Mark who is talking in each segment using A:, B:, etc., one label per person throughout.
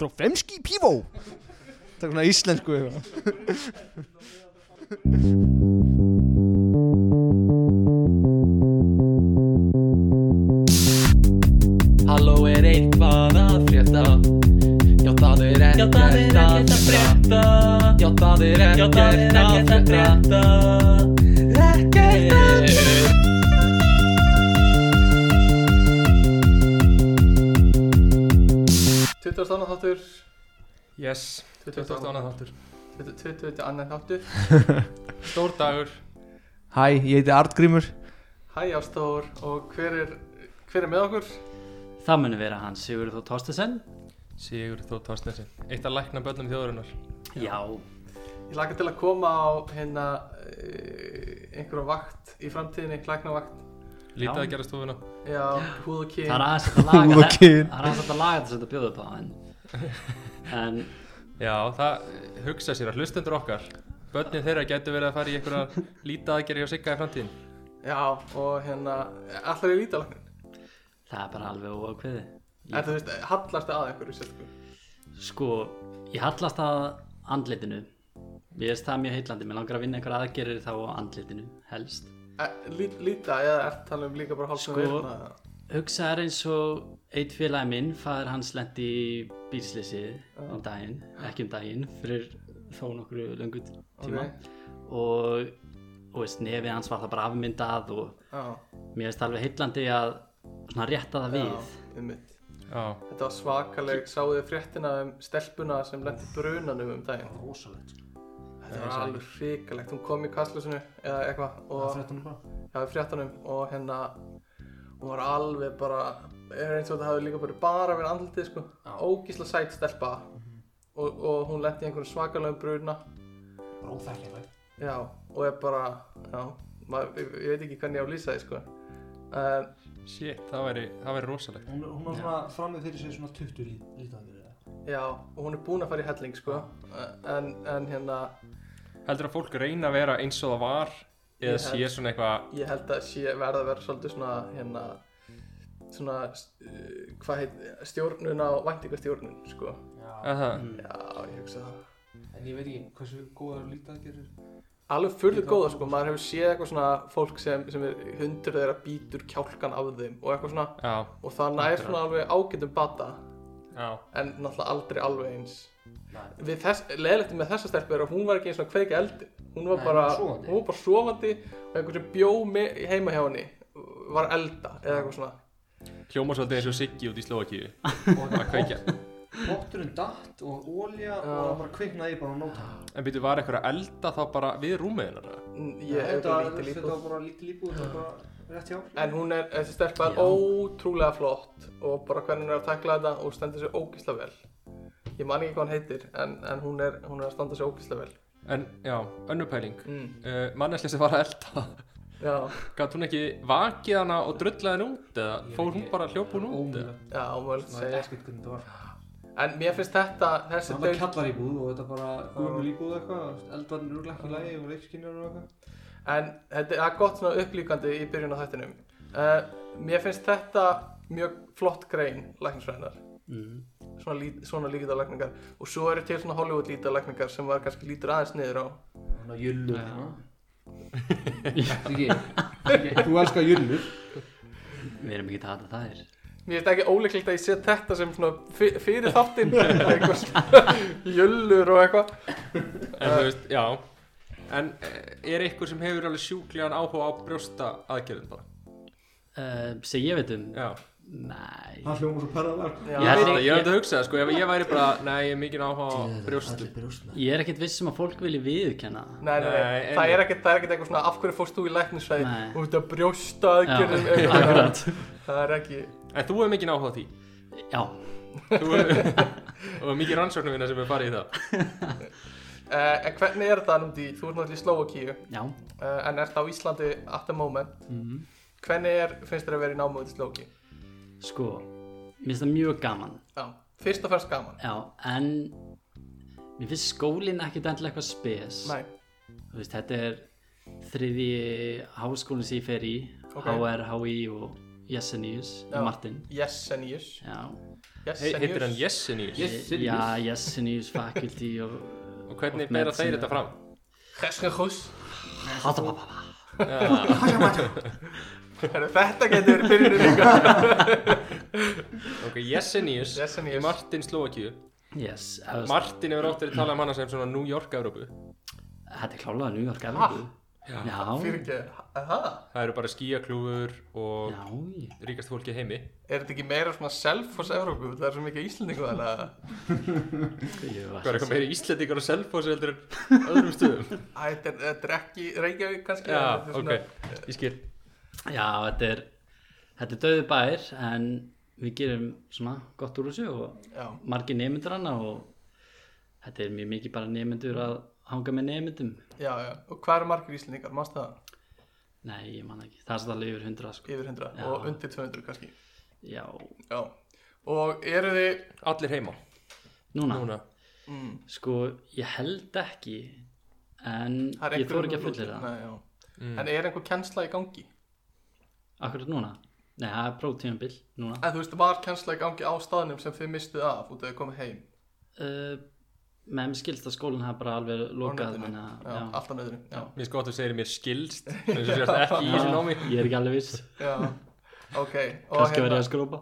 A: Trofemski pívó Það er svona íslensku eitthvað.
B: Halló er eitthvað að frétta Já það er ekkert að frétta Já það er ekkert að Eh. frétta Ekkert að frétta
C: Tuttast annað þáttur
D: Yes,
C: 20.
D: 22.
C: annað
D: þáttur
C: 22. annað þáttur
D: Stór dagur
A: Hæ, ég heiti Artgrímur
C: Hæ Ástór og hver er, hver er með okkur?
B: Það muni vera hann Sigurður Þór Tóstesen
D: Sigur Þór Tórsnesi Eitt að lækna börnum þjóðurinnar
B: Já,
C: Ég laka til að koma á hérna eh, einhverja vakt í framtíðinni, klæknavakt
D: Lítið
B: Já.
D: að gera stofuna
C: Já, húð og kyn
B: það er aðeins hægt að laga
A: Ok.
B: það Það er aðeins hægt að laga þess að þetta bjóða upp á en, en
D: Já, það eh, hugsa sér að hlustendur okkar Börnin þeirra getur verið að fara í einhverja lítið að gera hjá Sigga í framtíðin
C: Já, og hérna, allar er lítalagnin
B: það er bara alveg óákveði
C: En þú veist, hallast að einhverju sérstaklega
B: Sko, ég hallast að andlitinu Ég veist það mjög heitlandi, mér langar að vinna einhver aðgerir þá á andlitinu, helst
C: Eh, lít- Líta, eða ert tala um líka bara hérna? hálsum
B: Sko-
C: veirna
B: Hugsa er eins og eitt félagi minn, fæður hans lendi í bílsleysi um daginn, ekki um daginn, fyrir þó nokkru löngu tíma og, og veist, nefið hans var það bara afmyndað og
C: Já,
B: mér finnst alveg heillandi að svona rétta það við.
C: um mitt
D: Já,
C: Þetta var svakaleg, sáðu þið fréttina um stelpuna sem lendi í brunanum um daginn
E: Rósalegt sko.
C: Þetta var alveg hrikalegt, hún kom í kastljósinu eða eitthvað
E: Það er
C: og
E: þrettunum bara.
C: já, í fréttanum og hérna hún var alveg bara er eins og þetta hafi líka bara bara verið andlitið sko, ógísla sæt stelpa
E: Mhm.
C: og, og hún lendi í einhverjum svakalegum bruna
E: Bara óþekkjanlegt.
C: já, og er bara já, maður, ég, ég veit ekki hvernig ég á að lýsa því sko uh,
D: shit, það væri, það væri rosalegt
E: Hún, hún var svona framið fyrir sig svona 20 lít, lítandir eða.
C: já, og hún er búin að fara í helling sko uh, en, en hérna
D: Heldur að fólk reyna að vera eins og það var
C: Ég
D: Eða
C: held-
D: sé svona eitthvað
C: ég held að sé verða að vera svolítið svona hérna svona uh, hvað heit stjórnun á væntingastjórnun sko
E: Já.
D: eða það,
C: já ég hugsa það
E: En ég veit ekki hversu góðar lítandir eru.
C: alveg furðu góða sko maður hefur séð eitthvað svona fólk sem, sem er hundur þeirra bítur kjálkan af þeim og eitthvað svona
D: Já,
C: og það nær svona alveg ágætum bata
D: já,
C: en náttúrulega aldrei alveg eins
E: Nei.
C: við þess, leðilegt með þessa stelpu er að hún var ekki eins og að kveika eldi hún var
E: Nei,
C: bara,
E: hún var sofandi.
C: hún var bara sofandi og einhver sem bjó með, heima hjá henni var að elda eða eitthvað svona
D: hljómar svolítið eins og Siggi út í Slovakíu
E: Og
D: að kveikja
E: Bótturinn datt og ólja og
C: Já.
E: það bara kviknaði bara á nótæmi.
D: En byrju, var eitthvað að elda þá bara við rúmið hennar?
C: N- ég hef
E: þetta,
C: bara lítið
E: Þetta
C: líka
E: var bara lítið líbúð, þetta var bara rétt hjá.
C: En hún er, þessi stelpa er
B: Já.
C: ótrúlega flott og bara hvernig hún er að tekla þetta og stendur sér ógisla vel. Ég man ekki hvað hún heitir, en, en hún, er, hún er að standa sér ógisla vel.
D: En, já, önnur pæling
C: Mm.
D: uh, Manneskja sem var að elda
C: Já,
D: Gat hún ekki vakið hana og drullið henni út eða
E: Ég
D: fór
E: veit
D: hún
E: ekki.
D: bara hljóp hún út eða?
E: Ómögulegt.
C: já, ómögulegt að
E: Það er
C: segja.
E: ekkert hvernig þetta var.
C: En mér finnst þetta, þessi
E: Það var kjallar íbúð og þetta bara gulur íbúð eitthvað. Eldvarnir eru ekki í lagi og reykskinnir og eitthvað.
C: en þetta er það er gott svona upplýkandi í byrjun á þættinum. Uh, mér finnst þetta mjög flott grein læknisfræðinar,
B: Mm.
C: svona, lí, svona líkitalækningar. Og svo eru til svona Hollywood líkitalækningar sem var kannski lítur aðeins niður á.
E: Þannig að jullur
B: Já.
E: Siggi, Siggi, þú elskar jullur
B: Við erum ekki að hata það þér.
C: Mér finnst ekki óleiklegt að ég set þetta sem svona fyr- fyrir þáttinn eitthvað svona jöllur og eitthvað
D: En þú veist, já En eh, er eitthvað sem hefur alveg sjúklegan áhuga á brjósta aðgerðin bara?
B: Uh, sem ég veit um,
D: Já,
B: nei,
E: Það hljóma svo perraðar
C: Já,
B: Ég
D: ég
B: held-
D: held að, ég held að hugsa það sko Ef ég væri bara, nei, ég er mikið áhuga á brjóstum
B: ég er ekkert viss um að fólk vilji viðurkenna. það.
C: nei, nei, nei,
D: Nei,
C: það
D: einmitt.
C: er ekkert það er ekkert eitthvað svona af hverju fórst þú í læknisfræði
B: Nei.
C: og þetta brjósta aðgerðum
B: Já,
C: eitthvað.
B: akkurat.
C: það er ekki
D: En þú hefur mikið áhuga á því
B: Já,
D: Þú hefur og mikið rannsóknarvinna sem er farið í það
C: uh, en hvernig er það núndi, þú ert náttúrulega í Slovakíu uh,
B: já.
C: en ert á Íslandi at the moment
D: Mhm.
C: hvernig er, finnst þér að vera í námöðu til Slovakíu
B: Sko, mér finnst það mjög gaman
C: já, fyrst og fremst gaman
B: Já, en mér finnst skólinn ekkert endilega eitthvað spes
C: nei,
B: Þú veist, Þetta er þriði háskólinn sem ég fer í
C: Ok.
B: HR, HI og Jessenius,
C: Já.
B: Martin
C: Jessenius
B: já,
D: He-
C: Jessenius
D: heitir hann Jessenius
E: Jessenius?
B: já, Jessenius faculty og
D: og hvernig bera þeir þetta fram?
C: Jessenius
B: Hallababa.
C: Herru, Þetta getur verið byrjunum líka
D: Ok, Jessenius í
C: Jessenius
D: Martin Slovakíu
B: yes, það var-
D: Martin hefur áttir að tala um hana sem svona New York-Európu
B: þetta er klálega New York Evrópu já, já,
C: Fyrir ekki Aha
D: Það eru bara skíaklúfur og
B: já.
D: ríkast fólki í heimi
C: Er þetta ekki meira svona self-force Evrópu? Það er svo mikið Íslandingu þannig að
B: Ég var
D: Hvað er
B: að
D: eitthvað meiri íslendingar á selfósi heldur en öðrum stöðum?
C: Æ, Þetta er- þetta er ekki Reykjavík kannski en
D: Já,
C: þetta er
D: ok,
C: svona-
D: ég skil
B: Já, þetta er, þetta er döðu bær en við gerum svona gott úr þessu og
C: Já,
B: margir nemyndur hana og þetta er mjög mikið bara nemyndur að hanga með nemyndum.
C: já, já Og hvað eru margir Íslandingar? Mást það
B: Nei, ég man ekki. Það er satt alveg yfir hundra sko.
C: yfir 100
B: Já.
C: og undir 200 kannski
B: Já,
C: Já Og eru þið
D: Allir heima
B: núna.
D: núna
C: mm,
B: Sko, ég held ekki en ég
C: einhverjum
B: þór ekki að
C: úr-
B: fullir það.
C: Nei, já En er einhver kennsla í gangi?
B: Akkurat núna. Nei, það er prótíðanbill núna.
C: En þú veist, var kennsla í gangi á staðnum sem þið mistuð af út af að þið komið heim
B: Uh, með mér skilst að skólinn hafa bara alveg
C: á
B: lokað.
C: netinu?
B: þannig
C: Já,
B: að-
C: allt á nöðru Já,
D: Mér sko að þú segir mér skilst eins og sérst ekki í þessu námi
B: já. Ég er ekki alveg viss.
C: já Ok og
B: Kannski var
C: hérna-
B: ég að skrópa.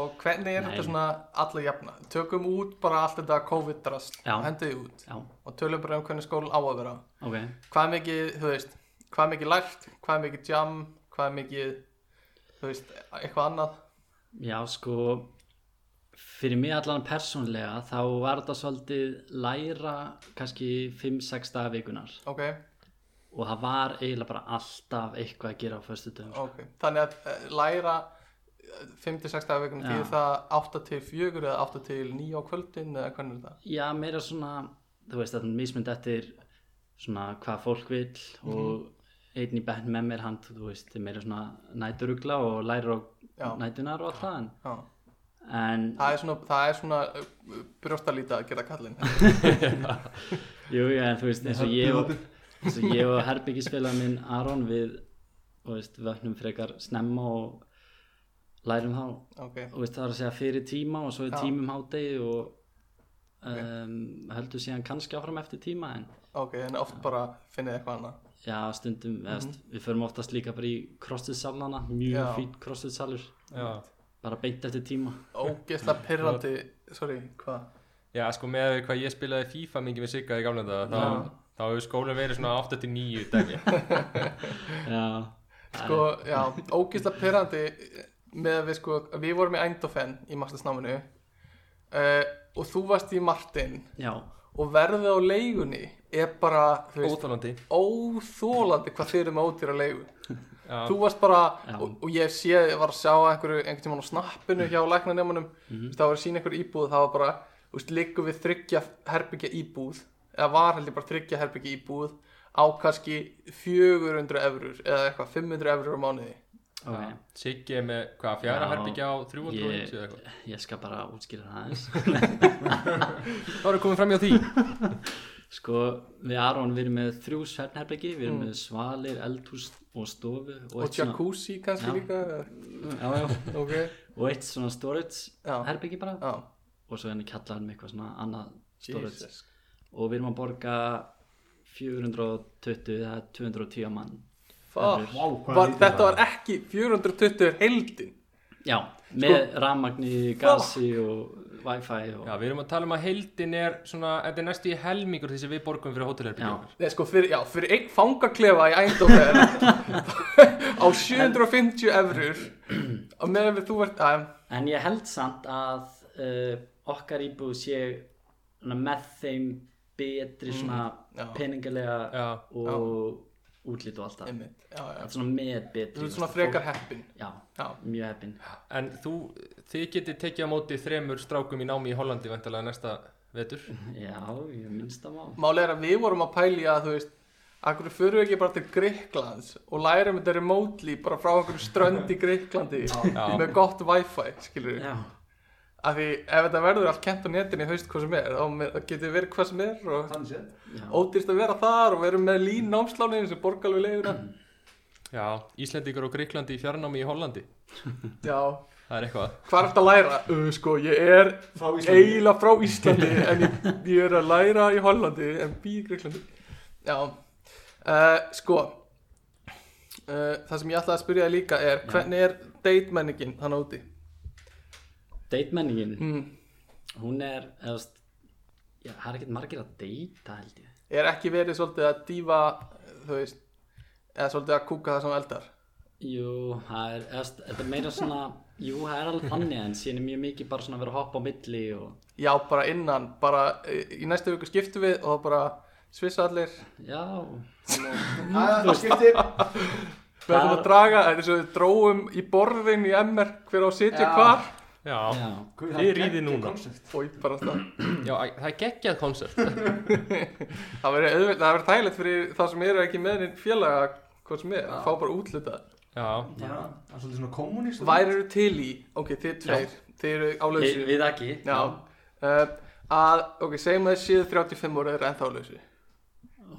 C: Og hvernig er
B: Nei.
C: þetta svona alla jafna? Tökum út bara allt þetta COVID-drast
B: Já.
C: og hendið því út
B: Já,
C: og tölum bara um hvernig skólan á að vera.
B: ok.
C: Hvað er mikið, þú veist, hvað er mikið lært, hvað er mikið jam, hvað er mikið, þú veist, eitthvað annað?
B: Já, sko fyrir mig allan persónlega þá var þetta svolítið læra kannski 5-6 daga vikunar
C: Ok,
B: og það var eiginlega bara alltaf eitthvað að gera á föstu dögum
C: ok. Þannig að eh, læra 5-6 dagar vikunum
B: Já.
C: því það 8 til 4 eða 8 til 9 á kvöldin eða hvernig er það?
B: Já, meira svona, þú veist þetta er mismund eftir svona hvað fólk vil
C: Mhm.
B: og einn í benn með mér hann, þú veist, er meira svona næturugla og læra á
C: Já.
B: nætunar og allt það en,
C: Já.
B: en
C: Það er svona, það er svona eh, brjóstalíta að gera kallinn.
B: Jú, já, en þú veist, eins og
E: Nei,
B: ég og,
E: höfðu-
B: eins og, ég og herbyggisfélag minn Aron við, þú veist, vöknum frekar snemma og lærum þá,
C: Ok,
B: þú veist, það er að segja fyrir tíma og svo er
C: Já.
B: tímum hádegi og um, heldur síðan kannski áfram eftir tíma en
C: ok, en oft bara finnið eitthvað annað.
B: já, stundum, mm við förum oftast líka bara í crossfit-salana, mjög
C: Mhm. Já.
B: fín crossfit-salur,
D: Já,
B: bara beint eftir tíma
C: ógeðslega pyrrandi sorry, hvað?
D: já sko með því hvað ég spilaði FIFA mikið við Sigga í gamla þetta þá, þá hefur skólan verið svona 8-9 dæmi
B: Já,
C: sko, já, ógeðslega pyrrandi með að við sko, við vorum í Eindhoven í mastersnáminu uh, og þú varst í Martin
B: já,
C: og verðið á leigunni er bara, þú veist,
D: Óþálandi
C: óþólandi hvað þeir eru með ódýra leigu
D: Já.
C: þú varst bara,
B: Já.
C: og, og ég sé ég var að sjá einhverju, einhvern tímann á snappinu hjá læknanemunum,
B: Mhm.
C: mm -hmm. það var að sína einhverju íbúð það var bara, þú veist, liggum við þryggja herbyggja íbúð, eða var heldur bara þryggja herbyggja íbúð á kannski 400 eurur eða eitthvað 500 eurur á mánuði
B: ok
D: Siggi er með hvað fjara
B: Já.
D: herbyggja á 300
B: Ég-
D: eða eitthvað
B: Ég skal bara útskýra það aðeins
D: Þá erum við komin fram hjá því
B: Sko, við Aron, við erum með þrjú svefnherbyggi, við erum með svalir, eldhús og stofu og,
C: og
B: eitt svona,
C: jacuzzi kannski
B: Já.
C: líka eða-
B: já, já,
C: ok,
B: og eitt svona storage
C: Já.
B: herbyggi bara
C: já,
B: og svo henni kallar með eitthvað svona annað storage
C: Jesus
B: og við erum að borga 420 eða 210 mann.
C: Fuck.
E: Vá, hvað
C: var,
E: lítið
C: þetta
E: það
C: var ekki 420 er heildin
B: Já, með rafmagni, gasi og wifi og
D: Já, við erum að tala um að heildin er svona, þetta er næstu í helmingur því sem við borgum fyrir hótelherbyggja
B: Já.
D: okkar
C: Nei, sko, fyrir, já, fyrir einn fangaklefa í Eindhoven á 750 eurur og meðan við þú ert að,
B: En ég held samt að uh, okkar íbúð sé svona með þeim betri svona
C: já.
B: peningalega
D: Já,
B: og útlít og allt það.
C: einmitt, já,
B: Það
C: já,
B: er svona með betri.
C: þú ert svona
B: veist,
C: frekar heppin,
B: fólk- Já,
C: já,
B: mjög heppin.
D: En þú, þið getið tekið á móti þremur strákum í námi í Hollandi vantalega næsta vetur
B: Já, ég minnst það má.
C: máli er að við vorum að pæli að, þú veist, akkur fyrir við ekki bara til Greiklands og lærum þetta remotely bara frá einhverju strönd í Greiklandi
D: Já.
C: með gott wifi, skilur við,
B: Já,
C: af því ef þetta verður allt kent á netinu í haust hvað sem er, þá með- getur verið hvað sem er og
E: Þannig séð
B: já.
C: ódýrst að vera þar og við erum með lín námslánin sem borgar alveg leiðuna
D: Já, Íslendingur og Greiklandi í fjarnámi í Hollandi
C: Já,
D: Það er eitthvað
C: hvað er þetta að læra? Uh, sko, ég er
E: Frá Íslandi
C: eiginlega frá Íslandi en ég, ég er að læra í Hollandi en bý í Greiklandi Já, uh, sko uh, það sem ég ætlaði að spyrja þig líka er hvernig er deitmenningin hann úti?
B: Deitmenningin,
C: Mm.
B: hún er, eða, þú veist, já, það er ekkert margir að deyta held ég.
C: Er ekki verið svolítið að dýfa þú veist, eða svolítið að kúka það sem eldar?
B: Jú, það er, eða, þú veist, þetta er meira svona, jú, það er alveg þannig en síðan er mjög mikið bara svona að vera að hoppa á milli og,
C: Já, bara innan, bara eh, í næstu viku skiptum við og bara svissa allir
B: já,
E: Það skipti
C: Við ætlum að
B: Þar-
C: draga, þetta er svo við dróum í borðin í MR hver á að sitja
E: Já.
C: hvar
D: Já,
B: já.
D: Þið ríðið núna.
C: og ég bara það
D: Já æ, það er geggjað koncert
C: Það verður auðvitað, það verður þægilegt fyrir það sem eru ekki með neinn félaga hvað sem er, að fá bara útlitað
D: Já,
E: Það er svolítið svona kommunist
C: Værirðu til í, ok, þið tveir, þið eru á
B: Við,
C: lausu
B: við ekki,
C: Já, uh, að, ok, segjum að þið séu 35 ára er ennþá á lausu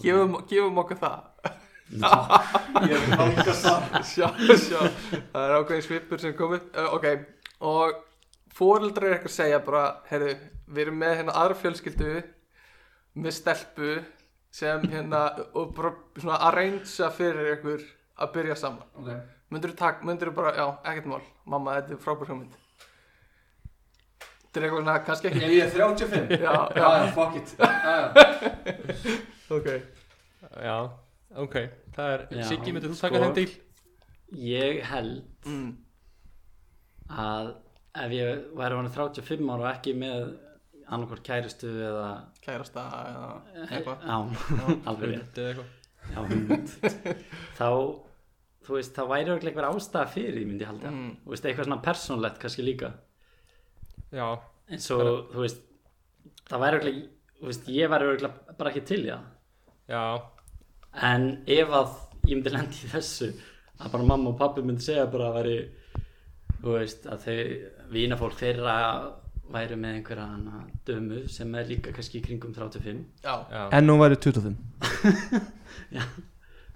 C: gefum, gefum okkur það
E: Ég er nálgast það
C: sjá, sjá, það er ákveðin svipur sem kom upp, uh, ok, og fóreldrar er eitthvað að segja bara, heyrðu, við erum með hérna aðra fjölskyldu með stelpu sem hérna, og bara svona að reynsa fyrir ykkur að byrja saman.
E: Ok,
C: Myndur þú takk, myndur þú bara, já, ekkert mál, mamma, þetta er frábær hugmynd. Þetta er eitthvað svona, kannski
E: ef
C: ekki,
E: ég er 35
C: já,
E: Já,
C: já,
A: Ah,
E: já, fuck it Já, já.
C: ok.
D: já, ok Það er,
B: Já,
D: Siggi, myndir þú
B: sko.
D: taka sko. þeim díl?
B: ég held
C: Mm.
B: að ef ég væri hann 35 ára og ekki með annarkvort kæristu eða
C: Kærasta, eða eitthvað.
B: á, alveg rétt
D: Eða eitthvað
B: já, hund. þá þú veist, það væri örugglega einhver ástæða fyrir því myndi ég halda,
C: Mm.
B: þú veist, eitthvað svona persónlegt kannski líka,
D: Já,
B: eins og þú veist, það væri örugglega, þú veist, ég væri örugglega bara ekki til í það
D: já,
B: en ef að ég myndi lendi í þessu að bara mamma og pappi myndi segja bara að væri þú veist, að þau vínafólk þeirra væri með einhverja hana dömu sem er líka kannski í kringum 35
C: Já,
D: já
A: En hún væri 25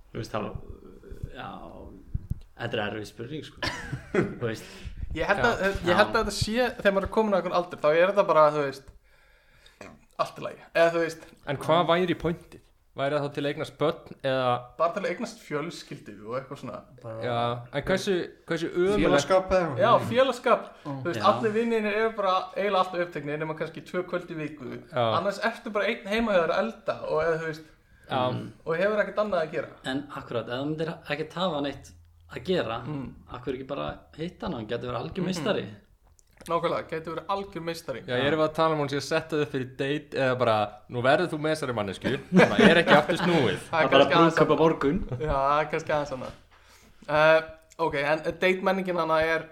B: þú veist, þá já, þetta er erfið spurning sko. þú veist,
C: Ég held, að,
B: Já.
C: ég held að þetta sé þegar maður er komin á einhvern aldur þá er þetta bara, þú veist allt í lagi, eða þú veist
D: En hvað væri í pointið? Væri það þá til að eignast börn eða
C: bara til að eignast fjölskyldu og eitthvað svona
D: Já, en hversu, hversu ömulegt
E: Félagskap eða eitthvað.
C: já, félagskap, þú veist,
B: Mm. Já.
C: allir vinninir eru bara eiginlega alltaf uppteknir nema kannski tvö kvöldi viku,
D: Já.
C: annars ertu bara einn heima hjá þér að elda og eða þú veist
D: Já,
B: Mm.
C: og hefur ekkert annað að gera
B: en akkurat ef þú myndir ekki hafa neitt að gera
C: Mm.
B: akkur ekki bara hitta hann hann getur verið algjör meistari
C: nákvæmlega, getur verið algjör meistari
D: Já, ég er að tala um hún sé að setja þau fyrir date eða bara, nú verður þú með þessari mannesku það er ekki aftur snúið
C: það
B: það
C: er
B: bara
C: kannski aðeins
B: brúðköpa morgun
C: Já, það er kannski aðeins annað uh, Ok, en date menningin hana er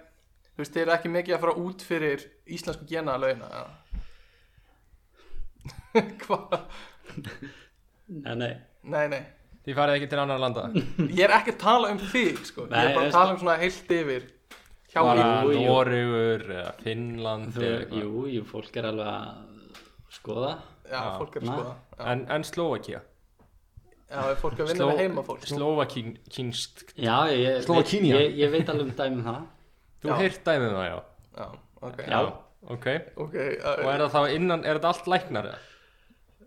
C: Þú veist, þeir eru ekki mikið að fara út fyrir íslensku gena launa Hvað?
B: nei, nei,
C: Nei, nei
D: Þið farið ekki til annar landa
C: Ég er ekki að tala um þig, sko Ég
B: Nei,
C: er bara
B: veist-
C: að tala um svona heilt yfir Hjá
D: bara
B: Jú, jú.
D: Noregur, eða Finnland
B: þú,
D: eða eitthvað.
B: jú, jú, fólk er alveg að skoða
C: Já, fólk er að
B: Nei.
C: skoða Já,
D: En, en Slovakia
C: Já, fólk er að vinna
D: Sló-
C: með heimafólk
D: Slovakingst
B: já, ég, ég, veit,
A: Slóvakínía.
B: ég, ég veit alveg um dæmi um það
D: Þú
C: Já.
D: heyrt dæmið það, já
C: Já, ok
B: Já.
D: Ok,
C: Ok,
D: og
C: uh,
D: er það þá innan, er þetta allt læknar eða?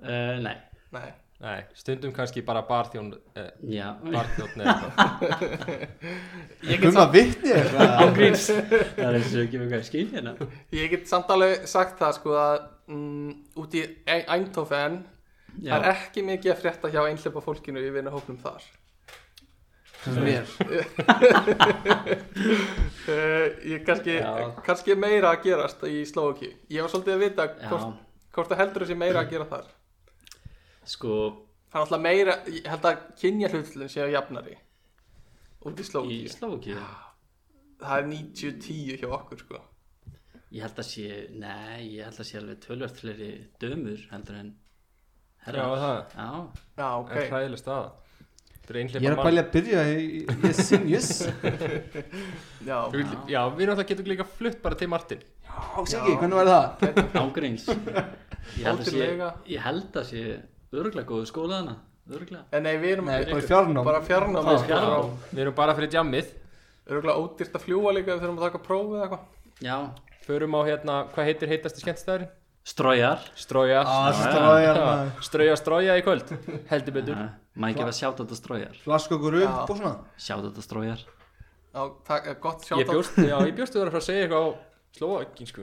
B: uh, nei,
C: nei
D: Nei, stundum kannski bara barþjón eh,
B: já,
D: barþjón eða eitthvað
A: Um að vitni eitthvað
B: ágríns það er eins og ekki með hvað skil hérna
C: Ég get samt alveg sagt það, sko að mm, Út í Eindhoven Það er
B: já,
C: ekki mikið að frétta hjá einhleipa fólkinu í vinahóknum þar
E: Sem mér
C: uh, Ég kannski,
B: Já.
C: kannski er meira að gerast í Slovaki Ég var svolítið að vita
B: Já.
C: hvort, hvort það heldur þessi meira að gera þar
B: sko
C: Það er alltaf meira, ég held að kynja hlutlun séu jafnari út í
B: í
C: Slovaki
B: Slóki
C: Það er 90-10 hjá okkur sko
B: ég held að sé, nei, ég held að sé alveg tölvert fleiri dömur heldur en
D: Já,
B: herra,
D: það
B: já,
C: Já,
D: er
C: ok
D: hræðileg staða Þetta er
A: Ég er
D: einhleipa
A: að bæli að byrja í í- Yes, in, yes
C: Já,
D: Við- Já, við náttúrulega getum líka flutt bara til Martin
A: Á, Siggi, hvernig var það?
B: ángríns ég held að sé,
C: Ótrúlega.
B: ég held að sé örgulega góðu skóla þarna Örgulega
C: En nei, við erum
A: Nei, bara fjárnám.
C: Bara fjárnám
A: Já,
C: sko.
B: fjárnám.
D: Við erum bara fyrir jammið
C: Örugglega ódýrt að fljúa líka ef við þurfum að taka prófið eða eitthvað
B: Já
D: Förum á hérna, hvað heitir heitasti skemmtstæðurinn?
B: Strójar
D: Strója
A: Ah,
B: Já,
A: strójar, maður.
D: Ströja strója í kvöld Heldur betur
B: Maður gefa sjátt þetta strójar
A: Flaskokur
C: Já.
A: upp og svona
B: Sjátt þetta strójar
C: Já, takk, eh, gott
D: Ég
C: sjátt
D: bjóst, já, ég bjóst þú þar að fara að segja eitthvað á slóvakinsku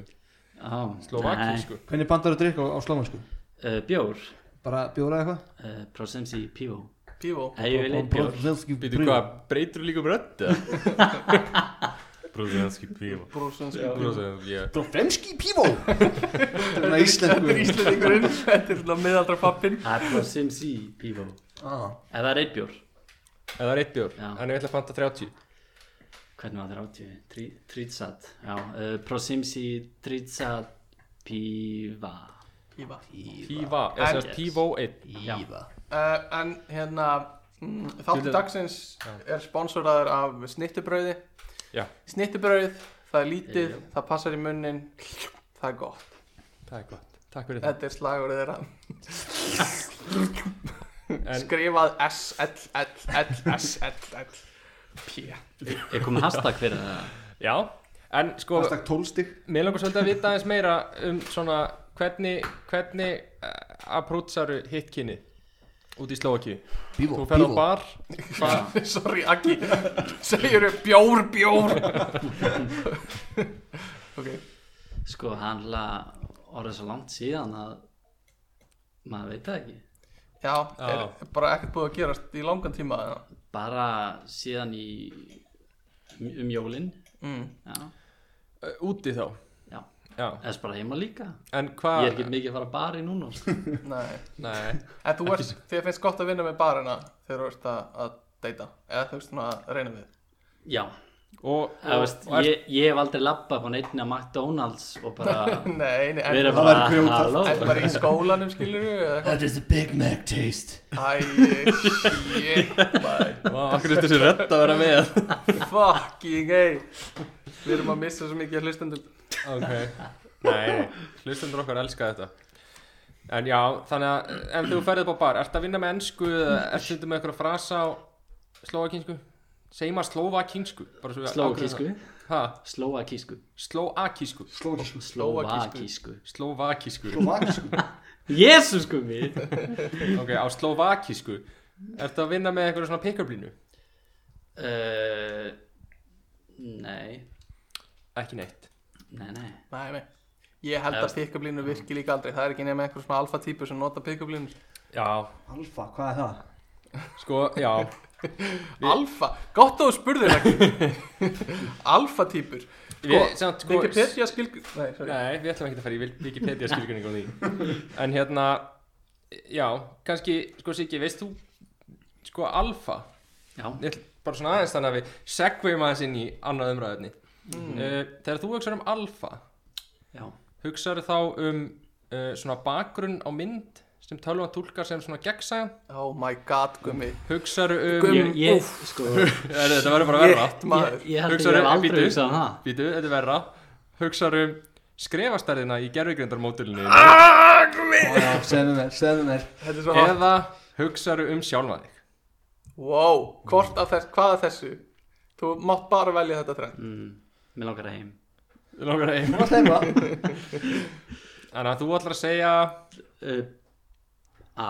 D: Slóvakinsku
A: Hvernig bandar þú drikk á, á slómansku?
B: uh, Bjór
A: Bara bjóra eða eitthvað?
B: uh, Prosensi pívó
C: Pívó
B: Nei, ég vil eitt bjór
A: Brzezinski
D: Býtu hvað, breytur líka um rödd? eða?
F: Brúðinski pífa
C: Brúsunski
D: Ég-
A: Brzezinski pívó Þetta er svona íslensku
C: Þetta er íslendingurinn Þetta er svona miðaldra pappin
B: Það er Prosensi pívó Ef
A: íslensku
B: það er eitt bjór
D: En það er eitt bjór,
B: Já.
D: þannig ég ætla að fanta 30
B: Hvernig var það ráttið? Trýtsat Já uh, Prosensi trýtsat píva
C: Píva
D: Píva, eða
C: En-
D: E, sem sagt Pívó 1
B: Já
C: uh, En hérna mm, Þáttu
D: Skilur-
C: dagsins er sponsoraður af snittubrauði
D: Já.
C: Snittubrauð, það er lítið
B: Já.
C: Það passar í munnin Það er gott
D: Það er gott, takk fyrir það
C: Þetta er slagurðið þeirra
D: En
C: Skrifað S, L, L, L, S, L, L P
B: Er komið hashtag fyrir það?
D: Já, en sko,
A: Hashtag 12 stig
D: mér langar svolítið að vita aðeins meira um svona hvernig, hvernig aprútsaru hitt kynni út í Slóakíu
A: Pívó,
D: Þú ferð á
A: pívó
D: bar, bar
C: Sorry, Aggi Segjur þau bjór, bjór Ok
B: Sko, hann hlað orðið svo langt síðan að maður veit það ekki
C: Já,
D: Já.
C: er bara ekkert búið að gerast í langan tíma eða?
B: bara síðan í um, um jólin
C: mm.
B: já,
D: Ö, eh, úti þá
B: já,
D: Já,
B: þess bara heima líka
D: en hvað
B: ég er ekki mikið að fara að bari núna sko.
C: Nei
D: Nei,
C: En þú ert, þér finnst gott að vinna með barina þegar þú ert að, að deyta eða þú veist svona að reyna við
B: já,
D: og, og,
B: það veist
D: og er,
B: ég, ég hef aldrei labbað á neittni að McDonalds og bara
C: Nei, nei, en,
B: vera
A: Það
B: bara,
A: væri grjótart.
B: halló
C: en bara í skólanum skilur við
A: That is a Big Mac taste
C: Æ, shit, maður
D: og akkur er þessi rödd að vera með
C: Fucking hey Við erum að missa svo mikið hlustendum
D: Ok Nei, hlustendur okkar elska þetta En já, þannig að En þú ferðið upp á bar, ertu að vinna með ennsku eða ertu stundum með einhverja frasa á slóakinsku? Segjum að slóvakinsku bara svo við
B: slóakísku
D: ákveðum það. Ha,
B: slóakísku
D: slóakísku
A: Slómansku
B: slóakísku
D: Slóvakísku
A: Slómansku
B: jésus sko mig
D: Ok, á slóvakísku Ertu að vinna með einhverja svona pick-up línu?
B: uh, nei,
D: Ekki neitt
B: nei, nei
C: Nei, nei Ég held að pick-up línu virki líka aldrei Það er ekki nema einhver svona alfa típu sem nota pick-up línu
D: Já,
A: Alfa, hvað er það?
D: sko, já
C: Alfa, gott að þú spurðir ekki Alfa típur
D: Við, samt, sko
C: Wikipedia skilg Nei, sorry
D: Nei, við ætlum ekki að fara í vil- Wikipedia skilgrinning á því En hérna, já, kannski, sko Siggi, veist þú, sko alfa
B: já,
D: Ég ætl bara svona aðeins þannig að við segvum aðeins inn í annað umræðinni uh, Þegar þú hugsar um alfa,
B: Mm. já,
D: hugsar þá um uh, svona bakgrunn á mynd sem tölvan túlkar sem svona gegnsæðan
C: Oh my god, gummi
D: Hugsar um,
C: Gum-
D: Gum.
B: ég, ég sko ég,
D: þetta verður bara verra
C: Maður
B: ég held að
D: Hugsaðu,
B: ég hef aldrei
D: bíddu.
B: hugsað um það
D: Býtu, þetta er verra Hugsar um skrefastærðina í gerfugrindarmódulinu
B: Ah!
A: Já, segðu mér, segðu mér
C: Þetta er svo hot
D: Eða hugsar um sjálfa þig
C: Wow, hvort af þess, hvað af þessu Þú mátt bara velja þetta þrenn
B: mm, Mér langar að heim
D: Þú langar að einu
A: Hvað stefna?
D: Þannig að þú ætlar að segja
B: uh, A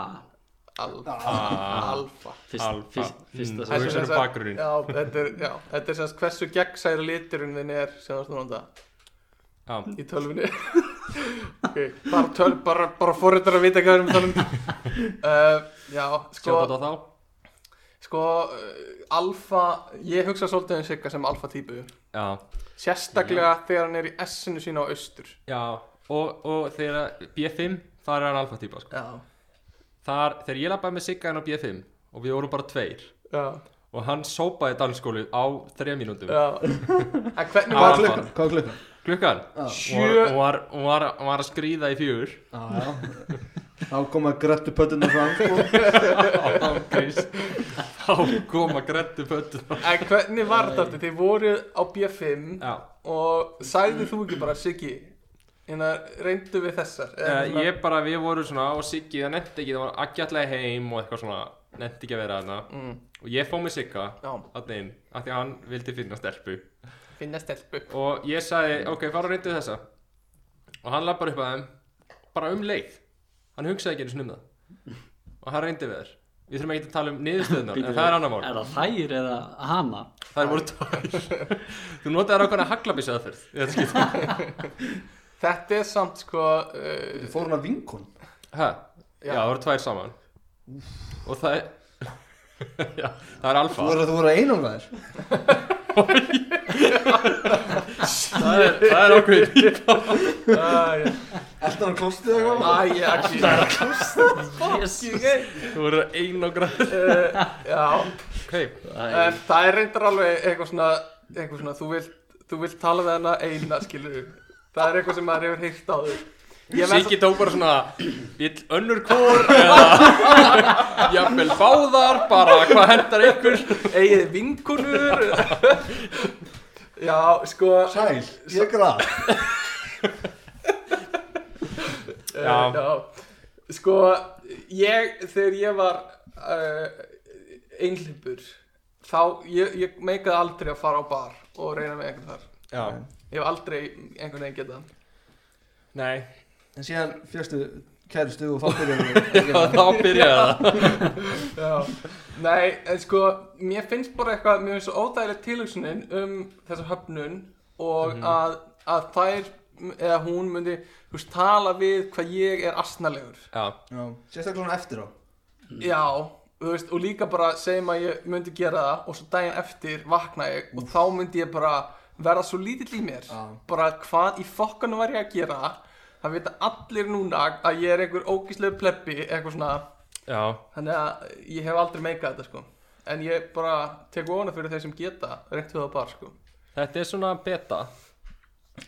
C: Alfa,
D: ah,
C: alfa
B: fyrst,
D: Alfa.
B: fyrst, Fyrsta
D: Þú
B: mm,
C: Þetta er
D: hugsar um
C: þess að-
D: bakgrunninn.
C: Já, þetta er, já, þetta er semst hversu gegnsæri liturinn þinn er sem þú ert að nota
D: Já.
C: í tölvunni Ok, bara tölv, bara, bara fórhundar að vita hvað við erum að tala um uh, Já, sko
D: Sjátt á þá
C: Sko, uh, alfa, ég hugsa svolítið um Sigga sem alfa típu
D: Já,
C: Sérstaklega þegar hann er í S-inu sína á austur
D: já Og, og þegar B5, þar er hann alfa típa sko.
C: Já,
D: þar, Þegar ég labbaði með Sigga hann á B5 Og við vorum bara tveir
C: já,
D: Og hann sópaði danskólu á þreja mínúndum
C: já En hvernig
A: Hvað
C: var
A: er
D: Alfa.
A: klukkan? Hvað er klukkan?
D: Klukkan
B: Ah.
D: Og
C: sjö
D: og var, og var, og var að skrýða í fjör
A: Já, já Þá koma grættu pötuna fram sko.
D: Þá koma grættu pöttu
C: En hvernig var þetta aftur? Þið voru á B5
D: Já
C: og sagði þú ekki bara Siggi en að reyndu við þessar hérna-
D: Eh, ég bara, við vorum svona og Siggi, það nefndi ekki, það var aðgjallega heim og eitthvað svona nefndi ekki að vera þarna
C: mm,
D: og ég fóð með Sigga
C: já,
D: þarna inn af því að hann vildi finna stelpu
C: finna stelpu
D: og ég sagði, ok, fara og reyndu þessa og hann lappar upp að þeim bara um leið hann hugsaði ekki einu sinni um það og hann reyndi við þér við þurfum ekki að tala um niðurstöðunar en það er annar mál
B: Er það þær eða hama?
D: Það voru tær Þú notaði ákveðna haglabísa aðferð í þetta skipti.
C: þetta er samt sko uh,
E: Þú fór hún að vinkon
D: Ha? Já, það voru tvær saman Og það er Já, það er alfa
E: Þú voru, þú voru að einangra þér
D: það, er, það er ákveðin
C: Æ,
E: Alltaf hann klostið eitthvað
C: æ, æ, æ,
B: Jesus.
C: æ,
D: Þú voru ein og græð
C: uh, já
D: Ok,
B: Það
C: en það er reyndar alveg eitthvað svona, eitthvað svona þú, vilt, þú vilt tala við hana eina skilur það er eitthvað sem maður hefur heyrt á þau ég
D: Siggi tók bara svona Vill önnur kór eða Jafnvel báðar Bara hvað hendar ykkur
C: að eigið vinkunur já, sko
E: Sæl, ég græð
C: eh,
D: Já.
C: já sko, ég þegar ég var uh, einhlippur þá, ég, ég meikaði aldrei að fara á bar og reyna með einhvern þar
D: Já,
C: ég hef aldrei einhvern veginn getað
D: nei
E: En síðan fjöstu kæristu og fattir
D: Þá byrjaði það
C: Já, nei, en sko, mér finnst bara eitthvað, mér finnst svo ódægilegt tilhugsunin um þessa höfnun og að, að þær, eða hún myndi, þú veist, tala við hvað ég er asnalegur.
D: Já,
E: Sérstaklega hún eftir á
C: Já, þú veist, og líka bara segjum að ég myndi gera það og svo daginn eftir vakna ég og þá myndi ég bara verða svo lítill í mér.
E: Já.
C: Bara hvað í fokkanu var ég að gera, það vita allir núna að ég er einhver ógíslegu plebbi, eitthvað svona...
D: já
C: Þannig að ég hef aldrei meikað þetta sko En ég bara tek vona fyrir þeir sem geta reynt við það bara sko
D: Þetta er svona beta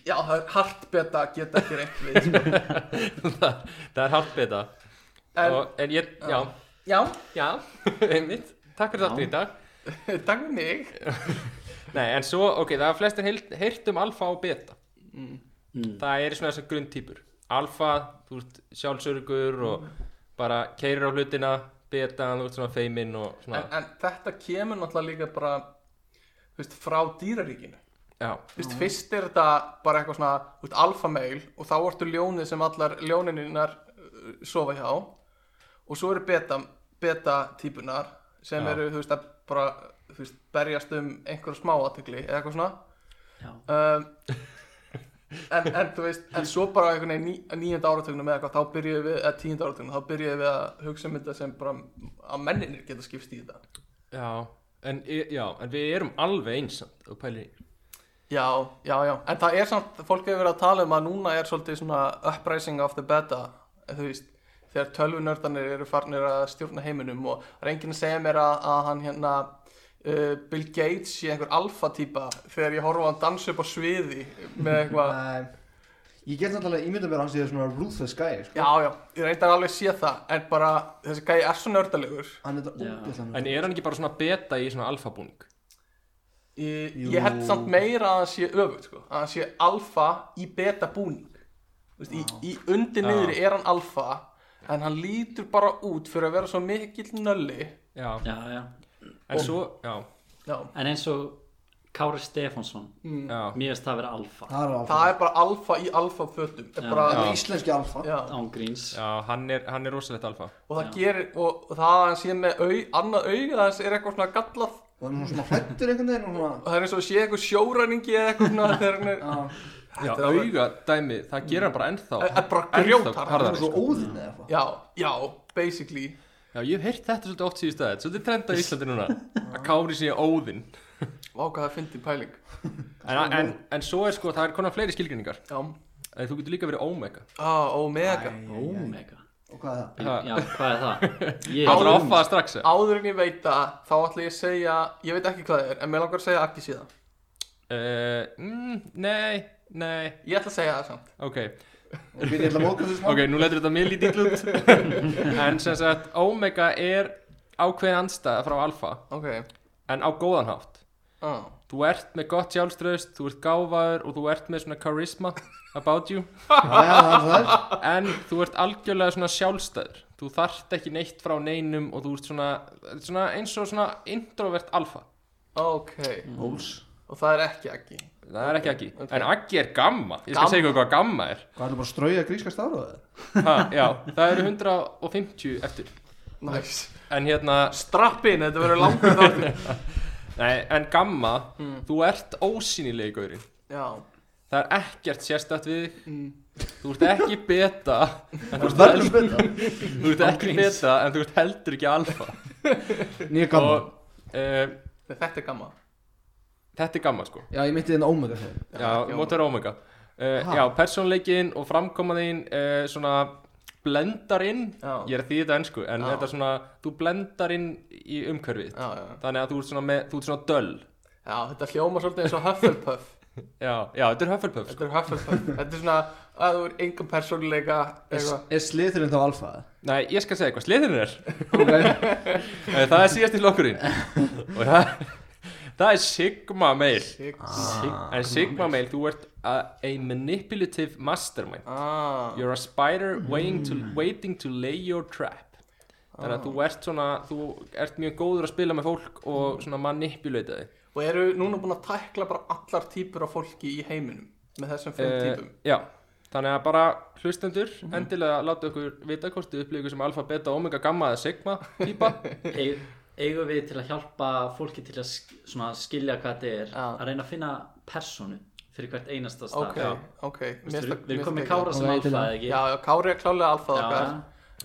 C: Já, það er hart beta að geta ekki reynt við sko.
D: Það er hart beta
C: En
D: og, En ég, já,
C: já,
D: já Einmitt, takk fyrir þetta í dag
C: takk fyrir mig
D: Nei, en svo, ok, það er flestir heyrt- heyrt um alfa og beta Mm.
C: Mm.
D: Það er svona þessar grunntýpur Alfa, þú ert sjálfsörgur og bara keirir á hlutina Beta, þú ert svona feiminn og svona
C: en, en þetta kemur náttúrulega líka bara þú veist, frá dýraríkinu
D: Já,
C: Þú veist, fyrst er þetta bara eitthvað svona þú veist, alfameil og þá ertu ljónið sem allar ljónininnar uh, sofa hjá og svo eru beta, beta típunar sem
D: Já.
C: eru, þú veist, að bara þú veist, berjast um einhverja smá aðtegli eða eitthvað svona
B: Já.
C: um, en, en þú veist en svo bara einhvern veginn ní, níunda áratugnum eða eitthvað, þá byrjuðum við, eða tíunda áratugnum þá byrjuðum við að hugsa um þetta sem bara að menninir geta skipst í þetta
D: já En, í- já, en við erum alveg einsamt og pælir í
C: já, já, já, en það er samt fólk hefur verið að tala um að núna er svolítið svona uprising of the beta þú veist, þegar tölvunördarnir eru farnir að stjórna heiminum og það er enginn að segja mér að, að hann hérna uh, Bill Gates sé einhver alfa típa þegar ég horfa á hann dansa upp á sviði með eitthvað
E: Nei Ég get náttúrulega ímyndað mér að hann sé svona ruthless guy sko.
C: Já, já, ég reyndar alveg sé það En bara, þessi gæi er svo nördalegur
E: Hann er þetta
B: Já.
C: Mm.
E: ógæðlega
D: En er hann ekki bara svona beta í svona alfabúning?
C: Ég,
E: Jú.
C: ég held samt meira að hann sé öfugt sko. Að hann sé alfa í beta búning Vist, í,
E: Ah.
C: í undir
D: Já.
C: niðri er hann alfa En hann lítur bara út fyrir að vera svo mikill nölli
D: Já,
B: Já, já
D: en svo, já,
C: Já,
B: En eins og Kári Stefánsson
C: Mm.
D: já
B: Mér finnst það að vera alfa
C: Ah.
E: Það er alfa
C: það er bara alfa í alfa fötum
B: Já.
C: bara,
E: Það
C: já.
E: er íslenski alfa
B: Án gríns
D: Já, hann er, hann er rosalegt alfa
C: Og það
B: Já.
C: gerir, og, og það að hann sé með au, annað auga þess er eitthvað svona gallað
E: Og hann er svona hrættur einhvern veginn og svona
C: Og það er eins og sé eitthvað sjóræningi eða eitthvað svona þegar hann er
E: Já,
D: Já,
C: Þetta er alveg-
D: auga dæmi, það gerir hann bara ennþá
C: Er- er bara
D: ennþá
C: grjótharður.
E: hann er
D: harðari, sko.
E: svona óðinn eða eitthvað
C: Já, já, basically
D: Já, ég hef heyrt þetta svolítið oft síðust aðeins, svolítið trend á Íslandi núna, að Kári sé óðinn.
C: Vá hvað það fyndi pæling
D: En, en, en svo er sko, það er konar fleiri skilgrinningar,
C: Já,
D: að þú getur líka verið ómega.
C: ah, omega
B: Omega
E: Og hvað er það?
D: Ha.
B: Já, hvað er það? Ég
D: Það er offaða strax, uh,
C: Áður en ég veit það, þá ætla ég að segja Ég veit ekki hvað það er, en mér langar að segja ekki síðan
D: mm, nei, nei,
C: Ég ætla að segja það samt
D: ok,
E: Og við erum að móka þessu smá
D: ok, nú letur þetta mér lítið út, en sem sagt, ómega er ákveðin andstæða frá alfa,
C: Ok,
D: en á góðan hátt.
C: ah.
D: Þú ert með gott sjálfströðst, þú ert gáfaður og þú ert með svona charisma about you,
E: Já, já, það er það
D: en þú ert algjörlega svona sjálfstæður. þú þarft ekki neitt frá neinum og þú ert svona, þetta er svona eins og svona introvert alfa
C: ok,
A: Óls
C: og það er ekki ekki
D: það er ekki Aggi,
C: ok.
D: en Aggi er gamma ég skal
C: Gamma.
D: segja ykkur hvað gamma er
E: Hvað er bara að strauja gríska stafröðu?
D: ha, já, það eru 150 eftir
C: næs,
D: en hérna,
C: strappin, þetta verður langur þáttur
D: nei, en gamma
C: Mm.
D: þú ert ósýnileg gaurinn
C: já,
D: það er ekkert sérstætt við þig
C: Mm.
D: þú ert ekki beta en þú ert,
A: Verður betra
D: hel- þú ert ekki
B: Ángríns.
D: beta en þú ert heldur ekki alfa
A: Nýja gamma
D: og uh,
C: Nei, þetta er gamma
D: þetta er gamma sko
E: Já, ég hérna myndi þinn ómega þegar.
D: Já,
C: ekki
D: mót vera omega uh,
A: Ha?
D: Já, persónleikin og framkomaðin uh, svona blendar inn
C: Já.
D: ég er að því þetta ennsku, en
C: Já.
D: þetta er svona þú blendar inn í umhverfið
C: já, já.
D: þannig að þú ert svona, með, þú ert svona döll
C: já, þetta hljóma svolítið eins og Hufflepuff
D: Já, já, þetta er Hufflepuff sko.
C: þetta er Hufflepuff, þetta er svona að þú er enga persónuleika
E: Er,
C: eitthvað
E: er sliðurinn þá alfað?
D: Nei, ég skal segja hvað sliðin er
E: Ok,
D: Eh, Það er síðast í lokkurinn og það, það er Sigma Mail
B: Sigma
D: En Sigma Mail, þú ert a, a manipulative mastermind
C: ah,
D: You're a spider waiting to, waiting to lay your trap Þannig að þú ert svona, þú ert mjög góður að spila með fólk og svona manipulata þig.
C: og eru núna búin að tækla bara allar típur af fólki í heiminum með þessum fimm
D: Eh,
C: típum
D: já, þannig að bara hlustendur, endilega láta okkur vita hvort þið upplýðu sem alfa, beta, omega, gamma eða sigma típa.
B: Eig- eigum við til að hjálpa fólki til að sk svona skilja hvað þetta er
C: Já.
B: að reyna að finna personu fyrir hvert einasta stað
C: Ah. ok, ok Mér
B: Vistu,
C: finnst
B: við,
C: það-
B: við
C: mér
B: komum með
C: finnst það
B: Kára sem
E: Ok,
B: alfa
E: til
B: eða
E: það.
B: ekki
C: Já, já, Kári er klálega alfað
B: Já,
C: okkar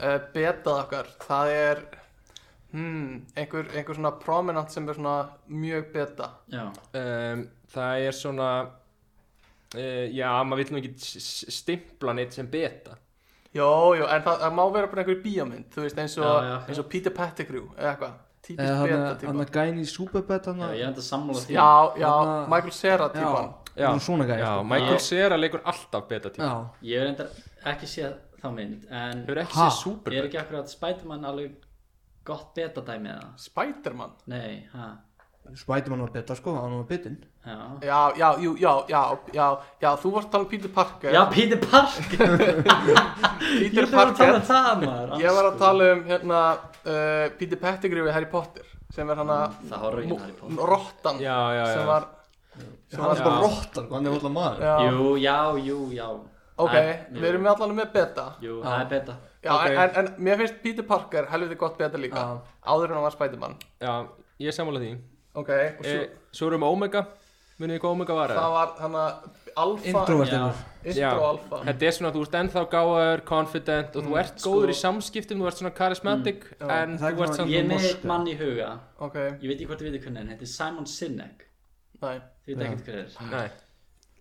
C: uh, Betað okkar, það er hmm, einhver, einhver svona prominent sem er svona mjög beta
B: já.
D: Um, það er svona, uh, já, maður vil nú ekki s- s- stimpla neitt sem beta.
C: Jó, jó, en það, það má vera bara einhver bíómynd Þú veist, eins og,
B: Já, já, ok.
C: eins og Peter Pettigrew eða eitthvað,
E: eða
C: típisk beta
E: hann- hann
C: típa
E: að gæni í Superbet hann
B: já,
E: að...
B: ég enda sammála því
C: Já, já,
E: Þarna-
C: Michael Cera típan
E: já. hann er svona gæni.
D: já,
E: sko.
D: Michael
B: Já.
D: Cera leikur alltaf beta típa.
E: Já,
B: ég er enda ekki séð þá mynd en
D: Hefur ekki
E: Ha?
D: séð super
B: er ekki akkurat Spiderman alveg gott betadæmi eða
C: Spiderman
B: nei, hæ,
E: Spiderman var beta sko, hann var bitinn.
B: já
C: Já, já, jú, já, já, já, já, þú varst að tala um Peter Parker
B: Já, Peter Parker, ég
C: Peter
B: þurfum að tala um
C: Parker
B: það maður
C: Ég var að tala um hérna uh, Peter Pettigrew í Harry Potter sem er hann að
B: Það horfir ekki Harry Potter
C: Rottan
D: Já, já, já.
C: sem var
E: Hann var
D: Já.
E: bara rottar, sko, hann er alltaf maður.
C: já,
B: Jú, já, jú, já
C: ok,
B: Æ, jú,
C: við erum með allan með beta
B: Jú, það er beta
C: já,
D: Ok.
C: en, en mér finnst Peter Parker helviti gott beta líka
E: Já.
C: áður en hann var Spiderman
D: Já, ég er sammála því.
C: ok, og svo,
D: Eh, svo erum við omega, munið þið hvað omega var? eða?
C: það var hann að alfa,
E: Introvert
B: Já.
E: einhver.
D: Já.
C: intro alfa
D: Þetta er svona, þú ert ennþá gáður, confident og þú ert
C: sko-
D: góður í samskiptum, þú ert svona charismatic en
E: Það er
D: þú ert
E: svona-
D: svona,
B: Ég er með
E: Moska.
B: eitt mann í huga
C: ok,
B: Ég veit ekki hvort þið veitir hvernig hann Þetta er Simon Sinek
C: næ,
B: Þið veit ekkert hver er
D: nei,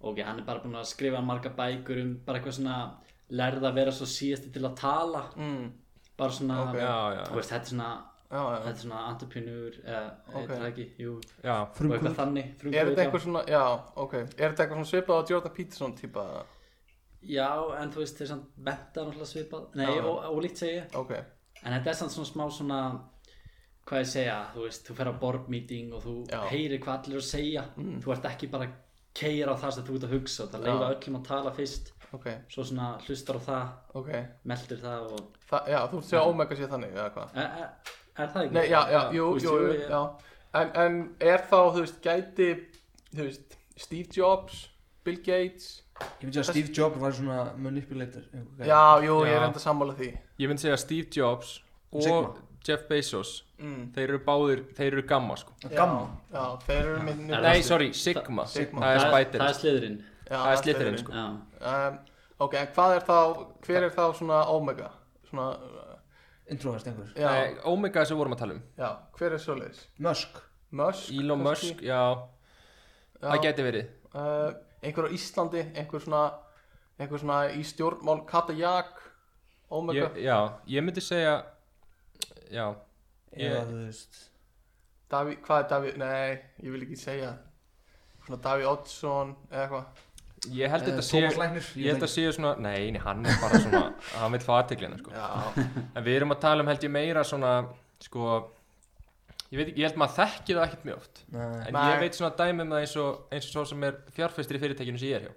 B: Ok, hann er bara búin að skrifa marga bækur um bara eitthvað svona lærða að vera svo síðasti til að tala
C: mm,
B: bara svona
C: Ok.
D: já, já,
B: Þú veist, þetta er svona
C: já,
B: Þetta
C: já
B: er svona entrepreneur eða
C: Ok.
B: eitthvað ekki, jú
D: já,
B: og eitthvað
E: Frumkvöld.
B: þannig
C: Er
B: frumkvöðull,
C: þetta
B: já.
C: eitthvað svona, já, ok, er þetta eitthvað svona svipað á Jordan Peterson típa,
B: Já, en þú veist, þeir samt menta náttúrulega svipað Nei,
C: Já.
B: og, og líkt segi ég
C: ok,
B: En þetta er samt svona smá svona hvað ég segja, þú veist, þú fer á board meeting og þú
C: Já. Mm.
B: heyrir hvað allir eru að segja þú ert ekki bara að keira á það sem þú ert að hugsa það
C: Já.
B: leifa öllum að tala fyrst
C: ok,
B: svo svona hlustar á það,
C: ok,
B: meldir það og
C: Þa, já, þú ert sér að Omega sé þannig, eða hvað?
B: er, er, er það ekki?
C: Nei, já, já, jú,
B: Þú veist,
C: jú, jú,
B: ég-
C: já en, en er þá, þú veist, gæti þú veist, Steve Jobs Bill Gates
E: Ég myndi að Steve Jobs var svona manipulator. einhver gæi.
C: Já, jú, ég
D: Já.
C: er enda sammála því
D: ég myndi segja Steve Jobs og
E: Sigma.
D: Jeff Bezos,
C: mm.
D: þeir eru báðir, þeir eru gamma sko,
E: Hann
C: já,
E: Gamma.
C: já, þeir eru minn
B: Er það
D: nei,
B: Slytherin?
D: sorry, Sigma,
C: Sigma.
D: það er spider,
B: Það er sliðurinn
D: það er slitterinn sko,
B: Já,
C: um, Ok, en hvað er þá, hver er þá svona Omega? Svona, uh,
E: Introvert einhver.
C: já,
D: Nei, Eh, omega sem við vorum að tala um,
C: já, hver er svoleiðis?
E: Musk.
C: Musk?
D: Elon
C: kannski?
D: Musk, já, það
C: Já,
D: geti verið,
C: uh, einhver á Íslandi, einhver svona einhver svona í stjórnmál Katajak, Omega
D: ég, já, ég myndi segja, já, Ég-
E: Eða þú veist.
C: Daví, hvað er Daví, nei, ég vil ekki segja svona Daví Oddsson eða eitthvað
D: ég held
E: Eh,
D: þetta
E: Thomas
D: sé,
E: Læknir.
D: ég held að séu svona, nei, nei, hann er bara svona, hann vil fá aðteglina sko.
C: já,
D: En við erum að tala um held ég meira svona, sko, ég veit ekki, ég held maður þekki það ekkert mjög oft.
E: Nei.
D: En
C: Nei.
D: ég veit svona dæmi um það eins og, eins og svo sem er fjárfæstir í fyrirtækinu sem ég er hjá.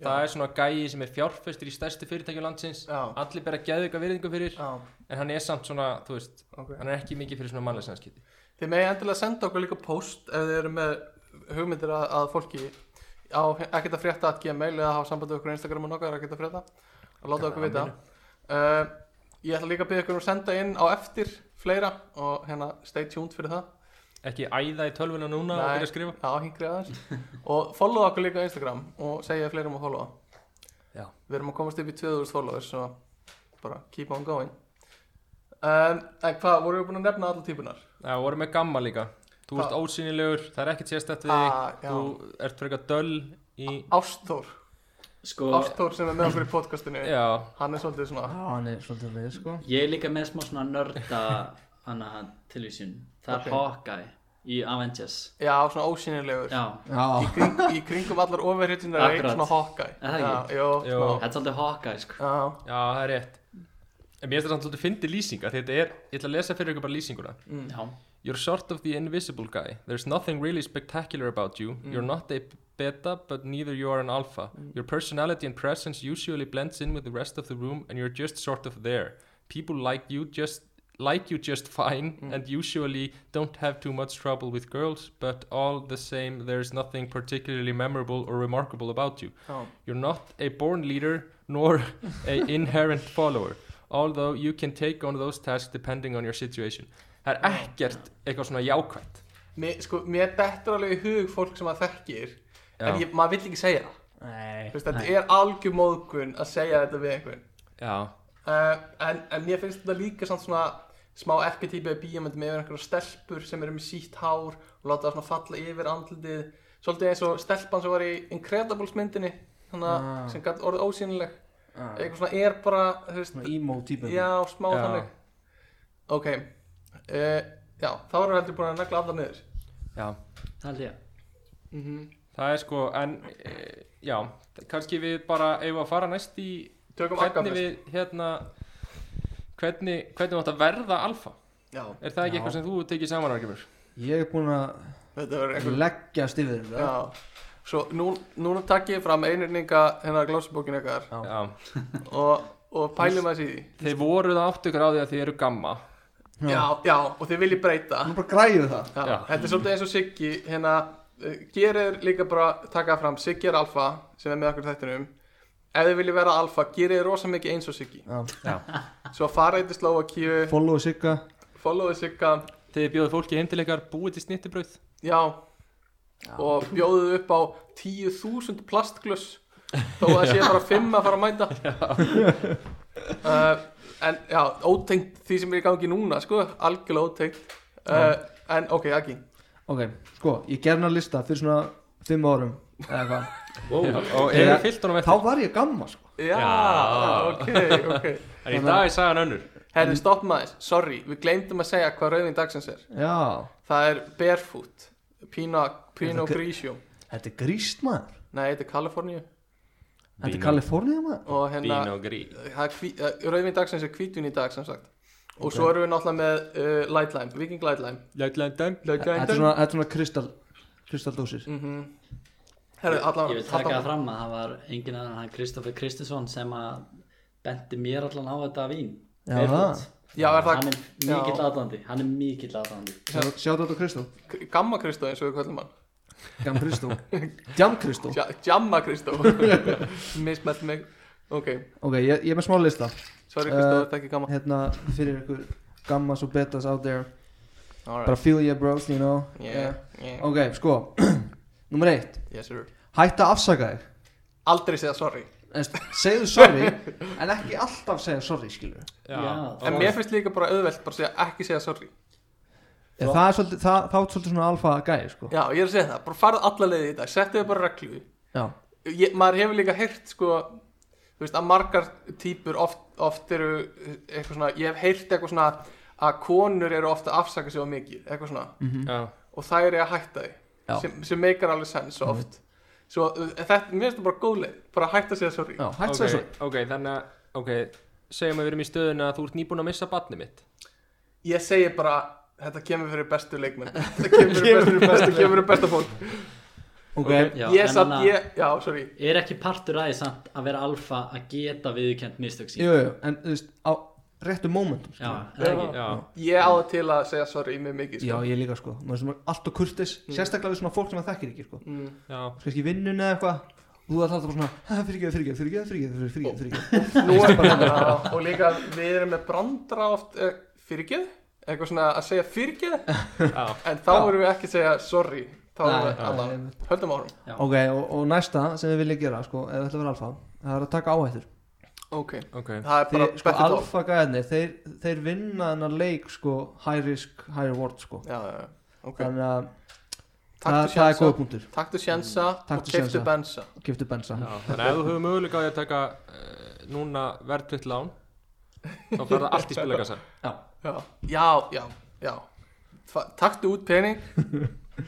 D: það er svona gæi sem er fjárfestur í stærstu fyrirtækju landsins
C: Já.
D: allir bera geðuga virðingu fyrir
C: Já,
D: en hann er samt svona, þú veist,
C: ok
D: hann er ekki mikið fyrir svona mannleysanskiti
C: Þið megið endilega senda okkur líka post ef þið eru með hugmyndir að, að fólki á ekkert að frétta að gmail eða hafa sambandi okkur á Instagram og nokkar ekkert að frétta og láta okkur vita uh, Ég ætla líka að byggja ykkur um að senda inn á eftir fleira og hérna stay tuned fyrir það
D: ekki æða í tölvuna núna og
C: Nei.
D: byrja að skrifa
C: Já, hingri aðeins og follow okkur líka á Instagram og segja fleirum að followa
D: Já.
C: Við erum að komast upp í 2000 followers og bara keep on going um, En hvað, vorum við búin að nefna allar típunar?
D: það voru með gamma líka, þú
C: Hvað?
D: veist ósýnilegur það er ekkert sérstætt við þig,
C: Ah, já.
D: þú ert frekar döll í,
C: Ástþór,
B: Sko,
C: Ástþór sem er með okkur í podcastinu
D: já,
C: Hann er svolítið svona
A: hann er svolítið leið sko
B: ég er líka með smá svona nörda hana tilvísun það
C: Ok.
B: er Hawkeye í Avengers
C: Já, svona ósynilegur
B: Já,
C: í,
A: já,
C: kring, í kringum allar ofurhetjunar er einn
B: Akkurat.
C: svona Hawkeye
B: Er það
C: Já,
B: ekki?
C: jó,
D: Jó.
B: þetta er svolítið Hawkeye sko
C: Já,
D: já, það er rétt en mér finnst þetta samt svolítið fyndi lýsinga þetta er, ég ætla að lesa fyrir ykkur bara lýsinguna
B: Já,
D: You're sort of the invisible guy. There's nothing really spectacular about you. You're not a beta, but neither you are an alpha. Your personality and presence usually blends in with the rest of the room, and you're just sort of there. People like you just like you just fine, and usually don't have too much trouble with girls. But all the same, there's nothing particularly memorable or remarkable about you.
C: já,
D: You're not a born leader nor a inherent follower although you can take on those tasks depending on your situation Það er ekkert eitthvað svona jákvæmt
C: mér, sko, mér dettur alveg í hug fólk sem maður þekkir
D: Já,
C: En ég, maður vill ekki segja það
A: nei
C: Þú veist, Þetta er algjör móðgun að segja þetta við einhvern
D: já,
C: uh, en, en mér finnst þetta líka samt svona smá erketýpi að bíamöndum yfir einhverjar stelpur sem eru með sítt hár og láta það svona falla yfir andlitið svolítið eins og stelpan sem var í Incredibles myndinni hana,
A: Ah.
C: sem gætt orðið ósýnileg
A: Ah,
C: eitthvað svona er bara þú veist,
A: svona emo típa
C: já, smá
D: Já.
C: þannig ok uh, já, þá erum við heldur búin að negla alla niður
D: já
B: það held ég
C: mm -hmm.
D: Það er sko, en e, já, kannski við bara eigum að fara næst í
C: tökum akka
D: hvernig við hérna hvernig, hvernig þú átt að verða alfa
C: já,
D: Er það ekki
A: Já.
D: eitthvað sem þú tekið saman argjumur?
A: ég er búinn að
C: þetta verður einhver
A: leggja stifður um það
C: já Svo nú, núna takk ég fram einurninga hennar glásubókinu ykkar
A: Já.
D: Já,
C: og, og pælum að því
D: þeir voru það áttu ykkur á því að þið eru gamma
C: já, já, og þið viljið breyta
A: nú bara græðu það
C: já.
D: Já.
C: þetta er svolítið eins og Siggi hérna, uh, gerir líka bara taka fram, Siggi er alfa sem er með okkur í þættinum ef þið viljið vera alfa, gerir þið rosa mikið eins og Siggi
A: já.
C: svo farið til Slovakíu,
A: follow Sigga
C: followið Sigga
D: Þið bjóðu fólki heim til ykkar, búið til snittibrauð
C: já, og bjóðuð upp á 10.000 plastglöss þó að það sé bara 5 að fara að mæta uh, en já, ótengt því sem er í gangi núna, sko, algjörlega ótengt uh, en ok, ekki
A: ok, sko, ég gerði hann að lista fyrir svona fimm árum eða hvað
D: Já, og
A: Þegar-
D: hefur fyllt honum
A: þá
D: eftir
A: var ég gamma sko
C: Já,
D: Já.
C: ok, ok
D: en í dag er sagan önnur
C: Herri, stopp maður, sorry, við gleymdum að segja hvað rauðin dagsins er
A: já,
C: Það er Barefoot, Pino, Pino
A: Er það-
C: Grigio
A: þetta er gríst maður
C: Nei, þetta er Kaliforníu
A: þetta er
D: Vínó.
A: Kalifornið maður
C: Og hérna,
D: Bín og grí
C: það er hví- eh, rauðin dagsins er hvítun í dag, sem sagt Og svo erum við náttúrulega með uh, Light Lime, Viking Light Lime Light
A: þetta er svona, þetta er svona kristall kristaldósir
C: mm Herri, allan
B: Ég vil taka það fram að það var engin aðan hann Kristoffer Kristinsson sem að bendi mér allan á þetta vín
A: Já,
B: Barefoot.
A: það.
C: Já, er það
B: hann er
C: Já.
B: mikill aðdandi hann er mikill aðdandi
A: sjá þetta á Kristó
C: K- Gamma Kristó eins og við kvöldum hann
A: Jam Kristó Jam Kristó
C: Ja- Jamma Kristó Mismælt mig Ok,
A: ok, ég, ég er með smá lista
C: sorry
A: Eh,
C: Kristó, þetta er ekki gamma
A: hérna fyrir ykkur gammas og betas out there bara
C: Alright,
A: feel your bros, you know
C: yeah, yeah,
A: ok, sko nummer eitt
C: yes sir
A: hætta að afsaka þig
C: Aldrei segja sorry
A: En st- segðu sorry en ekki alltaf segja sorry skilur
C: En mér finnst líka bara auðvelt bara að segja ekki segja sorry
A: Ég, það er svolítið, það, þá er svolítið svona alfa gæði sko
C: Já, ég er að segja það, bara farað alla leiði í dag Settu þau bara reglu
A: já,
C: ég, Maður hefur líka heyrt sko Þú veist að margar típur oft, oft eru eitthvað svona Ég hef heyrt eitthvað svona að konur eru ofta að afsaka sig á mikið Eitthvað svona
D: Já,
C: Og það er ég að hætta
A: Já.
C: því sem, sem meikar alveg sens oft Svo uh, þetta, mér finnst það bara góð leið Bara að hætta að segja sorry
A: já hætt
D: ok,
A: segja sorry
D: ok, þannig að ok, segjum að við erum í stöðun að þú ert nýbúin að missa batni mitt
C: Ég segi bara, þetta kemur fyrir bestu leikmenn Þetta kemur fyrir bestu, kemur fyrir bestu fólk
A: Ok,
B: Já,
C: ég
B: en
C: satt,
B: annað-
C: ég, já, sorry
B: Er ekki partur aðeins samt að vera alfa að geta viðkjönd mistök sín?
A: jú, jú, en þú veist, á réttu momentum
B: Já,
A: sko.
B: er það ekki?
D: já,
C: Ég á það til að segja sorry með mikið
A: Já,
C: sko.
A: ég líka sko, maður sem er alltaf kurtis sérstaklega við svona fólk sem það þekkir ekki sko
C: mm.
D: já
A: kannski í vinnunni eða eitthvað og þú ert alltaf bara svona, "Ha, fyrirgefðu, fyrirgefðu, fyrirgefðu, fyrirgefðu, fyrirgefðu, fyrirgefðu."
C: Nú er bara Og líka við erum með brandra oft eh, fyrirgeð Eitthvað svona að segja fyrirgeð
D: Já.
C: En þá erum við ekki að segja sorry Þá erum
A: Nei,
C: við annað
A: nei,
C: Höldum árum
A: Ok, og, og næsta sem við viljum gera sko, ef við ætlum að vera alfa það er að taka áhættur
C: Ok
D: ok,
C: Það er bara
A: þeir, sko,
C: better talk.
A: alfa gæðinni, þeir, þeir vinna þennan leik sko, high risk, high reward sko.
C: Já, já, já Ok
A: þannig að það,
C: Taktu
A: það er
C: sjansa
A: góða punktur
C: Taktu sjansa Og
A: Taktu
C: keftu
A: sjansa.
C: bensa
A: giftu bensa
D: já þannig að ef þú hefur möguleika á því að taka uh, núna verðtvitt lán þá fer það allt í spilagassa
C: Já, já, já, já. Fa- Taktu út pening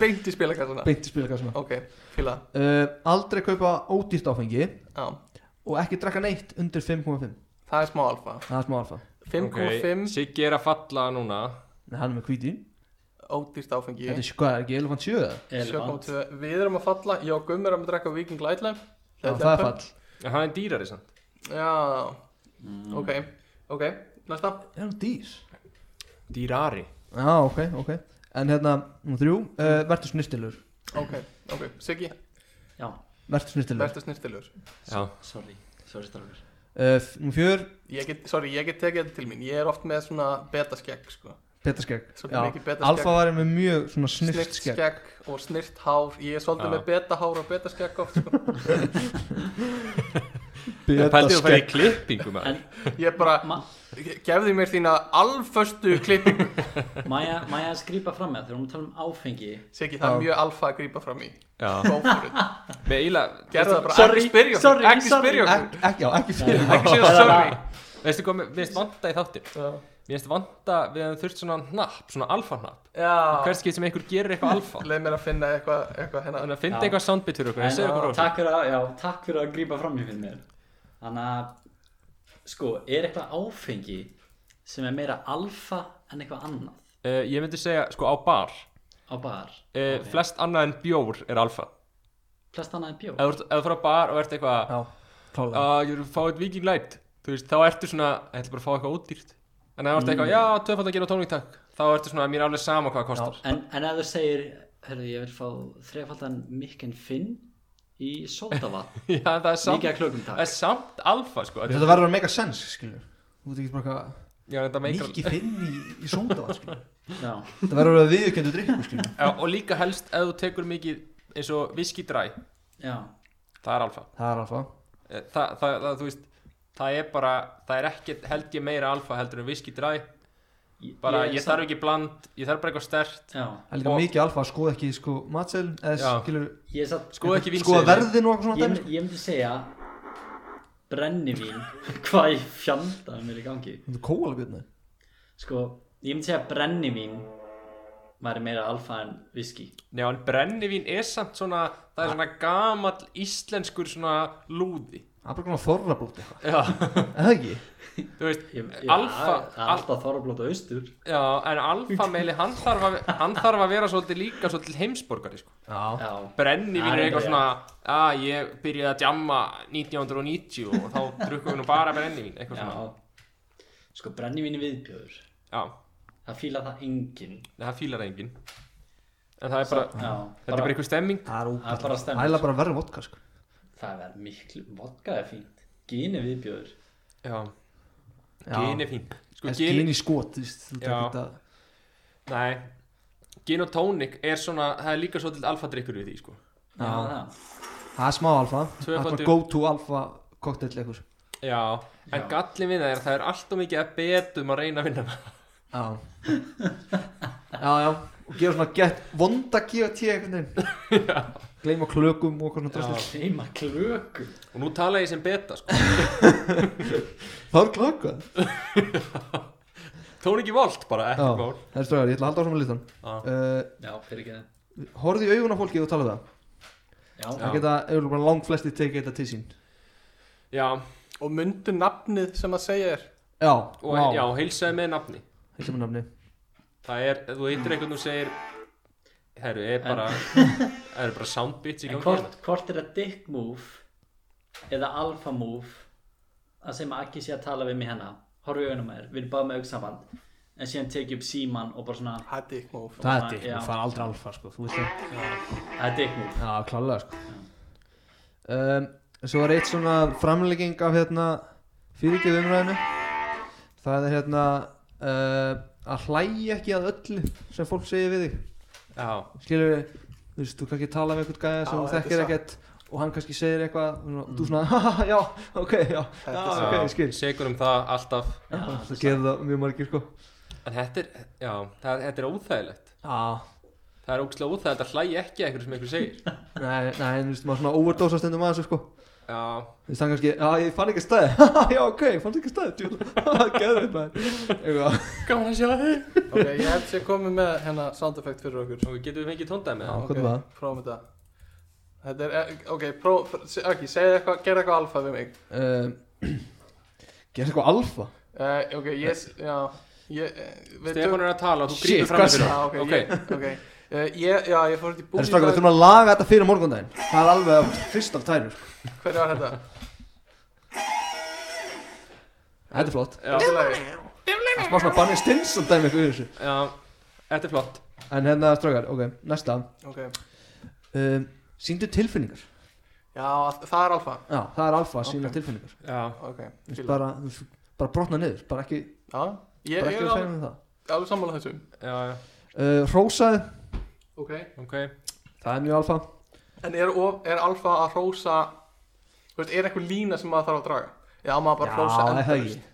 C: Beint í spilakassana
A: beint í spilakassuna
C: Ok, fíla
A: uh, aldrei kaupa ódýrt áfengi
C: Já,
A: og ekki drekka neitt undir 5,5
C: það er smá alfa
A: það er smá alfa
C: 5,5
D: Siggi er að falla núna
A: Nei, hann er með hvíti
C: ódýrt áfengi
A: þetta er sko, er ekki 11,7 eða?
B: Elefant.
C: 7,2 Við erum að falla, ég og Gummi erum að drekka Viking Light Lime
A: Já, það er fall
D: en hann er dýrari samt
C: Já, ok, ok, næsta
A: er hann dýr?
D: dýrari
A: já, ok, ok en hérna, nú þrjú uh, verður snirtilur
C: Ok, ok, Siggi,
B: Já,
A: verður snirtilur
C: verður snirtilur
D: já,
B: sorry, sorry strákar.
A: uh, f- nú fjör
C: Ég get, sorry, ég get tekið þetta til mín Ég er oft með svona betaskegg, sko
A: betaskegg
C: Svolítið
A: Já.
C: mikið betaskegg.
A: alfa var með mjög svona snirt skegg
C: Snirtskegg og snirt hár Ég er svolítið
D: Já.
C: með betahár og betaskegg oft, sko
D: en pæltið þú færi í klippingu maður
B: En
C: Ég er bara,
B: Ma-
C: gefði mér þína alföstu klippingu
B: Maja, Maja skrýpa fram með þegar hún tala um áfengi
C: Siggi, það er
A: Já.
C: mjög alfa að grípa fram í
D: já,
C: Go for it
D: með eila
C: Gerðu það bara,
B: Sorry,
C: ekki spyrja okkur,
B: sorry,
C: ekki
B: sorry.
C: spyrja okkur
A: Ek, ekki, já, ekki fyrir
C: Ekki segja
B: Eða
C: sorry
D: veistu hvað, mér mér finnst vanda í þáttir
C: Já.
D: mér finnst vanda við hefum þurft svona hnapp svona alfa hnapp
C: Já
D: hvert skil sem einhver gerir eitthvað alfa
C: leið mér að finna eitthvað eitthva hérna
D: þannig að finna
B: Já.
D: eitthvað soundbit fyrir okkur
B: En
D: en segja okkur
B: takk fyrir að, já, takk fyrir að grípa fram í fyrir mér Þannig að sko, er eitthvað áfengi sem er meira alfa en eitthvað annað
D: uh, ég myndi segja sko á bar
B: á
D: uh,
B: bar
D: flest annað en bjór er alfa
B: flest annað en bjó
D: ef þú ert- ef þú fyrir á bar og ert eitthvað
A: já, klálega
D: að ég vil fá eitt viking light þú veist, þá ertu svona, ég ætla bara að fá eitthvað ódýrt en ef þú ert eitthvað, já, tvöfald að gera tónvík takk þá ertu svona, mér er alveg sama hvað það kostar
B: en, en ef þú segir, herðu, ég vil fá þrefaldan mikken finn í sótavatn
D: já, en það er samt,
B: líka klökum
D: það
B: takk
D: er samt alfa sko.
A: þetta verður að make a sense, skilur þú veit ekki bara hvað
D: já, þetta meikar
A: mikið finn í, í sónda skilur
B: Já,
A: þetta verður að viðurkendu drikku, skilur
D: já, og líka helst ef þú tekur mikið eins og whisky dry,
B: já,
D: það er alfa
A: það er alfa
D: Eh, það, það, það, þú veist það er bara, það er ekkert held ég meira alfa heldur en whisky dry bara, ég, þarf ekki bland, ég þarf bara eitthvað stert
B: Já,
A: það er líka
D: Og-
A: mikið alfa að skoða ekki sko matseil eða
D: Já.
A: skilur
B: ég satt
D: skoða ekki vinseðil
A: skoða verðin og eitthvað
B: ég,
A: svona dæmi, sko.
B: myndi- ég myndi segja brennivín hvað í fjandanum er í gangi
A: sko þú kóla björni
B: sko, ég myndi segja brennivín væri meira alfa en viski
D: já, en brennivín er samt svona það er svona gamall íslenskur svona lúði
A: það er bara svona þorrablót eitthvað
D: já,
A: er það ekki
D: þú veist,
B: ég, ég,
D: Alfa-
B: alltaf þorrablót og austur
D: já, en alfameili hann, þarf að- hann þarf að vera svolítið líka svolítið heimsborgari, sko.
A: já
B: já,
D: Brennivín
B: Ah,
D: er eitthvað
B: já.
D: svona, að ég byrjaði að jamma 1990 og þá drukkum við nú bara brennivín, eitthvað
B: já
D: svona.
B: sko, brennivín er viðbjöður
D: Já,
B: það fíla það enginn
D: en það fílar enginn. En það er bara,
B: já,
D: þetta er bara einhver stemming.
A: það er
B: Það er bara
A: ógæð
B: stemning.
A: æla bara verður vodka sko
B: það verður miklu, vodka er fínt gin er viðbjöður
D: Já,
A: Já.
D: gin er fín. Sko,
A: En
D: gin,
A: gin í skot þú veist, þú
D: Já.
A: tekur þetta-
D: nei, gin og tónik er svona, það er líka svolítið alfadrykkur við því, sko.
B: já,
A: Já.
B: það
A: það er smá alfa það er
D: Tvöfaldur.
A: bara go to alfa cocktail eitthvað
D: Já, en
B: Já.
D: gallin við það er, að það er alltaf mikið að betum að reyna að vinna það.
A: Já Já, já Og gefa svona gett vonda GOT einhvern veginn Gleima klökum og eitthvað svona drastur
B: Seima klöku
D: Og nú tala ég sem beta, sko.
A: Það er klöka
D: Tóniki volt bara,
A: Já.
D: ekkert mál.
A: Það er ströðar, ég ætla að halda áfram með listan
D: Já.
A: uh,
B: Já, fyrir ekki það
A: Horfðu í augun á fólki og tala við það
B: Já,
A: Það geta, ef bara langt flesti tekið þetta til sín
D: Já,
C: og myndu nafnið sem að segja er
A: Já,
D: og
A: vá.
D: já, heilsaði með nafni
A: Heilsa með nafni
D: Það er, ef þú heitir eitthvað og segir Það eru bara, það eru bara soundbits í
B: En
D: gangi hérna.
B: hvort, hvort er það dick move eða alpha move að sem Akki sé að tala við mig hennar horfa í augunum að þér, við erum bara með augsamband en síðan tekið upp síman og bara svona
C: Það er dick move
A: Það er dick,
B: Já.
A: ég fann aldrei alfa sko Þú veist það
B: það er dick move
A: Já, klálega sko um, Svo er eitt svona framlegging af hérna fyrirgjöf umræðinu Það er hérna uh, að hlæja ekki að öllu sem fólk segir við þig
D: Já,
A: Skilur við, þú veist, þú kannski tala með einhvern gæja sem
C: Já,
A: þú
C: þetta
A: þekkir
C: er Mm.
A: ekkert og hann kannski segir eitthvað og svona- og þú svona, haha, já, ok, já, já,
C: Þetta
A: ok,
D: já,
A: ég skil
D: segur um það alltaf
B: Já, það
A: Það
B: er
A: gerir það mjög margir sko
D: En þetta er, já, það, þetta er óþægilegt
A: Já,
D: Það er ókslega óþægilegt að hlæja ekki að einhverju sem einhverju segir
A: nei, nei, en þú veist, maður svona overdósa stundum að þessu sko
D: Já,
A: Þú veist, hann kannski, já, ég fann ekki stæði, haha, já, ok, ég fann ekki stæði, djúla, geður þetta, eitthvað
D: gaman að sjá þig
C: Ok, ég held sér komið með hérna sound effect fyrir okkur
D: Og getum við fengið tóndæmi
A: Já,
D: með það?
A: hvað er það?
C: Prófum þetta Þetta er, eh, ok, próf, se- ok, segðu eitthvað, gerðu eitthvað alfa við mig
A: Um, Gerðu eitthvað alfa?
C: uh, Ok, ég, s- já, ég, eh, við
D: Stefán er að tala og þú
A: Shit,
D: grýpur fram
A: hvað
D: fyrir
C: Já, ok,
D: honum.
C: okay. Ég, ok uh, ég, Já, ég fór út í
A: Það
C: búið
A: er strákar, við þurfum að laga þetta fyrir morgundaginn Það er alveg að fyrst af tæru sko.
C: Hvernig var þetta?
A: Þetta er flott
D: Já,
C: Þetta er lagi.
A: Það er smá svona Barney Stinson dæmi fyrir þessu
D: já, þetta er flott
A: En hérna strákar, ok, næsta
C: Ok,
A: um, Sýndu tilfinningar
C: já, allt- það er alfa
A: Já, það er alfa að sína
C: Ok.
A: tilfinningar
D: Já,
C: Ok,
A: Þú veist,
C: fíla.
A: bara, þú veist, bara brotna niður, bara ekki,
C: Já, ég,
A: bara ekki
C: ég er
A: að segja
C: alveg,
A: um það
C: alveg sammála þessu
D: já, já,
A: uh, Rósaði,
C: Ok
D: ok
A: það er mjög alfa
C: En er, of, er alfa að hrósa Þú veist, er eitthvað lína sem maður þarf að draga? Já, maður bara hrósa
A: það er það
C: endalaust.
A: ekki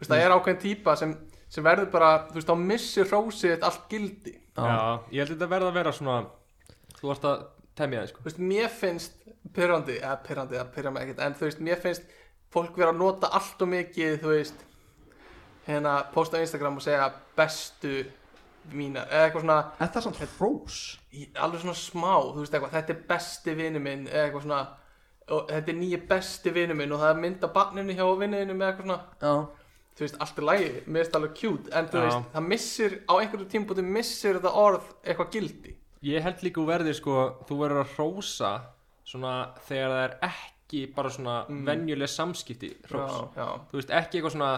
C: Þú veist, það er ákveðin típa sem, sem verður bara Þú veist, þá missir hrósið þitt allt gildi
A: Já.
D: Já, ég held að þetta verða að vera svona Þú ert að temja þig sko
C: Þú veist, mér finnst pyrrandi Eða pyrrandi, eða pyrra mig ekkert En þú veist, mér finnst fólk vera að nota allt og mikið Þú veist, hérna, posta á Instagram og segja bestu mínar Eða eitthvað svona,
A: Er það samt rós?
C: í- alveg svona smá Þú veist, eitthvað, þetta er besti vinu minn Eða eitthvað svona og þetta er nýja besti vinu minn og það er mynd af barninu hjá vinnuðinu með eitthvað svona
A: Já
C: þú veist, allt er lægi, mér finnst það alveg cute en þú
D: Já.
C: veist, það missir, á einhverju tímpúti missir þetta orð eitthvað gildi
D: Ég held líka úr verði sko Þú verður að hrósa Svona þegar það er ekki bara svona Venjuleg samskipti hrós
C: já, já,
D: Þú veist ekki eitthvað svona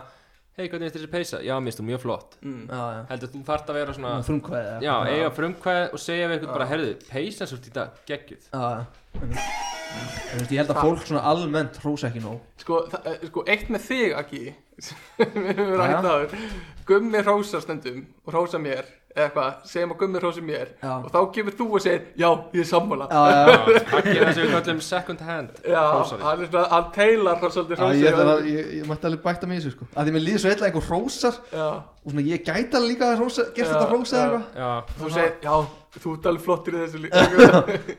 D: Hei, hvernig finnst þér þessi peysa? Já, minnst þú mjög flott
C: mm.
A: Já, já
D: Heldur þú þarft að vera
A: Mm.
D: svona
A: Frumkvæði
D: Já, eiga frumkvæði og segja við eitthvað bara Herðu, peysan svo í dag, geggjuð
A: Já, já. Þú veist, ég held að fólk svona almennt hrósa ekki nóg
C: sko, það- eh, sko, eitt með þig, Aki við höfum
A: Já, já.
C: rætt áður Gummi hrósar stundum og hrósa mér eða eitthvað, segjum að Gummi hrósi mér
A: Já.
C: og þá kemur þú og segir, já, ég er sammála
A: Já, já, já,
D: Það gerir þessi við kallum second hand
C: já
D: hrósari.
C: hann er svona, hann teilar hrósa svolítið
A: já ég,
C: hrósi
A: ætla að, ég, ég mætti alveg bæta mig í þessu sko að því mér líður svo eitthvað einhver hrósar
C: já,
A: og svona ég gæti alveg líka að hrósa, gert
C: Já,
A: þetta hrósa
C: já.
A: eða eitthvað
D: Já,
C: þú segir, já, þú ert alveg flottir í þessu líka já,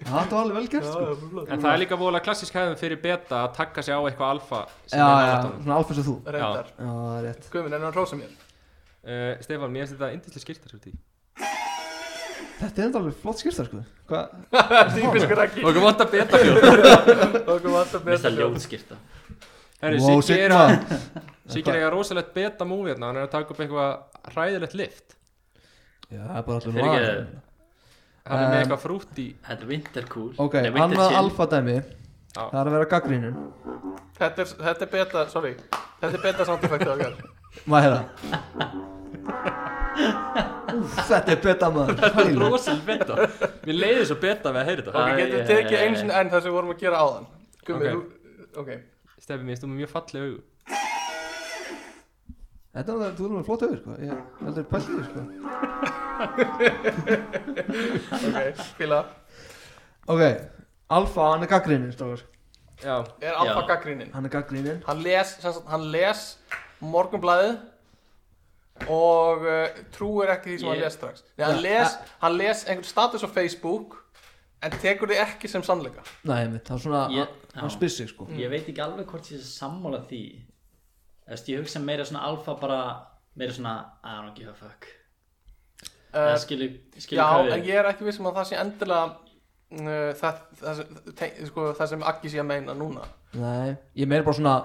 A: Já, þetta var alveg vel gert sko
C: já, flott.
D: En það er líka vola klassísk hefðum fyrir beta að taka sig á eitthvað alfa sem
A: Já,
D: er
A: já,
D: náttúrulega.
A: svona alfa sem þú
C: reyndar,
A: Já, það er rétt
C: Gummi, nefnir hann hrósa mér
D: Uh, Stefán, mér finnst þetta sko, yndislega skiltar svo tík
A: Þetta er enda alveg flott skýrstar sko Hvað,
C: típiskur Aki
D: Og hvað að beta fjóð?
C: og kom alltaf
B: Mér finnst
C: betur
B: það ljótskipta
D: Herru,
A: Wow,
D: Siggi er
A: Sigma.
D: að Siggi er að eiga rosalegt beta múi hérna Hann er að taka upp eitthvað hræðilegt lift
A: já, það er bara allir
B: Fyrir ekki
A: lag.
D: Hann er með
A: Um,
D: eitthvað frútt í
B: Þetta er vinterkúl
A: Ok, annað alfa dæmi
D: Já.
A: Það er að vera gaggrínun
C: Þetta er, þetta er beta, sorry Þetta er beta sound effect okkar
A: Maður hérna Úf, þetta er betta maður Þetta er
D: Rosalegt beta Mér leiði svo beta við að heyra
C: Ok,
D: þetta
B: Æ,
C: getum
B: æ,
C: við tekið
B: æ, æ.
C: einu sinni enn það sem við vorum að gera áðan Gummi,
D: Ok.
C: þú, ok
D: Stefi, mér finnst þú með mjög falleg augu
A: Þetta er, þú erum að flott auður sko Ég heldur pælt í því sko
C: Ok, fíla
A: Ok, alfa, hann er gaggrínun strákar
D: Já,
C: Er alfa
B: Já.
C: gaggrínin
A: Hann er gaggrínun
C: Hann les, sem sagt, hann les morgunblæðið Og uh, trúir ekki því sem hann
B: Ég-
C: les strax Nei, hann
A: Já,
C: les, hann les einhvern status á Facebook En tekur þið ekki sem sannleika
A: Nei, mitt, það er svona,
B: Ég-
A: hann- hann
B: já.
A: spyr sig sko
B: Ég veit ekki alveg hvort ég sé sammála því Eftir ég hugsa meira svona alfa bara meira svona I don't give a fuck
C: uh,
B: Eða skilu, skilu
C: Já,
B: hvað við
C: en ég er ekki viss um að það sé endilega uh, það, það, sem- te, sko, það sem Aggi sé að meina núna
A: Nei, ég meina bara svona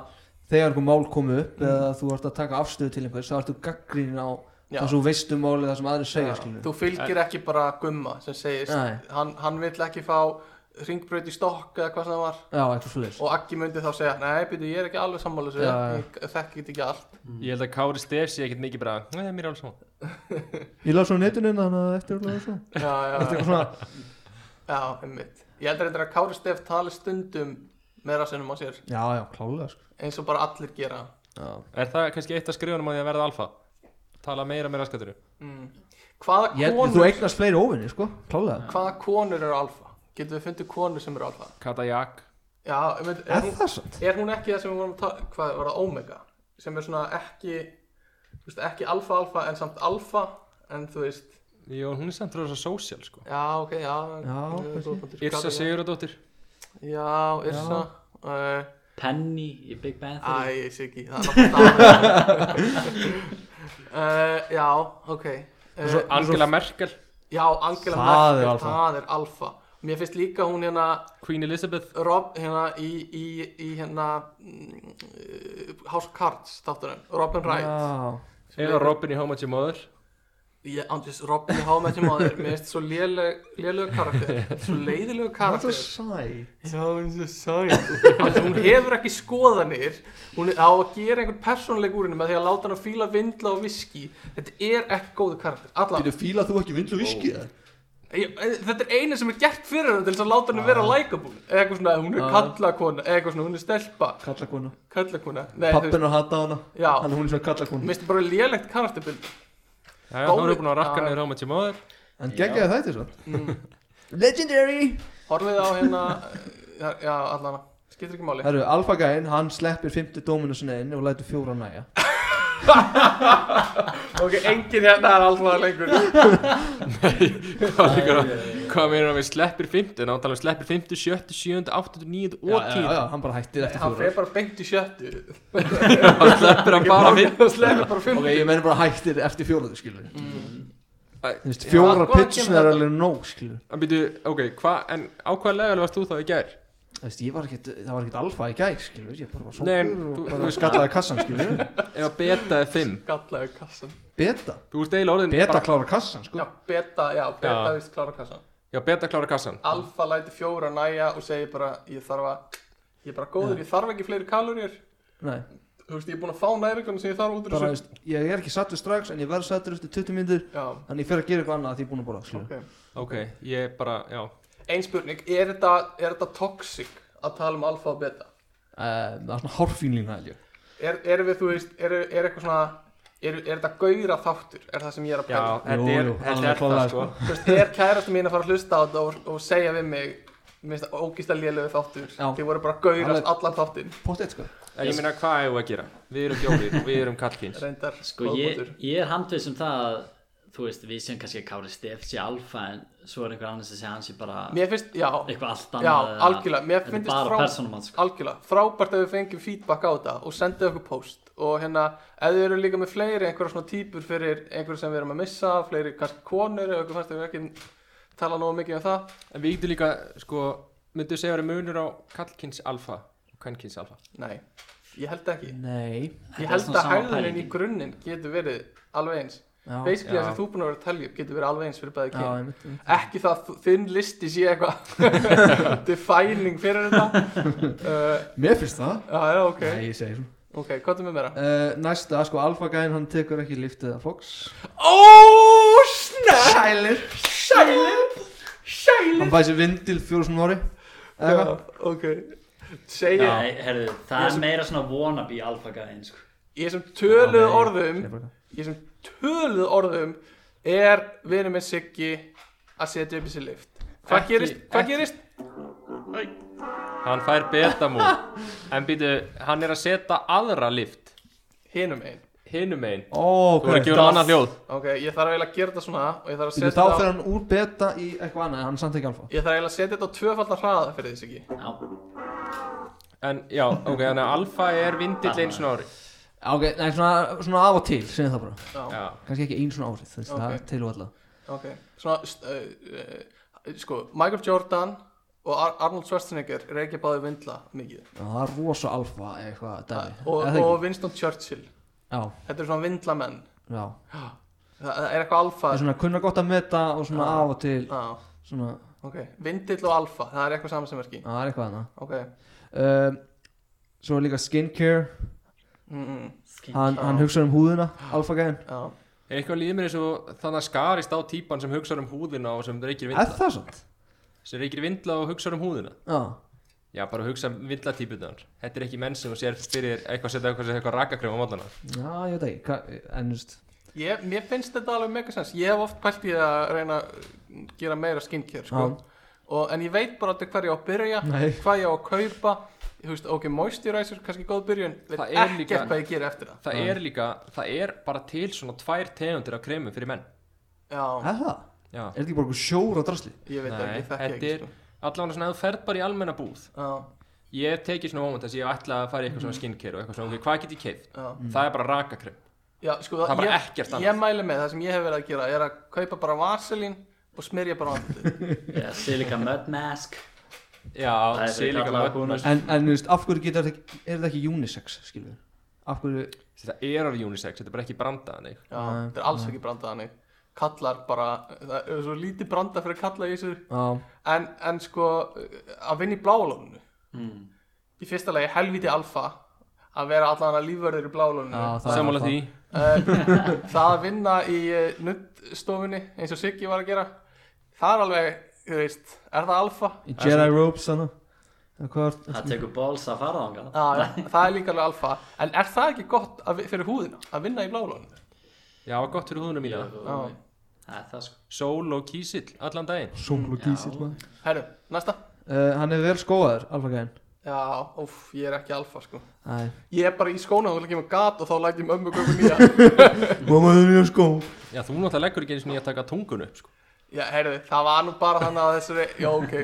A: þegar einhver mál komu upp eða þú ert að taka afstöðu til einhvers þá ertu gaggrínin á
C: Já.
A: þar sem þú veist um málið það sem aðri segja skilur
C: þú fylgir ekki bara gumma sem segist
A: Nei.
C: hann, hann vill ekki fá ringbraut í stokk eða hvað sem það var
A: já, eitthvað svolítið
C: og Aggi myndi þá segja nei, byrju, ég er ekki alveg sammála
A: Já,
C: þessu
A: já.
C: ég þekki þetta ekki allt
D: Mm. Ég held að Kári Stef sé ekkert mikið bara Nei, mér er alveg svona
A: ég las á netinu hérna þannig að eftir og svo
C: já, já,
A: eftir
C: já,
A: eitthvað svona
C: já, einmitt ég held reyndar að Kári Stef tali stundum með rassinum á sér,
A: já, já, klálega sko
C: eins og bara allir gera
A: já.
D: Er það kannski eitt af skrifunum á því að verða alfa? Tala meira með raskaturu
C: mm. hvaða,
A: ég, þú
C: konur,
A: eignast fleiri óvinni sko, klálega
C: hvaða konur eru alfa? getum við fundið konur sem eru alfa?
D: Kata Jak
C: já, einmitt,
A: er
C: er, hún,
A: það sant?
C: er hún ekki það sem við vorum að tala hvað var það, omega? sem er svona ekki þú veist, ekki alfa alfa en samt alfa en þú veist,
D: Jó, hún er samt rosa social sko
C: já, ok, já,
A: kannski.
D: Yrsa
C: já,
D: Siguradóttir
C: já, Yrsa uh,
B: Penny í Big Bang Theory
C: Æ, ég sé ekki, það er náttúrulega uh, Já, ok uh,
A: svo-
D: Angela Merkel
C: Já, Angela
A: Það er
C: Merkel,
A: alfa.
C: það er alfa Mér finnst líka hún hérna
D: Queen Elizabeth
C: Rob, hérna í, í, í hérna mm, uh, House of Cards þáttunum, Robin Wright
A: Já.
D: Eða Robin í How Much Your Mother
C: Ég andis Robin í How I Met Your Mother Mér finnst svo lélega karakter Svo
A: það
C: leiðilegu
A: er
C: karakter
A: sæ
C: Já, hún er svo sæt Hún hefur ekki skoðanir Hún er á að gera einhvern persónuleik úr henni með því að láta hann að fíla vindla og viski Þetta er ekki góðu karakter Alla,
A: Býtu fíla þú ekki vindlu viski það?
C: ég, eh, Þetta er eina sem er gert fyrir hann til þess að láta hann að
A: Ah.
C: vera likeable Eða Eitthvað svona, hún er
A: Já.
C: kallakona eða Eitthvað svona, hún er stelpa
A: Kalla kona
C: Kallakona Nei, þú veist,
A: Pappin að hata hana
C: Já.
A: Þannig að hún er svona kalla
C: mér finnst bara lélegt karakterbild
D: Já, já, hún
C: Góður-
D: er búin að rakka
C: Já.
D: niður How Much Your Mother
A: En geggjaði þetta svo
C: Mm.
A: Legendary
C: Horfið á hérna Já, já, allan Skiptir ekki máli
A: Herru, Alpha Gæinn, hann sleppir 50 dóminusinu inn og lætur fjóra næja
C: Ok, enginn hérna er alltaf lengur
D: Hvað liggur að- hvað meina að við sleppir 50 Ná, tala um sleppir 50, 70, 70, 80, 90
A: Já,
D: og
A: já,
D: 10
A: já, hann bara hættir eftir
C: Hann
A: fjóra
C: fer bara beint í sjöttu
D: Hann sleppir hann bara 50
C: Það sleppir bara fimm
A: Ok, ég meina bara hættir eftir fjóra þú skilur mm.
D: Æ,
A: Þú veist,
D: já,
A: fjóra
C: hvaðan
A: pitchin
C: kemur
A: er
C: þetta?
A: alveg nóg skilur
D: En býtu, ok, hva, en á hvaða legal varst þú þá í gær?
A: Þú veist, ég var ekkert, það var ekkert alfa í gæg skilur Ég bara var
D: Nei,
A: sókur
D: en
A: og
D: þú-
A: bara
D: þú-
A: skallaði kassan skilur
D: Ef að beta er 5
C: Gallaði kassan
A: Beta,
D: Þú ert eiginlega orðin
A: beta
D: bara-
A: klára kassan sko
C: Já, beta, já, beta
D: Já.
C: vist klára kassan
D: Já, beta klára kassan
C: Alfa læti fjóra næja og segir bara ég þarf að, ég er bara góður, ég þarf ekki fleiri kalórir
A: Nei,
C: Þú veist, ég er búinn að fá næringarna sem ég þarf út úr
A: bara, þú
C: þessu
A: veist, ég er ekki sattur strax en ég verð sattur eftir 20 myndir
C: Já,
A: Þannig ég fer að gera eitthvað annað að því ég er búin að borða skilur
C: ok
D: Ok, ég bara, já
C: Einn spurning, er þetta, er þetta toxic að tala um alfa og beta?
A: Eh, Það er svona hárfínlína held ég
C: Er, er við, þú veist, er, er eitthvað svona, er, er þetta gauðra þáttur? Er það sem ég er að
D: Já,
C: pæla?
D: þetta er,
A: jú,
D: þetta
A: alveg
D: er það
A: klárlega,
D: sko
C: Þú veist, er kærasta mín að fara að hlusta á þetta og, og segja við mig Mér finnst það ógist að lélegu þáttur
A: Já.
C: Þið voru bara gauðrast
A: Alveg-
C: allan þáttinn
A: Pottet sko
D: En ég meina, hvað eigum við að gera? Við erum fjórir og við erum kallkins
C: Reyndar,
B: Sko
C: góður
B: ég,
C: punktur.
B: ég er handvis um það að þú veist við sem kannski að Kári Stef sé alfa en svo er einhver annars að segja hann sé bara
C: Mér finnst, já,
B: eitthvað allt
C: Já,
B: annað eða-
C: algjörlega, mér
B: Þetta er
C: finnst
B: bara
C: frá-
B: persónumat sko.
C: Algjörlega, frábært að við fengjum feedback á þetta og sendið okkur post og hérna, ef þið eru líka með fleiri einhverja svona típur fyrir einhverju sem við erum að missa fleiri kannski konur eða okkur fannst að við ekki tala nógu mikið um það
D: En við getum líka, sko, myndu segja að vera munur á kallkins alfa og kvenkins alfa
C: Nei, ég held ekki
A: Nei
C: Ég
B: Þetta er
C: held
B: svona
C: að
B: sama
C: hægðunin í
B: pælingin.
C: grunninn getur verið alveg eins
A: Já,
C: Basically
D: já.
C: það sem þú búin að vera að telja upp getur verið alveg eins fyrir bæði
A: já,
C: kyn
A: einmitt, einmitt.
C: Ekki það að þú- þinn listi sé eitthvað defining fyrir þetta uh,
A: Mér finnst það
C: Já, já, ok,
A: Nei, ég segi svona
C: ok, hvað er með meira?
A: uh, Næsta, sko, Alfa Gæn, hann tekur ekki liftið af Fox
C: Ó, snæ
A: Sælir
C: Sælir Sælir
A: Hann fæði sér vindil fjóru svona ári Eða
C: Já,
A: eitthvað.
C: ok Segja
B: Nei, herðu, það er meira svona wannabe alfa gæðin sko.
C: Ég sem
A: Já,
C: töluð
A: nei,
C: orðum
A: segir bara.
C: Ég sem töluð orðum Er verið með Siggi Að setja upp í sér lift Hvað
D: Ekki-
C: gerist? Hvað gerist?
D: Hann fær beta mú En býtu, hann er að setja aðra lift
C: Hinum einn
D: Hinum einn
A: Ó,
D: Þú
A: ok
D: voru að gefa hann annað hljóð
C: Ok, ég þarf eiginlega að gera þetta svona Og ég þarf að
A: Býtu,
C: setja
A: Þá fer
C: þetta á
A: hann úr beta í eitthvað annað en Hann er samt ekki Alfa
C: Ég þarf eiginlega að setja þetta á tvöfaldan hraða fyrir því Siggi
B: Já,
D: En já, ok, þannig að alfa er vindill eins og ári
A: Ok, nei, svona, svona af og til, segir það bara
C: Já,
D: Já,
A: Kannski ekki einu svona árið, þú veist,
C: Ok.
A: það er til og alla
C: ok Svona, st- uh, uh, sko Michael Jordan og Ar Arnold Schwarzenegger Reykja báði vindla mikið
A: Já, það er rosa Alfa eitthvað dæmi
C: Ah, Og,
A: Eða ekki?
C: og Winston Churchill
A: Já,
C: Þetta er svona vindlamenn
A: já
C: Það það er eitthvað alfa
A: er svona kunna gott að meta og svona
C: Já.
A: af og til
C: Já,
A: svona,
C: ok Vindill og alfa, það er eitthvað samansemmerki
A: að það er eitthvað hana
C: Ok
A: um, svo er líka skincare
C: mm -mm.
A: hann,
C: Já.
A: hann hugsa um húðina, alfagæðin
C: Já,
D: Eitthvað líður mér eins og þannig að skarist á típan sem hugsar um húðina og sem reykir
A: er
D: vindla
A: það svona?
D: sem reykir vindla og hugsar um húðina
A: já,
D: Já, bara hugsa um vindlatípunar Þetta er ekki menn sem þú sér fyrir eitthvað setja eitthvað, eitthvað rakakrem á mótana
A: já, ég veit ekki hva- en þú veist,
C: Ég, mér finnst þetta alveg megasens Ég hef oft pælt í að reyna að gera meira skincare sko. og, En ég veit bara aldrei hver ég á að byrja
A: Nei.
C: Hvað ég á að kaupa Þú veist, ok, moisturizer, kannski góð byrjun Veit
D: Það er
C: ekkert
D: líka-
C: hvað ég gera eftir það
D: Það er líka, það er bara til svona tvær tegundir af kremum fyrir menn
C: Já,
A: er það?
D: Já,
A: er þetta ekki bara einhver sjór á drasli?
C: ég veit það
D: Nei,
C: ekki, þekki
D: þetta
C: ekki
D: er-
C: sko.
D: allavega svona að þú ferð bara í almenna búð
C: Já,
D: Ég hef tekið svona moment þess að ég ætla að fara í eitthvað svona skincare og eitthvað svona, ok, hvað get ég keift?
C: já
D: Það er bara rakakrem
C: Já, sko,
D: Það er bara
C: ég,
D: ekkert annað.
C: Ég mæli með það sem ég hef verið að gera er að kaupa bara vaselín og smyrja bara á andlitið.
B: yeah, Silica Mud Mask Það
D: Já,
B: er
D: sé líka
B: allavega
D: mörg-
B: bónus.
A: en, en þú veist, af hverju getur þetta ekki er þetta ekki unisex, skilur við? af hverju,
D: Þetta er alveg unisex, þetta er bara ekki brandað nei.
C: Já,
A: Nei,
C: þetta er alls ekki brandað hannig. Kallar bara, það er svo lítið brandað fyrir kalla í þessu.
A: já,
C: En, en sko, að vinna í bláalónu.
B: mm.
C: Hmm. Í fyrsta lagi helviti alfa að vera allan að lífverður í bláalónu.
A: Já, það er
D: Sammála
A: það.
D: því
C: það að vinna í eh, nuddstofunni eins og Siggi var að gera, það er alveg, þú veist, er það alfa?
A: í Jedi Ropes þannig hvað er
B: Það tekur balls að fara þangað
C: Já, já, það er líka alveg alfa. En er það ekki gott að, vi- fyrir húðina að vinna í bláalónu?
D: Já, gott fyrir húðuna mína
C: Já.
B: Það er það sko
D: Sól og kísill, allan daginn
A: sól og
B: Já.
A: gísill maður
C: Herru, næsta
A: uh, hann er vel skóðaður, alfagæðin
C: Já, óf, ég er ekki alfa sko
A: Æ.
C: Ég er bara í skóna og þú kemur gat og þá læt ég mömmu gömmu nýja
A: mamma þau nýja skó
D: Já, þú náttúrulega leggur ekki eins og ég að taka tungun upp sko.
C: Já, herru, það var nú bara þannig að þessari Já, ok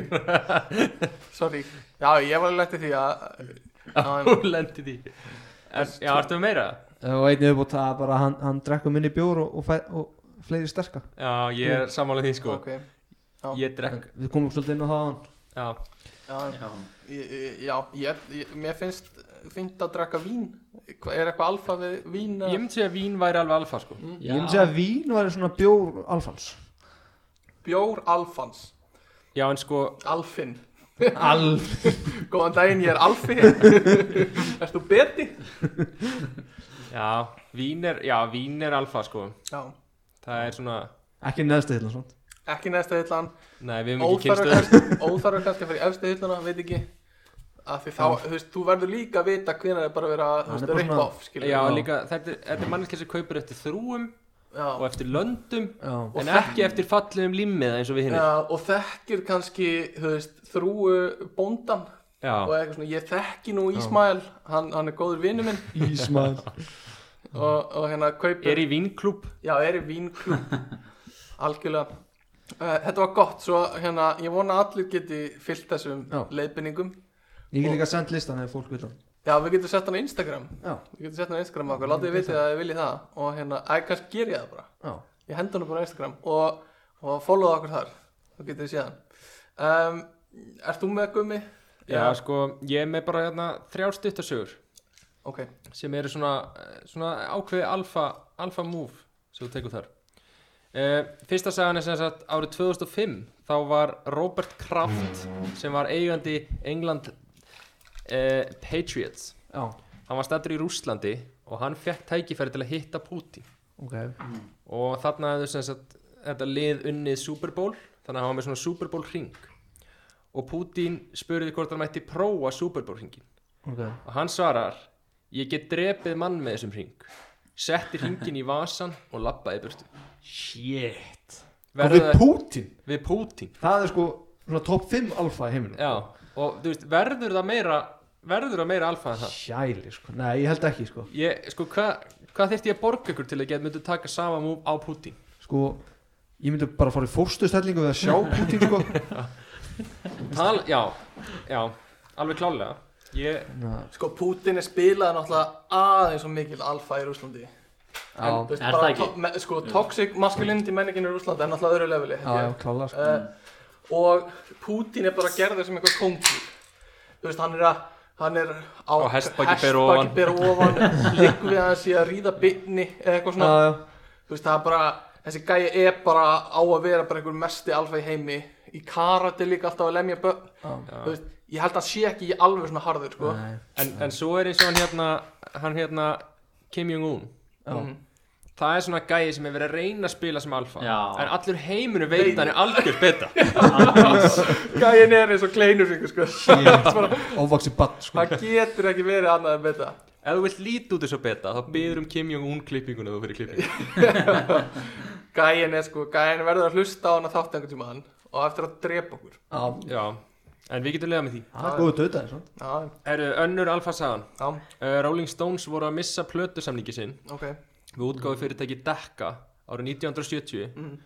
C: Sorry Já, ég var alveg lettið því að að-
D: Þú lendir því en, Já, ertu með meira?
A: Eh, og einnig upp og það bara hann, hann drekkur minni bjór og, og, fæ- og fleiri sterka
D: Já, ég er sammála því sko
C: Ok,
D: Ég drekk
A: við komum svolítið inn á það áðan.
D: Já,
C: já,
B: Já,
C: ég- ég- já ég, ég, mér finnst fínt að drekka vín Hva- Er eitthvað alfa við vín? eða-
D: ég myndi segja að vín væri alveg alfa sko
A: ég myndi segja að vín var svona bjór alfans
C: Bjór alfans
D: Já, en sko,
C: Alfin
A: alf
C: Góðan daginn, ég er alfi Ertu beti?
D: já, vín er, já, vín er alfa sko
C: Já,
D: Það er svona,
A: ekki neðstu hérna svona
C: ekki næsta hillan
D: nei, við höfum ekki
C: óþarfa
D: kynnstu
C: kannski, óþarfa kannski að fara í efstu hilluna, veit ekki að því þá, þú veist, þú verður líka að vita hvenær er bara að vera,
A: Hann
C: þú veist,
A: er bara
C: rip
A: svona-
C: off skilur
D: Já,
A: Já.
D: líka, þetta er, þetta er manneskja sem kaupir eftir þrúum
C: já.
D: og eftir löndum
A: já,
D: en ekki eftir fallegum limmiða eins og við hinn
C: Já, og þekkir kannski, þú veist, þrúu bóndan og
D: Já,
C: eitthvað svona, ég þekki nú Ísmael hann, hann er góður vinnu minn
A: ísmaður
C: og, og hérna kaupir
D: er í vínklúb
C: já, er í vínklub algjörlega uh, þetta var gott, svo hérna, ég vona að allir geti fyllt þessum
A: Já.
C: leiðbendingum
A: ég get líka sendt listan ef fólk vil hann
C: já, við getum sett hann á Instagram
A: já,
C: Ég geti sett hann á Instagram okkur, látið ég vitið að ég vilji það og hérna, að kannski ger ég það bara
A: já,
C: ég henda hann bara á Instagram og, og followa okkur þar, þú getið séð hann um, Ert þú með gummi?
D: Já, sko, ég er með bara hérna þrjá stuttasögur
C: Ok,
D: sem eru svona, eh, svona ákveði alfa, alfa move sem þú tekur þar uh, fyrsta sagan er sem sagt árið 2005 þá var Robert Kraft sem var eigandi England uh, Patriots
A: já,
D: hann var stættur í Rúslandi og hann fekk tækifæri til að hitta Putin
A: ok
D: og þarna hefðu sem sagt þetta lið unnið Super Bowl þannig að hann var með svona Super Bowl ring og Putin spurði hvort hann mætti prófa Super Bowl ringin
A: ok,
D: og hann svarar ég get drepið mann með þessum hring setti hringin í vasan og lappaði burtu
A: shit og
D: Verða-
A: við Putin,
D: við Pútín
A: það er sko svona top 5 alfa í heiminum
D: já, og þú veist, verður það meira verður það meira alfa en það
A: Sjæli, sko. Nei, ég held ekki, sko.
D: ég, sko, hvað hva þyrfti ég að borga ykkur til að geta myndu taka sama múm á Pútín
A: Sko, ég myndi bara fara í fórstustellingu við að sjá Putin, sko.
D: Tal, já, já, alveg klálega ég,
A: Ná,
C: sko Putin er spilað náttúrulega aðeins og mikil alfa í Rúslandi
A: já,
C: En, þú veist,
B: Er
C: bara
B: það ekki?
C: to- me- Sko, toxic masculinity menningin í Rúslandi er náttúrulega öðru leveli held
A: já,
C: ég.
A: já, klála, sko.
C: uh, og Putin er bara gerður sem eitthvað kóngur þú veist, hann er að hann er á
D: Á hestbaki ber
C: hestbaki
D: ofan.
C: ber ofan liggur við að hann sé að ríða bytni eða eitthvað
A: Já,
C: svona
A: já,
C: þú veist það er bara þessi gæja er bara á að vera bara einhver mesti alfa í heimi í karate líka alltaf að lemja börn þú veist, ég held að hann sé ekki alveg svona harður sko.
D: en, en svo er eins og hann hérna hann hérna Kim Jong-un
C: Mhm.
D: það er svona gæi sem hefur verið að reyna að spila sem alfa
B: Já.
D: en allur heiminu veit að hann er algjör beta
C: gæjin er eins og kleinur ykkur, sko.
A: Óvaksi bann sko
C: það getur ekki verið annað en betta
D: ef þú vilt líti út eins og beta þá byður um Kim Jong-un klippinguna þú fyrir klippingu
C: gæjin er sko, gæjin verður að hlusta á hann að þátt einhvern tímann og á eftir að drepa okkur
A: Já,
D: já en við getum leiða með því
A: Það er góðu döðaði svona
C: já,
D: Eru önnur alfa sagan
C: já,
D: uh, Rolling Stones voru að missa plötusamningi sinn
C: ok
D: við útgáfi fyrirtæki Dekka árið 1970
C: Mm.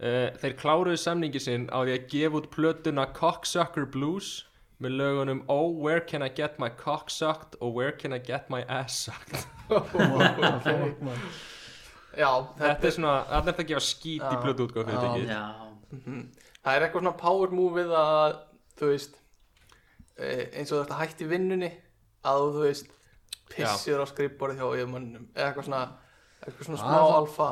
D: Eh, þeir kláruðu samningi sinn á því að gefa út plötuna Cocksucker Blues með lögunum Oh Where Can I Get My Cock Sucked og Where Can I Get My Ass Sucked
C: já,
D: þetta er svona, það er þetta að gefa skít í
C: Já.
D: plötu útgáfi fyrirtæki
B: Já,
C: það er eitthvað svona power move við að þú veist eh, eins og þetta hætti vinnunni að þú, þú veist pissir á skrifborðið hjá yfirmönnum eða eitthvað svona, eitthvað svona
A: Það er
C: smá
A: það-
C: alfa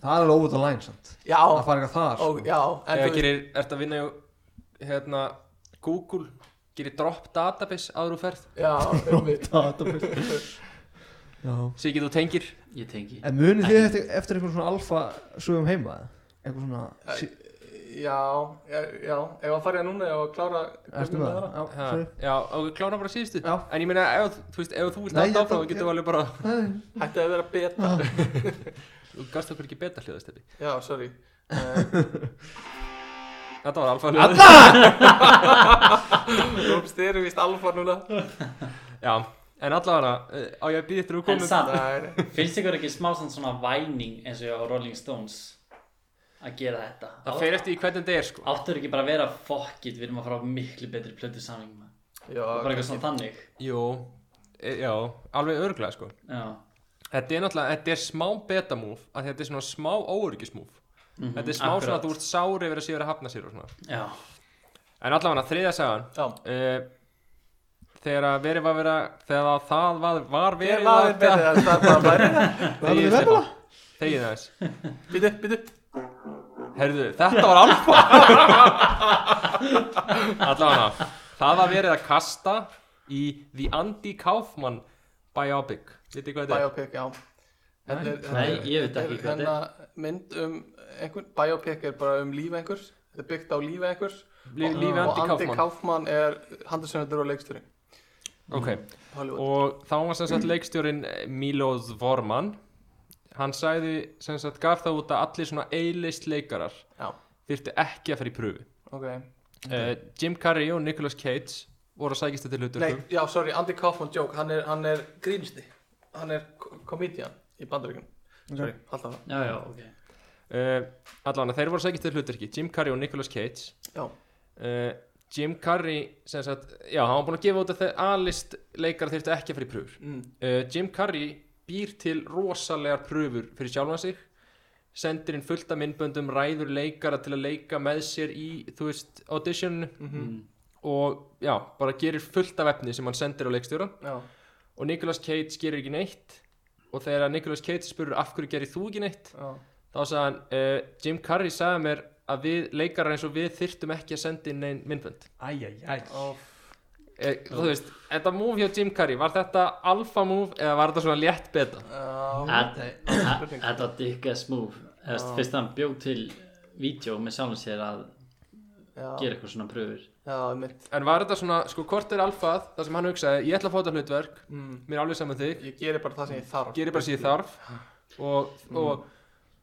A: Það er alveg óvitað læn samt
C: já,
A: Það fara eitthvað þar
C: og, já en
D: eða
C: þú veist,
D: gerir, ert að vinna hjá hérna, Google gerir drop database áður úr ferð
C: já, einmitt.
A: sko Já
D: Siggi þú tengir
B: ég tengi
A: En munið þið eftir, eftir einhvern svona alfa sögum heima eða? Einhvern svona
C: Æ,
A: sí-
C: já, já, já ef að fara ég núna og klára
A: Ertu með það? Já,
D: ha,
A: sorry.
D: já, og klára bara síðustu
A: Já.
D: en ég meina, ef, þú- þú veist, ef þú vilt
A: Nei,
D: alltaf
A: ég-
D: áfram þá getum við alveg bara,
C: hætti að vera
A: Ah.
C: beta
D: þú gafst okkur ekki beta hljóðastefi
C: já, sorry uh,
D: þetta var alfa hljóðastefi
C: þú erum vist alfa núna
D: já, en allavega eh, á ég að býða eftir að þú
B: En
D: komum
A: Ah.
B: samt,
C: Nei, nei.
B: finnst ykkur ekki smá samt svona væning eins og á Rolling Stones að gera þetta
D: það fer eftir í hvernig þetta er sko
B: Áttur ekki bara að vera fokkitt, við erum að fara á miklu betri plötu samling
C: já,
B: Bara eitthvað svona þannig
D: Jú, e, já, alveg örglega sko
B: Já,
D: Þetta er náttúrulega, þetta er smá betamúf að þetta er svona smá óörgismúf
B: Mhm,
D: Þetta er smá svona
B: akkurat.
D: að þú ert sári yfir að sé verið að hafna sér og svona
B: já,
D: En allavega þriðja sagan
C: já.
D: uh, Þegar að verið var vera Þegar það var, var
C: Ég
D: verið
C: laði betið, það er bara bara
A: Hvað er það?
D: Þegið þess
C: Býtu, býtu
D: Herðu, þetta var alfa Allavega Það var verið að kasta í The Andy Kaufman biopic Vitið hvað þetta er?
C: Biopic, já Þetta er- þetta
B: Nei,
C: er-
B: ég veit
C: þetta
B: ekki
C: er
B: hvað þetta
C: hérna mynd um einhvern, biopic er bara um lífi einhvers Þetta er byggt á lífi einhvers
D: Lífi
C: Og-
D: Andy
C: Og Andy
D: Kaufman.
C: Kaufman er handelsöndur og leikstöri
D: Ok,
C: Hollywood
D: og þá var sem sagt leikstjórin Milos Vorman hann sagði sem sagt gaf það út að allir svona eilist leikarar
C: Já.
D: þyrftu ekki að fara í pröfu
C: Ok
D: uh, Jim Carrey og Nicolas Cage voru að sækist þetta hlutur
C: Nei, já, sorry, Andy Kaufman joke Hann er, hann er grínisti Hann er ko- komedian í bandaríkjum Sorry, alltaf það
B: já, já, ok
D: uh, allan þeir voru að sækist þetta hlutur Jim Carrey og Nicolas Cage
C: Já,
D: uh, Jim Carrey sem sagt, já, hann var búin að gefa út að þeir alist leikarar þyrftu ekki að fara í pröfur
C: mm,
D: uh, Jim Carrey býr til rosalegar pröfur fyrir sjálfan sig sendir inn fullt af myndböndum ræður leikara til að leika með sér í þú veist, audition
C: mhm.
B: Mm.
D: og já, bara gerir fullt af efni sem hann sendir á leikstjóran
C: já
D: og Nicolas Cage gerir ekki neitt og þegar Nicolas Cage spurur af hverju gerir þú ekki neitt
C: Já,
D: þá sagði hann, uh, Jim Carrey sagði mér að við leikarar eins og við þyrftum ekki að senda inn neinn myndbönd
A: Æjæjæj
C: Ó,
D: uh, þú veist, þetta move hjá Jim Carrey var þetta alfa move eða var þetta svona létt beta?
C: já,
B: Þetta þetta var dickass move Eða fyrst hann bjóð til vídeo með sjálfum sér að
C: já,
B: gera eitthvað svona pröfur
C: já, mitt
D: En var þetta svona, sko, hvort er alfað það sem hann hugsaði, ég ætla að fá þetta hlutverk
C: mm,
D: mér er alveg saman þig,
C: Ég geri bara það sem ég þarf
D: gerir bara síðan þarf og, og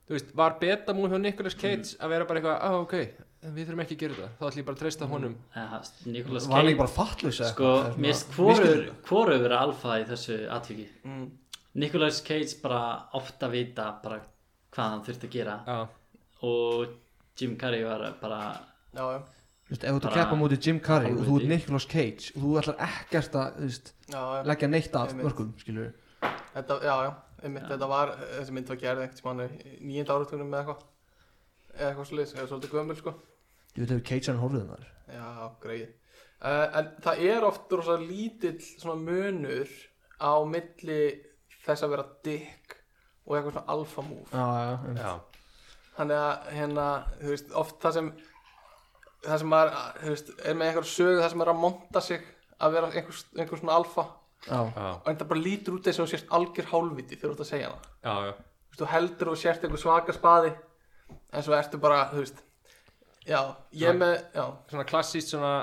D: þú veist, var beta múið hjá Nicolas Cage að vera bara eitthvað, ah, ok, við þurfum ekki að gera þetta þá ætlum ég bara að treysta honum
B: Eða, Nicolas
A: Var hann ekki
B: Cage
A: bara fattlösa
B: Sko, mér finnst hvorugur hvorugur er alfa í þessu atviki
C: mm,
B: Nicolas Cage bara oft að vita bara hvað hann þurfti að gera
D: Já,
B: og Jim Carrey var bara
C: Já, já,
A: Þú veist, ef þú ert að
B: Bara-
A: keppa á móti Jim Carrey og þú ert
B: Alveg.
A: Nicolas Cage og þú ætlar ekkert að, þú veist,
C: já, já
A: leggja neitt af
C: Einmitt.
A: mörgum, skilur við
C: Þetta, já, já, einmitt, þetta var, eh, þessi mynd var gerð einhvern tímann nýjönda áratugnum eða eitthvað eða eitthvað sliðis, eða svolítið gömul sko
A: Ég veit hefur Cage um hann horfðið maður
C: já, greið uh, en það er oft rosa lítill svona munur á milli þess að vera dick og eitthvað svona alfa move
A: já, já, einmitt.
D: Já,
C: þannig að hérna, þú veist, oft það sem það sem maður, þú veist, er með einhver sögu það sem er að monta sig að vera einhver, einhver svona alfa og
A: já,
D: já,
C: þetta bara lítur út eins og þú sért algjör hálfviti þegar þú ert að segja hana
D: já, já.
C: þú veist, þú heldur og sért einhver svaka spaði en svo ertu bara, þú veist já, ég
D: Svona-
C: með, já,
D: svona klassíst svona,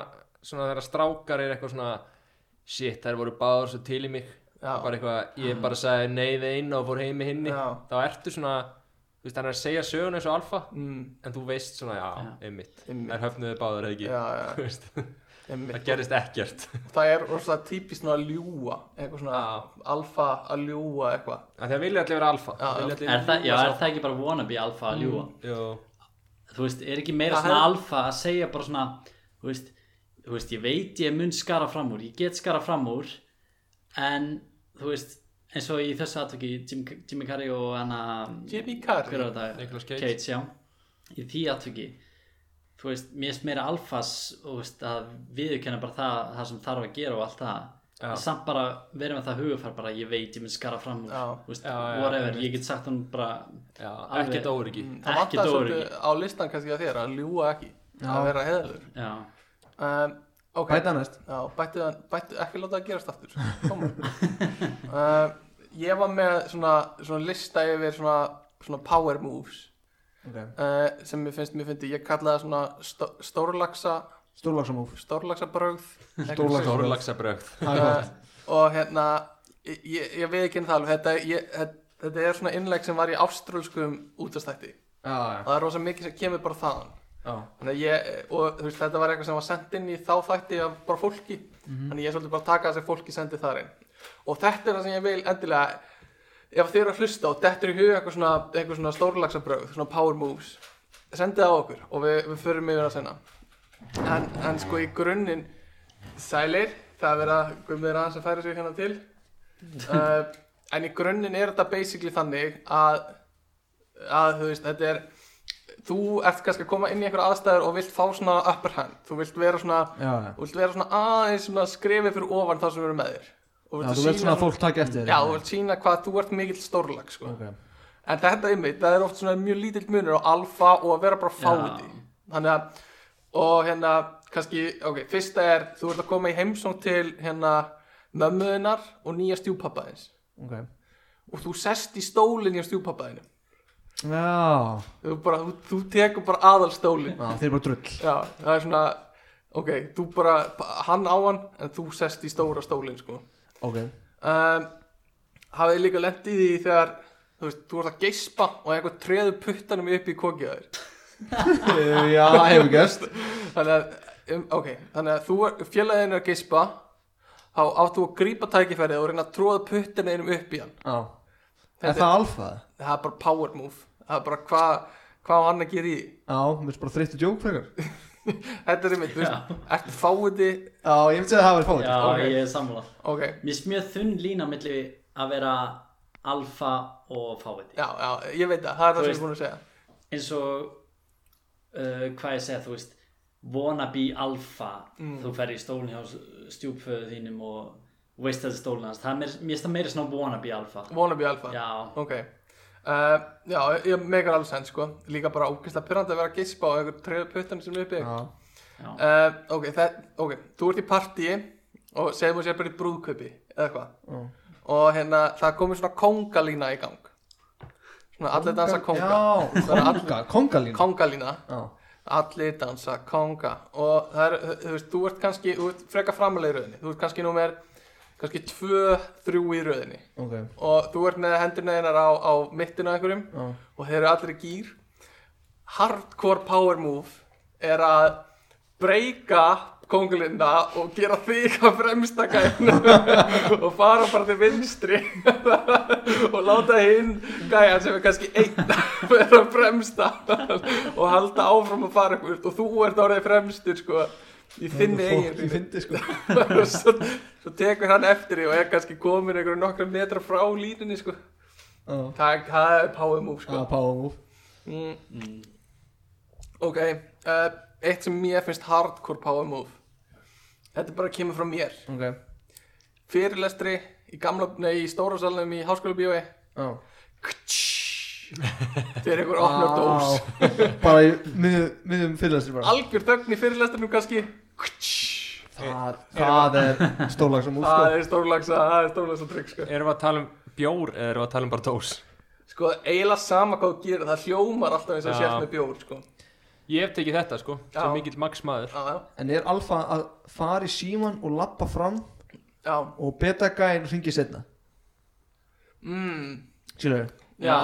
D: svona þegar strákar er eitthvað svona shit, þær voru báðar svo til í mig
C: Já.
D: bara eitthvað, ég bara sagði nei við einu og fór heim með hinni
C: Já.
D: þá ertu svona, þú veist, hann er að segja söguna eins og alfa,
C: mm,
D: en þú veist svona já, einmitt,
C: Einmitt.
D: þær höfnuðu báðar eða ekki
C: já, já,
D: Þú veist,
C: einmitt.
D: það gerist ekkert
C: það er rosalega típist svona að ljúa eitthvað svona alfa að ljúa eitthvað
D: af því að vilja allir vera alfa
C: Já,
D: Vilja
C: já.
D: allir
B: Er það, já,
D: ljúga
B: er
D: svo-
B: það ekki bara wannabe alfa að ljúa?
D: Jú,
B: Þú veist, er ekki meira
C: Það
B: svona
C: hef-
B: alfa að segja bara svona, þú veist, þú veist, ég veit ég mun skara fram úr, ég get skara fram úr, en, þú veist, eins og í þessu atvöki, Jim, Jimmy Carrey og hana,
C: Jimmy
B: hver
C: Carrey
B: var þetta?
D: Nicolas Cage.
B: Cage, já. Í því atvöki, þú veist, mér erst meira alfas, þú veist, að viðurkenna bara það, það sem þarf að gera og allt það.
D: Já.
B: En Samt bara verið með það hugafær bara, ég veit, ég mun skara fram úr,
C: Já.
B: þú veist,
D: Já, já,
B: whatever,
D: einmitt.
B: ég get sagt hann bara,
D: já,
B: Alveg.
D: ekkert óryggi
C: Mm, það
B: Ekki
C: vantar
B: dóri.
C: svolítið á listan kannski að þér að ljúa ekki að vera heðalur
B: já.
C: um, ok,
A: bæta næst
C: já, bættu, það- bættu, ekki láta það gerast aftur koma um, ég var með svona, svona lista yfir svona, svona power moves
A: okay.
C: uh, sem mér finnst, mér finnst ég kalla það svona stó, stórlaxa
A: Stórlaxamóf
C: stórlaxa brögð
A: Stórlaxa.
D: Stórlaxabrögð
C: uh, og hérna ég, ég ég veit ekki um það alveg þetta, ég, þetta, þetta er svona innleg sem var í áströlskum útastætti og það er rosa mikið sem kemur bara þaðan Þannig að ég, og þú veist, þetta var eitthvað sem var sendt inn í þá þætti af bara fólki þannig að ég svolítið bara taka þessi fólki sendið þar inn og þetta er það sem ég vil endilega ef þið eru að hlusta og dettur í huga eitthvað svona, eitthvað svona stórlagsabræð svona power moves, sendið það á okkur og við, við förum yfir það senna en, en sko í grunninn sælir, það er verið að guðmiður aðeins að færa sig hérna til uh, en í grunninn er þetta basically þannig að að þú veist, þetta er þú ert kannski að koma inn í einhverja aðstæður og vilt fá svona upper hand þú vilt vera svona,
A: Já, já.
C: þú vilt vera svona aðeins svona skrefið fyrir ofan það sem eru með þér Og
A: Já, þú vilt
C: sýna-
A: svona að fólk taka eftir þér
C: já, þú vilt sína hvað þú ert mikill stórlag sko.
A: Ok.
C: en þetta einmitt, það er oft svona mjög lítill munur á alfa og að vera bara fáti þannig að, og hérna kannski, ok, fyrsta er þú ert að koma í heimsóng til hérna mömmuðinar og nýja stjúpappaðins
A: ok
C: og þú sest í stólinn hjá stjúpappaðinu
A: Já,
C: þú, bara, þú, þú tekur bara aðalstólinn
A: já þeir eru bara drull
C: já, það er svona ok, þú bara, hann á hann en þú sest í stóra stólinn sko
A: Ok,
C: um, hafið þið líka lent í því þegar þú veist, þú ert að geispa og einhver treður puttanum upp í kokið á þér
A: já, hefur gæst
C: þannig að, um, ok, þannig að þú er- félaginn er að geispa þá átt þú að grípa tækifærið og reyna að tróða puttanum upp í hann
A: Já Er það alfa?
C: það er bara power move það er bara hvað hvað á hann að gera í því.
A: Já, mér finnst bara þreyttu djók frekar
C: þetta er einmitt, þú veist, ertu fáiði
A: Já, ég myndi segja að það verið fóðið
B: Já,
C: Ok.
B: ég er sammála
C: ok,
B: Mér finnst mjög þunn lína milli að vera alfa og fáviti
C: já, já, ég veit það það er það sem ég
B: veist-
C: er búin að segja
B: eins og uh, hvað ég segja, þú veist wannabe alfa
D: Mm.
B: þú fer í stólinn hjá stjúpföðu þínum og veist þessi stólinn hans það er meir- mér finnst það meira svona wannabe alfa
C: wannabe alfa
B: Já,
C: Ok, uh, já, ég megar alveg sens sko Líka bara ógeðslega pyrrandi að vera að gispa á einhver treðu puttan sem er uppi
A: Já,
B: já,
C: uh, ok, það, ok, þú ert í partíi og segjum að sér bara í brúðkaupi eða hvað
A: já.
C: Og hérna, það komið svona kongalína í gang Svona allir dansa konga
A: Já,
C: Það er all-
A: konga, kongalín
C: Kongalína,
A: Já,
C: allir dansa konga Og það er, þú- þú veist, þú ert kannski, þú ert freka framalega í röðinni Þú ert kannski númer, kannski tvö, þrjú í röðinni
A: ok
C: Og þú ert með hendurna þeinar á, á mittina einhverjum
A: Já,
C: og þeir eru allir í gýr hardcore power move er að breyka kongulinna og gera þig að fremsta gæðinu og fara bara til vinstri og láta hinn gæðan sem er kannski einn vera fremsta og halda áfram að fara ykkur og þú ert orðið fremstur sko í þinni eigin
A: Ég fyndi sko
C: og svo, svo tekur hann eftir því og er kannski komin einhverju nokkra metra frá línunni sko
A: Já,
C: það, það er power move sko
A: já, power move
C: mm. Ok, uh, eitt sem mér finnst hardcore power move Þetta bara kemur frá mér
A: Ok,
C: Fyrirlestri í gamla, nei, í stóra salnum í háskóla bíói
A: já
C: þegar einhver opnar dós
A: bara í miðjum, miðjum fyrirlestur bara
C: algjör dögn í fyrirlestunum kannski
A: það, það er sko. stólag sem
C: það
A: útskóð
C: er stórlagsa það er stórlagsa trygg sko.
D: Erum við að tala um bjór eða erum við að tala um bara dós?
C: sko eiginlega sama hvað þú gerir það hljómar alltaf eins og
D: Já.
C: sért með bjór sko.
D: Ég hef tekið þetta sko,
C: Já.
D: sem mikill max maður
C: já, já,
A: en er alfa að fara í síman og lappa fram
C: já.
A: og beta gæn ringi setna
C: Mm,
A: skilur,
C: já,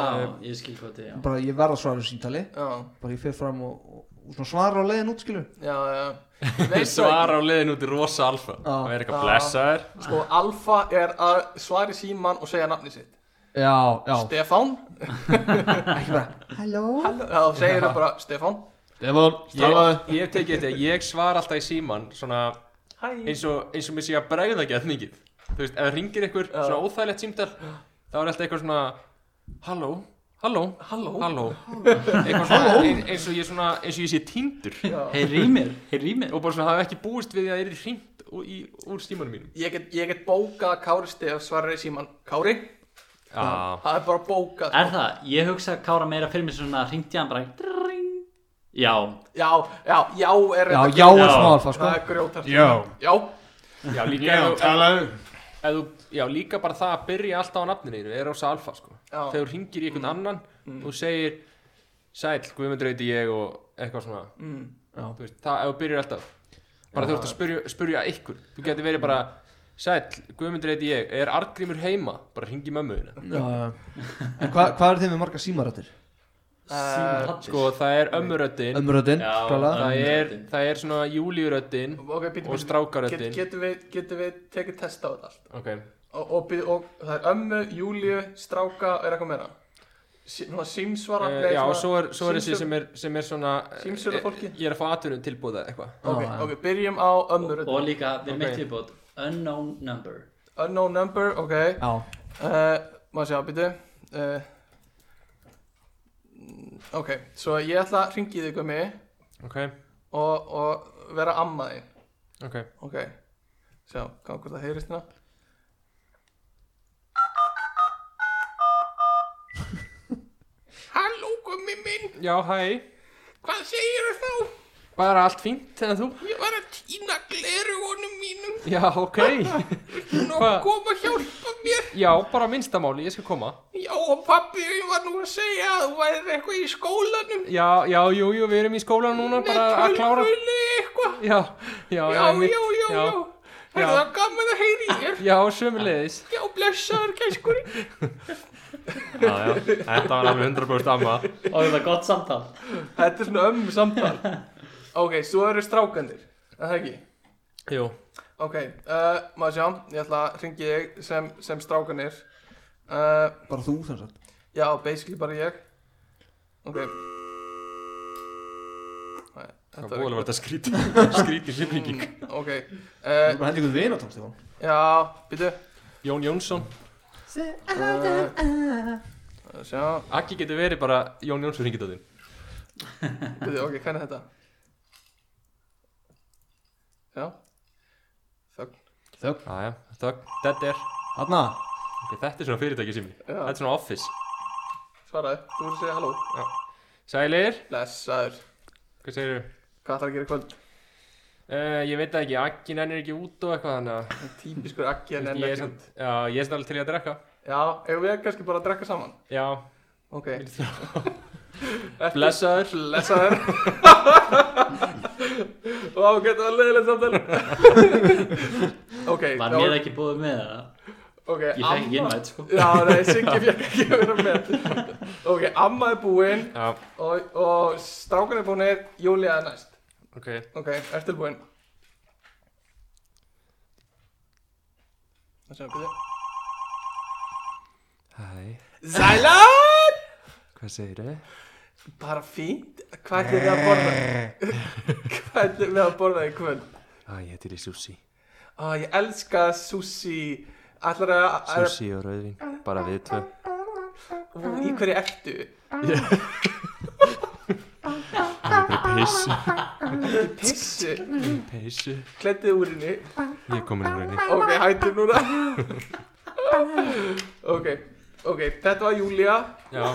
B: ég skil hvað þetta, er, já
A: bara ég verða að svara síntali
C: já,
A: bara ég fer fram og, og, og svona svara á leiðin út skilur
C: já, já. Ég veit það
D: Svara á leiðin út í rosa alfa
A: Já.
D: Það er eitthvað
C: Já.
D: blessaður
C: ekki. sko alfa er að svari síman og segja nafni sitt
A: já, já,
C: Stefán
A: ekki bara halló,
C: þá segir þau bara Stefán
A: Stefán,
D: ég, ég hef tekið þetta, ég svara alltaf í síman Svona
C: hæ
D: eins og, eins og mér sé að bregða ekki að mikið Þú veist, ef það ringir ykkur
C: Já.
D: svona óþægilegt símtal Þá er alltaf eitthvað svona Halló, halló,
C: Halló.
D: halló. Eitthvað svona ein- eins og ég, svona, eins og ég sé týndur
B: heyri í mér, heyri í mér
D: Og bara svona hafa ekki búist við því að það er hringt úr, í- úr símanum mínum
C: ég get, ég get bókað að Kári Stef svarar í síman Kári,
D: Já,
C: það er bara bókað
B: er það, ég hugsa að Kára meira fyrir mér svona hringti hann bara drring. já,
C: já, já, já er
A: já,
C: reyndar-
A: já er
B: Já.
A: smá alfa sko
C: það er grjótast
E: Já.
C: já,
D: já líka
E: Já,
D: ef-
E: talaðu
D: ef þú, já, líka bara það að byrja alltaf á nafninu þínu er rosa alfa, sko.
C: Já. Mm.
D: Þegar þú ringir í einhvern annan og þú segir, sæl, Guðmundur heiti ég og eitthvað svona.
C: Mm.
A: Já.
D: Þú veist, það, ef þú byrjar alltaf, bara þú ert að spyrja, spyrja ykkur. Þú getur verið bara, sæl, Guðmundur heiti ég, er Arngrímur heima? Bara ringi mömmu þínu.
A: já, já. en hvað hva er þeim með marga símarættir?
C: Uh,
D: Sko, það er ömmuröddin,
A: ömröðin,
B: Já,
A: klálega
D: það er,
B: Ömmuröddin.
D: það er svona júliuröddin
C: ok, býtum
D: og
C: get,
D: strákaröddin.
C: getum við, getum við tekið test á þetta allt
D: Ok,
C: og, og, bið, og það er ömmu, Júliu, stráka er eitthvað meira Sí- svona símsvara
D: Eh,
C: nei,
D: já, og
C: svona
D: svo er, svo er þessi
C: símsvör-
D: sem er, sem er svona,
C: Símsvöru
D: eh,
C: fólki?
D: ég er að fá atvinnum tilbúða eitthvað.
C: ok,
A: Já, já.
C: ok, byrjum á ömmu
B: og,
C: röddina.
B: og líka, við erum
D: Ok.
B: eitt viðbót unknown number
C: unknown number, ok
A: já,
C: uh, maður sé að býtu uh, ok, svo ég ætla að ringi þig um mig
D: Ok,
C: og, og vera amma þín
D: ok.
C: ok, sjá, hvað hvort það heyrist hérna Halló gummi minn,
D: Já, hæ.
C: hvað segirðu þá?
D: Bara allt fínt, en þú?
C: Ég var að týna glerugunum mínum
D: Já, ok.
C: og
D: Hva?
C: kom að hjálpa mér
D: Já, bara minnstamáli, ég skal koma.
C: Já og pappi ég var nú að segja að þú væri eitthvað í skólanum
D: Já, já, jú, jú, við erum í skóla núna, bara að klára.
C: tölvunni eitthvað
D: Já, já,
C: Já,
D: einmitt,
C: já, já, já Er
D: Já.
C: það gaman að heyri þér?
D: Já, sömulegis.
C: Já, blessaður gæskur
D: Já, já, þetta var alveg 100% amma.
B: og það var gott samtal
C: Þetta er svona ömmu samtal Ok, svo eru strákanir Er það ekki?
D: Jú,
C: Ok, uh, maður sjá, ég ætla að ringi þig sem, sem strákanir uh,
A: bara þú sem sagt
C: Já, basically bara ég Ok Nei,
D: það
C: Þetta Mm,
D: búið að vera þetta skrítið, skrítið hlipinging.
C: Ok, uh,
A: bara henni ykkur vinatótt Stefán
C: já, býtu
D: Jón Jónsson,
C: uh, Sjá,
D: Akki getur verið bara Jón Jónsson ringið á þín.
C: býtu, ok, hvernig er þetta? Já Þögn
A: þögn,
D: Já, já, þögg, þetta er,
A: hann
D: ok, þetta er svona fyrirtæki sími.
C: Já.
D: Þetta er svona office.
C: Svaraði, þú voru að segja halló
D: Sælir,
C: Blessaður,
D: hvað segir þú?
C: hvað ætlar að gera í kvöld?
D: ég veit það ekki, Akki nennir ekki út og eitthvað þannig að...
C: Típiskur akki en enn
D: ég er
C: ekki
D: samt, já, ég er samt alveg til í að drekka
C: Já, eigum við kannski bara að drekka saman
D: já,
C: Ok Ertu-
D: blessaður
C: Blessaður Vá, getur það leiðilegt samtali Ok,
B: var mér ekki búið með það
C: Ok,
B: ég fekk ekki
C: amma
B: innvætt sko
C: Já, nei, Siggi fekk ekki að vera með Ok, amma er búin
D: já,
C: og, og strákan er búinir, Júlia er næst
D: ok
C: Ok, er tilbúin Það sem byrja
D: hæ,
C: Sælan!
D: hvað segir þau?
C: Bara fínt, hvað ætlum við að borða? hvað ætlum við að borða í kvöld?
D: Æ, ég heitir í sushi
C: Ó, ég elska sushi Ætlar að, að,
D: og rauðvin, bara við tvö
C: Ú, í hverju ertu?
D: ég er pissu,
C: Pissu,
D: pissu
C: klettið úr henni
D: ég er komin úr henni
C: Ok, hættum núna Ok, ok, þetta var Júlia
D: Já,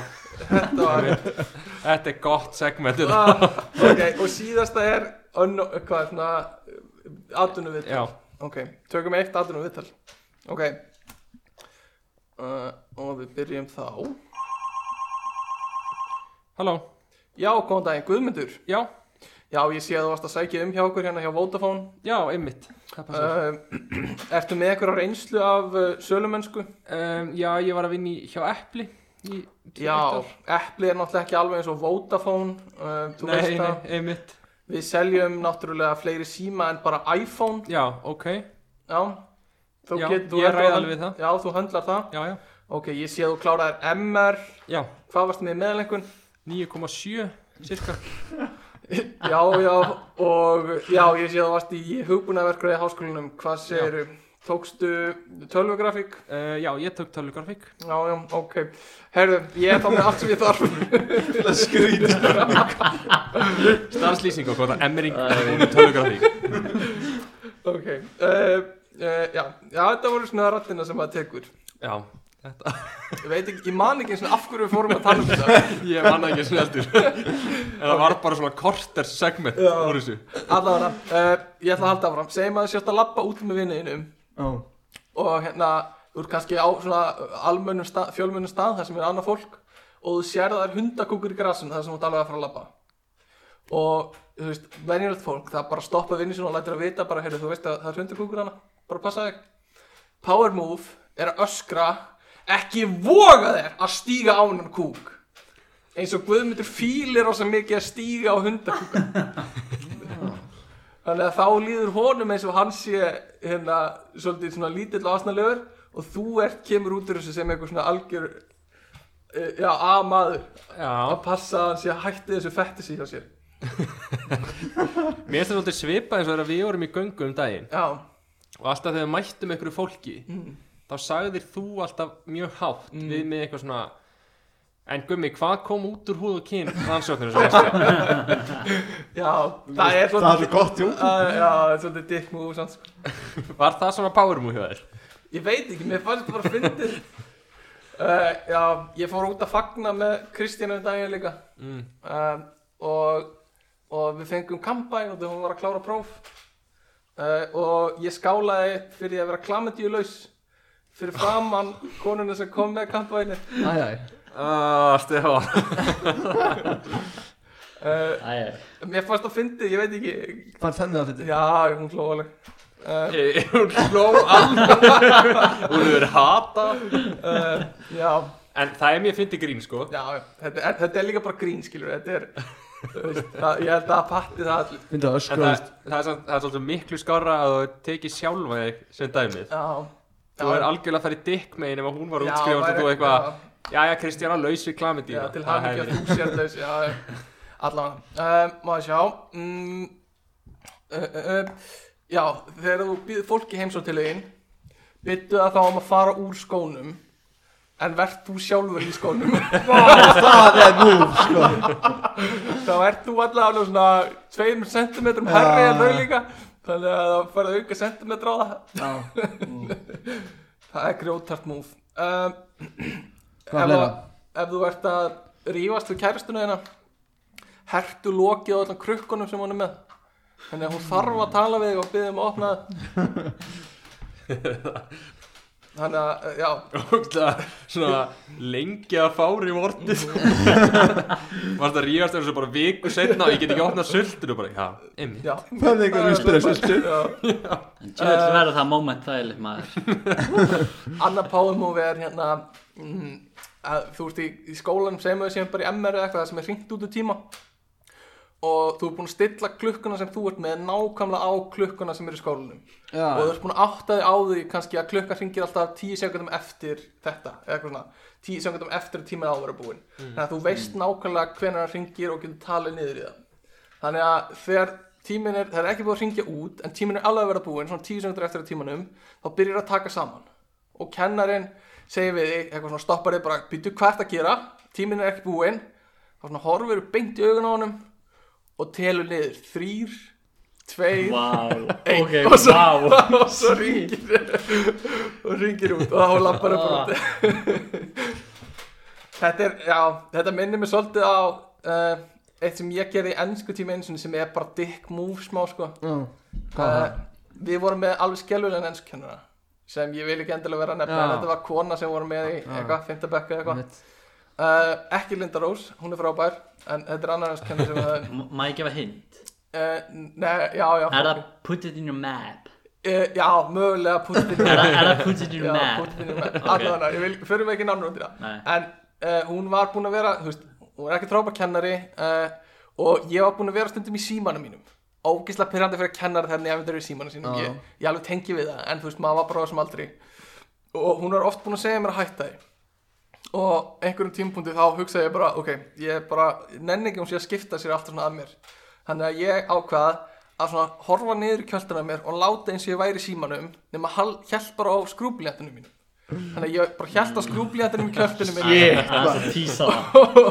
C: Þetta var
D: þetta er gott segment þetta.
C: ah, Ok, og síðasta er önno, Hvað er svona eh, Atunum
D: Já,
C: Ok, tökum eitt aðrunum viðtal Ok uh, Og við byrjum þá
D: halló
C: Já, góðan daginn, Guðmundur
D: Já,
C: Já, ég sé að þú varst að sækja um hjá okkur hérna hjá Vodafone
D: já, einmitt Það passar
C: uh, Ertu með einhverja reynslu af uh, sölumönsku?
D: um, Já, ég var að vinna í, hjá Eppli í,
C: Já, Apple er náttúrulega ekki alveg eins og Vodafone uh, Þú
D: Nei,
C: veist
D: nei,
C: að
D: einmitt
C: við seljum náttúrulega fleiri síma en bara iPhone
D: Já, ok,
C: Já, þú
D: Já,
C: getur þú
D: ég
C: heldur
D: ræð
C: að-
D: alveg við það.
C: Já, þú höndlar það
D: já, já
C: Ok, ég sé að þú kláraðir MR
D: Já,
C: Hvað varstu með meðalengun?
D: 9,7 cirka
C: Já, já, og já, ég sé að þú varst í hugbúnaverkræði háskólinum, hvað segirðu? Tókstu tölvugrafík?
D: uh, Já, ég tók tölugrafík
C: Já, já, ok. Herðu, ég er þá með allt sem ég þarf.
D: Starfslýsing og hvort að emmering og tölugrafík
C: Ok, uh, uh, já, já, þetta voru svona rattina sem maður tekur.
D: Já, þetta
C: Ég veit ekki, ég man ekki eins og af hverju við fórum að tala um þetta.
D: Ég manna ekki sneldur En það var bara svona korter segment
C: Já.
D: úr þessu
C: Allavega, uh, ég ætla að halda áfram. Segjum að þú sjátt að labba út með vinniðinum
A: Já,
C: og hérna, þú ert kannski á svona almönnum stað, fjölmönnum stað þar sem er annað fólk og þú sér að það er hundakúkur í grasum þar sem þú ert alveg að fara að labba og þú veist, venjulegt fólk það bara stoppa vinnu sinna og lætir að vita bara, heyrðu, þú veist að það er hundakúkur hana bara passa þig Power Move er að öskra ekki voga þér að stíga á hennan kúk eins og Guðmundur fílir rosa mikið að stíga á hundakúka þannig að þá líður honum eins og hann sé hérna svolítið svona lítill og asnalegur og þú ert kemur út úr þessu sem eitthvað svona algjör eh, já, A-maður
D: Já,
C: að passa að hann sé að hætti þessu fætti sig hjá sér
D: mér finnst það svolítið svipað eins og þegar við vorum í göngu um daginn
C: já,
D: og alltaf þegar við mættum einhverju fólki
C: Mm.
D: þá sagðir þú alltaf mjög hátt við með eitthvað svona en gummi, hvað kom út úr húð og kyn rannsóknir sem þessi
C: já,
A: það
C: það er
A: er
C: svolítið
A: gott jú
C: Uh, já, það er svolítið dick move samt, sko.
D: var það svona power move hjá þér?
C: ég veit ekki, mér fannst þetta bara fyndið uh, já, ég fór út að fagna með Kristínu um daginn líka
D: Mm.
C: um, og, og við fengum kampæn og þegar hún var að klára próf uh, og ég skálaði fyrir að vera klamendíulaus fyrir framann konuna sem kom með kampæni
A: Æjæ,
D: Ah, Stefán
C: uh,
B: Æ, æ.
C: mér fannst það fyndið, ég veit ekki
A: fannst henni það fyrir
C: já, hún hló alveg uh,
D: Eh, hún sló alveg hún hefur hata
C: uh, já,
D: en það er mjög fyndi grín sko
C: já þetta, er, þetta er líka bara grín, skilur þetta er þú veist, það, ég held að það patti það allir
A: Myndi að
D: en
A: öskra um
D: það, það, er, samt- það er svolítið miklu skára að þú tekið sjálfa þig sem dæmið
C: já,
D: þú
C: já.
D: er algjörlega að fara í dick megin ef hún var
C: Já,
D: útskrifast og
C: væri-
D: þú eitthvað
C: já.
D: jæja Kristjana laus við klamidíu
C: Já, til hann ekki að þú sér laus Já, allavega um, Má ég sjá mm, uh, uh, uh, Já, þegar þú býður fólki heimsókn til þín Byttu það þá um að fara úr skónum En verð þú sjálfur í skónum
A: það Það er múf, sko
C: Þá ert þú allavega alveg svona Tveim sentimetrum herri en þau líka Þannig að það færðu auka sentimetra á það
A: Já,
C: Það er grjótart múf um,
A: Hvað
C: ef,
A: fleira?
C: að- ef þú ert að rífast við kæristuna þína hertu lokið á allan krukkunum sem hún er með þannig að hún þarf að tala við þig og byrja um að opna það. þannig að, já
D: Ógla, svona lengi að fári í vortið Varst að ríðast þessu bara viku setna og ég get ekki opnað sultinu bara, já, emmi
C: já
A: Það er einhvern veginn spyrja svolítið
C: Já.
B: En tjóðvill verður það moment þægileg maður.
C: annar powermove er hérna mm, að þú ert í, í skólanum sem við séum bara í MR eða eitthvað sem er hringt út úr tíma og þú ert búin að stilla klukkuna sem þú ert með nákvæmlega á klukkuna sem er í skólanum og þú
A: Já,
C: ert búin að átta þig á því kannski að klukkan hringir alltaf 10 sekundum eftir þetta eða eitthvað svona 10 sekundum eftir að tímið á að vera búin
A: Mm.
C: þannig að þú veist nákvæmlega hvenær hann hringir og getur talið niður í það þannig að þegar tíminn er, það er ekki búin að hringja út en tíminn er alveg að vera búin svona 10 sekundur eftir að tímanum þá byrjar að taka saman og kennarinn segir við þig eitthvað svona stoppar þig bara býtu hvert að gera tíminn er ekki búin þá svona horfir beint í augun á honum og telur niður þrýr, tveir
B: Vá,
C: Einn,
B: ok,
C: og svo,
B: vá.
C: og svo ringir og ringir út og þá lappar upp út Þetta er, já, þetta minnir mig svolítið á uh, eitt sem ég gerði í ennsku tíma eins og sem er bara dick move smá sko
A: var
C: uh, Við vorum með alveg skelvulegan ennskennara sem ég vil ekki endilega vera að nefna
A: Já.
C: en þetta var kona sem vorum með í
A: Já.
C: eitthvað, fimmtabekka eitthvað
A: Einmitt.
C: uh, Ekki Linda Rós, hún er frábær en þetta er annar ennskennara sem við höfum
B: M- Má ég gefa hint?
C: uh, Nei, já, já
B: Er
C: ok.
B: það put it in your map?
C: uh, Já, mögulega púntinn
B: Er það- er það put it in
C: Já,
B: your map?
C: púntinn Allavega, ég vil, förum ekki nánar út í það
B: Nei,
C: en uh, hún var búin að vera þú veist, hún er ekki trópakennari uh, og ég var búin að vera stundum í símanum mínum ógislega pyrrandi fyrir að kennara þegar nefnir eru í símanum sínum,
A: Já.
C: ég, ég alveg tengi við það en þú veist, maður var bara á þessum aldri og hún var oft búin að segja mér að hætta því og einhverjum tímpúndi þá hugsaði ég bara, ok, ég bara nenni ekki hún sé að skipta sér alltaf svona að mér þannig að ég ákvað að svona horfa niður í kjöldina á mér og láta eins og ég væri í símanum nema hjælt bara á skrúbljantunum mínum þannig að ég bara hjælt á skrúbljantunum í kjöldinu mínum
B: Shit, það er svo tísa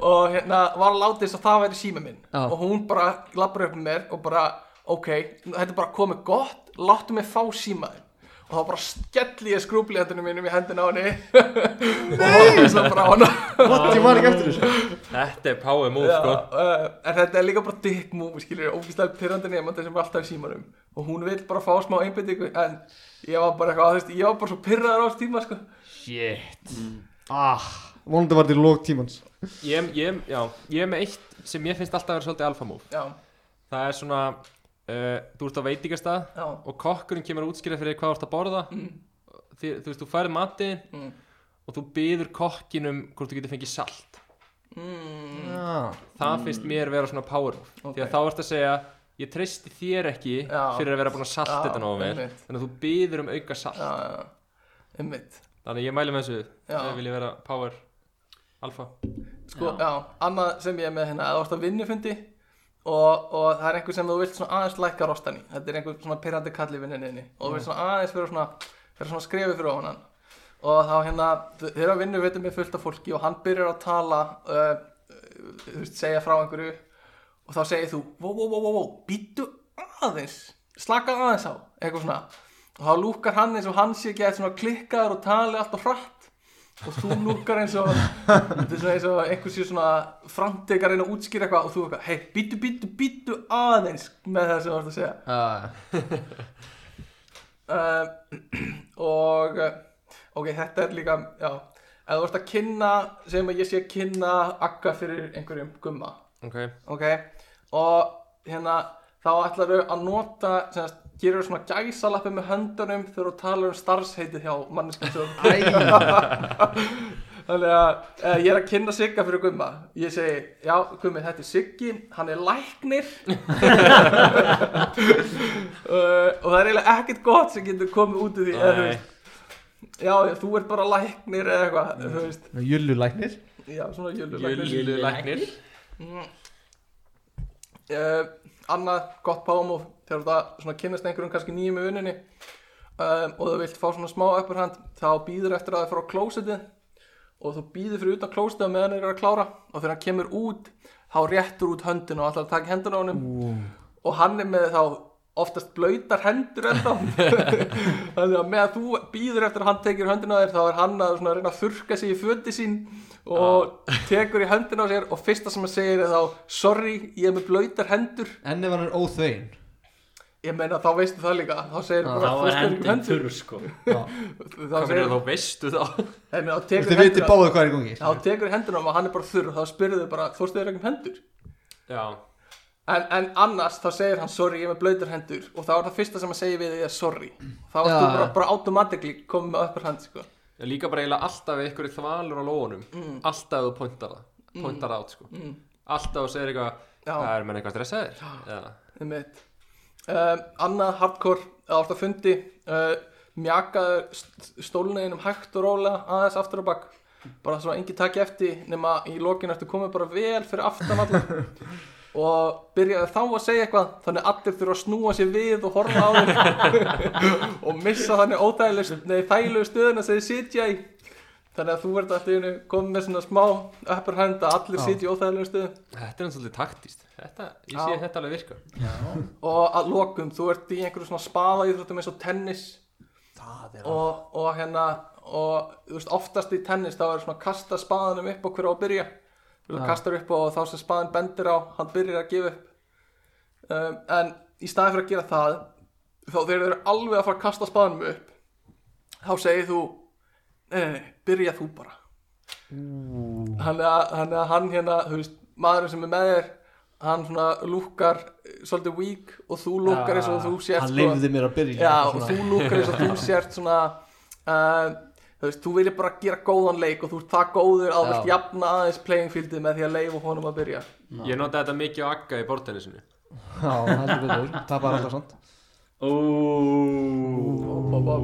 C: og hérna var að láta þess að það væri síma minn
A: Já.
C: og hún bara labbar upp með mér og bara ok, þetta er bara komið gott láttu mig fá síma þinn og þá bara skelli ég skrúbljöndinu mínum í hendina á henni og horfði svo bara á hana
A: What, ég man ekki eftir þessu
D: Þetta er power move
C: Já,
D: sko
C: uh, en þetta er líka bara dick move skilur, ógæslega pyrrandi nefnandi sem er alltaf í símanum og hún vil bara fá smá einbyttingu en ég var bara eitthvað, þú veist, ég var bara svo pyrraður á þessu tíma sko.
D: Shit
A: ah, Vonandi var þetta í lók tímans
D: ég, ég, já, ég er með eitt sem ég finnst alltaf að vera svolítið alfa move
C: já,
D: Það er svona uh, Þú ert á veitingastað
C: já,
D: og kokkurinn kemur að útskýra fyrir þér hvað þú ert að borða Þi, Þú veist, þú færið mati
C: Mm.
D: og þú byður kokkinum hvort þú getur fengið salt
C: mm,
A: ah.
D: Það finnst mér vera svona power move Því
C: Ok.
D: að þá ert að segja Ég treysti þér ekki
C: Já.
D: fyrir að vera búin að salta
C: Já,
D: þetta náðu vel
C: einmitt.
D: Þannig að þú byður um auka salt
C: já, já, einmitt
D: Þannig að ég mæli með þessu
C: Já.
D: Þegar vil ég vera power alfa
C: sko, já. annað sem ég er með hérna, að þú ert á vinnufundi og, og það er einhver sem þú vilt svona aðeins lækka rostan í, þetta er einhver svona pyrrandi kall í vinninni og þú vilt svona aðeins vera svona, vera svona skrefið fyrir ofan hann og þá hérna, þeirra vinnufundi með fullt af fólki og hann byrjar að tala uh, uh, þú veist, segja frá einhverju og þá segir þú, wow, wow, wow, wow, wow býttu aðeins, slaka aðeins á eitthvað svona, og þá lúkar hann eins og hann sé ekki að svona klikkaður og tali alltaf hratt og þú lúkar eins og þetta er svona eins og einhver sér svona framtekar reyna að útskýra eitthvað og þú eitthvað hei, býttu, býttu, býttu aðeins með það sem þú ert að segja
A: ah.
C: uh, og uh, ok, þetta er líka já, ef þú ert að kynna segjum að ég sé að kynna akka fyrir einhverjum gumma,
D: Ok,
C: ok og hérna, þá ætlarðu að nota sem að gerur svona gæsalappi með höndunum þegar þú talar um starfsheitið hjá manneskjum Þannig að uh, ég er að kynna Sigga fyrir Gumma Ég segi, já Gummi, þetta er Siggi Hann er læknir uh, Og það er eiginlega ekkert gott sem getur komið út úr því eða, þú
D: Nei.
C: veist, Já, já, þú ert bara læknir eða eitthvað Þú veist,
A: Jöllulæknir
C: já, svona Mm. jölulæknir Jöl.
D: Júlu læknir
C: uh, Annað gott pámóf Þegar þetta svona kynnast einhverjum kannski nýjum í vinninni um, Og þú vilt fá svona smá upperhand Þá býður eftir að það frá klósitið og þú býður fyrir utan klóstið meðan þeir eru að klára og þegar hann kemur út þá réttur út höndin og alltaf að taka hendur á honum og hann er með þá oftast blöytar hendur ennþá þannig að meðan þú býður eftir að hann tekir höndin á þér þá er hann að svona reyna að þurka sig í föti sín og tekur í höndin á sér og fyrsta sem hann segir er þá sorry, ég er með blöytar hendur
A: Enni var hann er óþvegin
C: ég meina þá veistu það líka þá segir hann
B: Þá
C: bara "Þú
B: er
C: skalt ekki með
B: hendin þurr sko
C: hendur þá
D: Hvað
C: segir
D: verður þá veistu þá?
C: hann þá
A: Þið
C: tekur
A: viti
C: hendur á
A: báðu hvað er í gangi
C: þá tekur hendur á hann og hann er bara þurr og þá spyrðu þau bara þú stöður ekki um hendur
D: Já,
C: En, en annars þá segir hann sorry, ég er með blöytur hendur og þá er það fyrsta sem hann segir við því að sorry þá ertu
A: Já.
C: bara, bara automatically komið með öppur hand sko.
D: Ég líka bara eiginlega alltaf við ykkur þvalur á lóunum
A: Mm.
D: Alltaf ef þú pointar það Pointar át sko Alltaf þú segir eitthvað
C: Já.
D: Það er menn eitthvað stressaðir Já.
C: um, annað Ehm, hardcore eða átt að fundi uh, mjakaðu stólneginum hægt og rólega aðeins aftur á bak bara svo að enginn takja eftir nema í lokinu ertu komið bara vel fyrir aftan allar og byrjaði þá að segja eitthvað þannig að allir þurfa að snúa sér við og horfa á þeir og missa þannig óþægilegu þægilegu stöðuna sem þið sitja í þannig að þú ert alltaf í einu komið með svona smá uppur hönd að allir sitja í óþægilegu stöðu
D: Þetta er hann svolítið taktíst Þetta, ég
C: Já.
D: sé þetta alveg virka
C: og að lokum, þú ert í einhverju svona spaða íþróttum eins og tennis
A: Það er
C: og, og hérna og þú veist, oftast í tennis þá er svona að kasta spaðanum upp á hverju á að byrja þú veist,
A: Já.
C: kastar upp og þá sem spaðan bendir á hann byrjar að gefa upp um, en í staði fyrir að gera það þá þegar þeir eru alveg að fara að kasta spaðanum upp þá segir þú nei, nei, nei, byrja þú bara hann, hann, hann hérna, þú veist, maðurinn sem er með þér hann svona lúkar eh, svolítið weak og þú lúkar eins og þú sért
A: hann
C: sko-
A: leifði mér að byrja
C: Já, og
A: svona.
C: þú lúkar eins og þú sért svona uh, þú veist, þú viljir bara gera góðan leik og þú ert það góður að þú
A: Já.
C: vilt jafna aðeins playing fieldið með því að leifa honum að byrja
D: Ég notaði þetta mikið á agga í bortennisinu
A: já, heldur betur, tapar alltaf svont
B: Ó
C: bá, bá.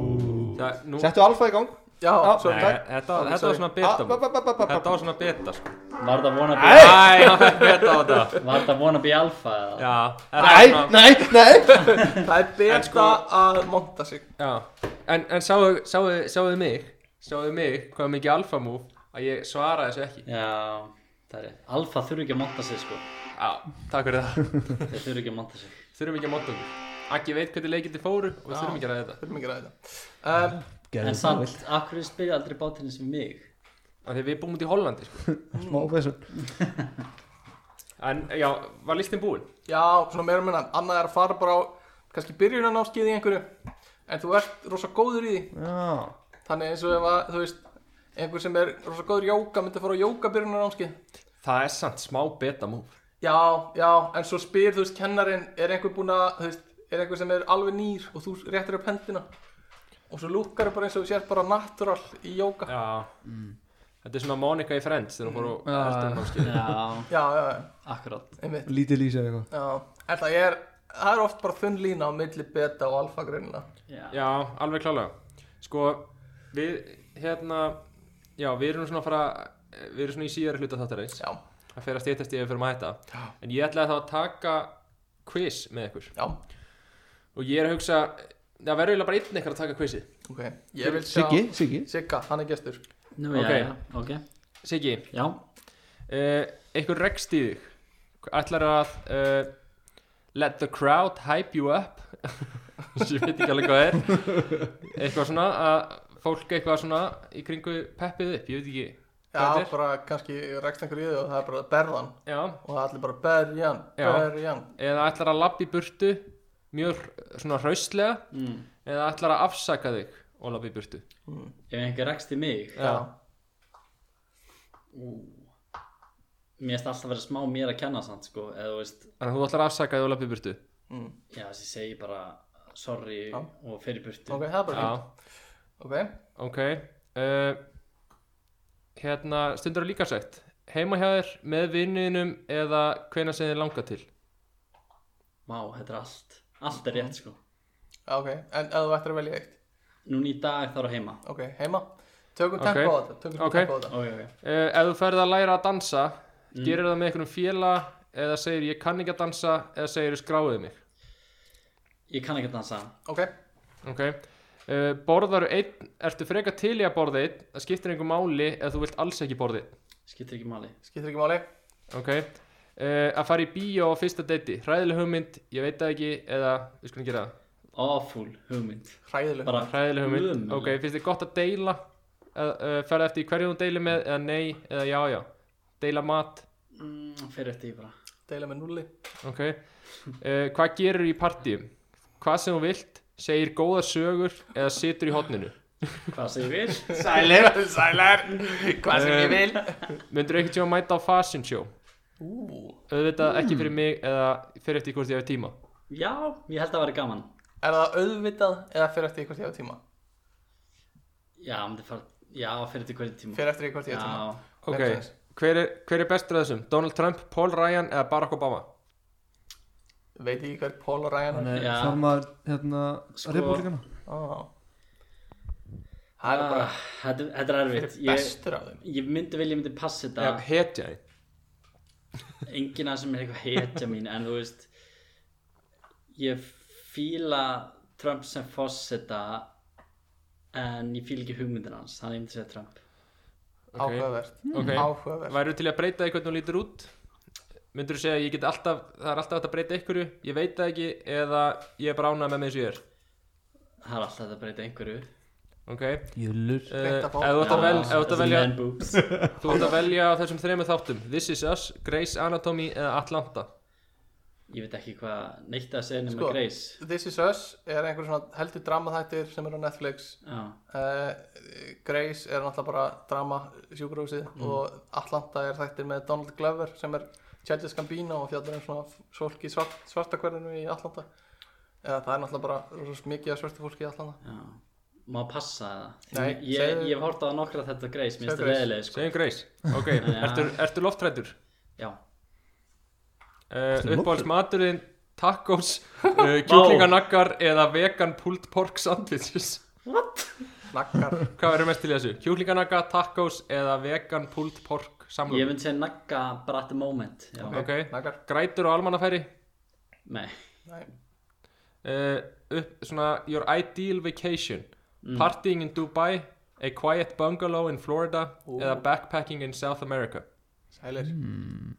D: Það, nú,
A: settu alfa í gang
C: Já,
A: Já.
C: svo
D: Nei,
C: takk
D: þetta,
C: Ó,
D: þetta
C: sorry.
D: var svona
A: Ah,
D: beta
A: ba- ba- ba- ba-
D: Þetta
A: ba-
D: var svona beta sko.
B: Var það wannabe
D: Æ, hann fekk beta á þetta
B: Var það wannabe alfa eða?
D: Já, þetta var
A: nei,
D: svona
A: nei, nei
C: Það er
D: En
C: beta
D: sko-
C: að monta sig
D: Já, en, en sáuðu sáu, sáu mig Sáuðu mig hvað mikið alfa múf að ég svaraði þessu ekki
B: Já, það er rétt Alfa þurfi ekki að monta sig sko
D: Já, takk fyrir það
B: Þeir þurfi ekki að monta sig
D: Þurfum ekki að móta okkur Aggi veit hvernig leikindi fóru og við
C: Já.
D: þurfum ekki að ræða þetta
C: Þurfum ekki að ræða þetta um,
B: En samt, akkur spyrja aldrei bátinni sem mig
D: Af því við búum út í Hollandi sko.
A: smá fesur
D: En já, var listin búin?
C: Já, svona meira minna, annað er að fara bara á kannski byrjunan á skýði einhverju en þú ert rosa góður í því
A: já,
C: þannig eins og ef að, þú veist einhver sem er rosa góður í jóka myndi fara á jóka byrjunan
D: Það er samt smá beta múf
C: Já, já, en svo spyr, þú veist, kennarinn, er einhver búinn að, þú veist, er einhver sem er alveg nýr og þú réttir upp hendina og svo lúkkar bara eins og þú sér bara natural í jóka. Já,
D: Já Þetta er svona Monica í Friends þegar hún fór á
A: Mm. Já.
D: eldurnámskeið
B: Já,
C: já, já,
B: akkurat
C: einmitt,
A: lítið lýsir eitthvað
C: já, en það er, það er oft bara þunn lína á milli beta og alfa greinina.
B: Já,
D: Já, alveg klálega Sko, við, hérna Já, við erum svona að fara Við erum svona í síðari hluta þáttarins
C: Já,
D: Það fer að stýttast í ef við fyrir að hætta En ég ætlaði þá að taka quiz með ykkur
C: já,
D: Og ég er að hugsa Það verður eiginlega bara einn eitthvað að taka quizið
C: ok, ég vil sjá...
A: Siggi, Siggi
C: Sigga, hann er gestur.
B: Nú,
D: Ok.
B: já, já, ok
D: Siggi,
B: Já,
D: uh, einhver rekst í þig ætlar að uh, let the crowd hype you up ég veit ekki alveg hvað er eitthvað svona að fólk eitthvað svona í kringu peppið upp, ég veit ekki
C: Já,
D: hvað þetta
C: bara kannski rekst einhver í þau og það er bara berðan
D: er já,
C: og það er allir bara berjan,
D: Já.
C: berjan.
D: eða ætlar að labba í burtu mjög hr- svona hrauslega
B: mm.
D: eða ætlar að afsaka þig og labba í burtu
B: ef einhver rekst í mig
C: Já,
B: Ú. Mér erst alltaf að vera smá mér að kenna samt sko Eða þú veist,
D: þannig að þú ætlar að afsaka þig og labba í burtu
C: mm.
B: já þessi segi bara Sorry
C: Já.
B: og fer í burtu
C: ok, það er bara
D: já,
C: fínt. Ok.
D: ok uh, hérna, stundur að líka sagt heima hjá þér, með vinninum eða hvena sem þið langar til
B: Vá, þetta er allt Allt
C: Mhm.
B: er rétt sko
C: Já, ok, en ef þú ættir að velja eitt
B: Núna í dag þarf að heima
C: Ok, heima Tökum
D: Ok.
C: tempo á þetta Tökum
D: Ok.
C: tempo á þetta
B: Ok, ok
D: Uh, ef þú ferð að læra að dansa
B: Mm.
D: gerir það með einhvern félag eða segir ég kann ekki að dansa eða segir skráðið mig
B: Ég kann ekki að dansa
C: Ok,
D: ok uh, borðar einn, ertu frekar til í að borða einn það skiptir einhver máli eða þú vilt alls ekki borða einn
B: Skiptir ekki máli
C: skiptir ekki máli
D: ok uh, að fara í bíó á fyrsta deiti hræðileg hugmynd, ég veit það ekki eða við skulum gera það,
B: Awful hugmynd
C: Hræðileg
B: Bara
D: hræðileg hugmynd
B: Ömurleg.
D: ok, finnst þið gott að deila uh, uh, ferða eftir í hverju þú deilir með eða nei eða já já, deila mat
B: mm, Fyrir eftir ég bara
C: Deila með nulli
D: Ok, uh, hvað gerur í partíum? Hvað sem þú vilt, segir góða sögur eða situr í hotninu
B: Hvað segir við?
C: Sælir, sælir Hvað sem ég vil
D: Myndur ekki tíma að mæta á fashion show?
C: Ú,
D: Auðvitað ekki fyrir mig eða fyrir eftir hvort ég hef tíma
B: Já, ég held að það væri gaman
C: Er það auðvitað eða fyrir eftir eitthvað tíða tíma?
B: Já, myndi fara Já, fyrir eftir hverju tíma
C: Fyrir eftir eitthvað tíða tíma
B: Já,
D: Ok,
C: Make sense.
D: hver er, hver er bestur af þessum? Donald Trump, Paul Ryan eða Barack Obama?
C: Veit ekki hver Paul og Ryan
A: hann
C: er
A: er
B: Já.
A: formar hérna
B: Sko-
A: republikana
C: Á. Það er bara
B: Ah, Þetta þetta er
C: fyrir
B: erfitt ég,
C: bestur af þeim
B: ég myndi vilja, ég myndi passa
D: Eða
B: þetta
D: hetja þín?
B: Enginn að sem er eitthvað hetja mín En þú veist Ég fíla Trump sem fósita En ég fíla ekki hugmyndin hans Þannig ég myndi segja Trump
D: Ok,
C: Áhugavert
D: ok
C: Áhugavert
D: Væru til í að breyta því hvernig hún lítur út? Myndur þú segja að ég get alltaf, það er alltaf hægt að breyta einhverju, ég veit það ekki eða ég er bara ánað með mig eins og ég er
B: Það er alltaf hægt að breyta einhverju
D: ok
A: Júlur
D: Eh,
C: Beint
D: ef
C: að fá-
D: þú ert að vel- ef þú ert að velja
B: Man boobs
D: þú ert að velja af þessum þremur þáttum This is Us, Grey's Anatomy eða Atlanta
B: Ég veit ekki hvað neitt að segja nema
C: Sko.
B: Grace
C: This is Us er einhver svona heldur dramaþættir sem eru á Netflix
B: Já,
C: uh, Grace er náttúrulega bara drama sjúkurhúsið
D: Mm.
C: og Atlanta er þættir með Donald Glover sem er Childish Gambino og fjallar um svona f- fólk í svart, svartakverðinu í Atlanta eða það er náttúrulega bara rosa mikið af svartu fólki í Atlanta
B: já Má passa það
C: Nei,
B: Ég, ég,
C: segðu-
B: ég hef hortað á nokkra þetta Grace, mér finnst
C: Segðu
B: það
C: Grace.
B: leðileg sko
D: segjum Grey's, ok, ertu, ertu loftrættur
B: Já,
D: uh, uppáhalds maturinn tacos, uh, kjúklinganaggar eða vegan pulled pork sandwiches
C: Naggar
D: hvað verður mest til í þessu? kjúklinganagga, tacos eða vegan pulled pork
B: ég
D: samlum
B: myndi segja nagga bara at the moment Já,
D: Ok.
C: Naggar
D: grætur á almannafæri
B: nei
C: Nei
D: uh, upp, svona, your ideal vacation partying in Dubai a quiet bungalow in Florida eða backpacking in South America
C: Sælir
D: Mm.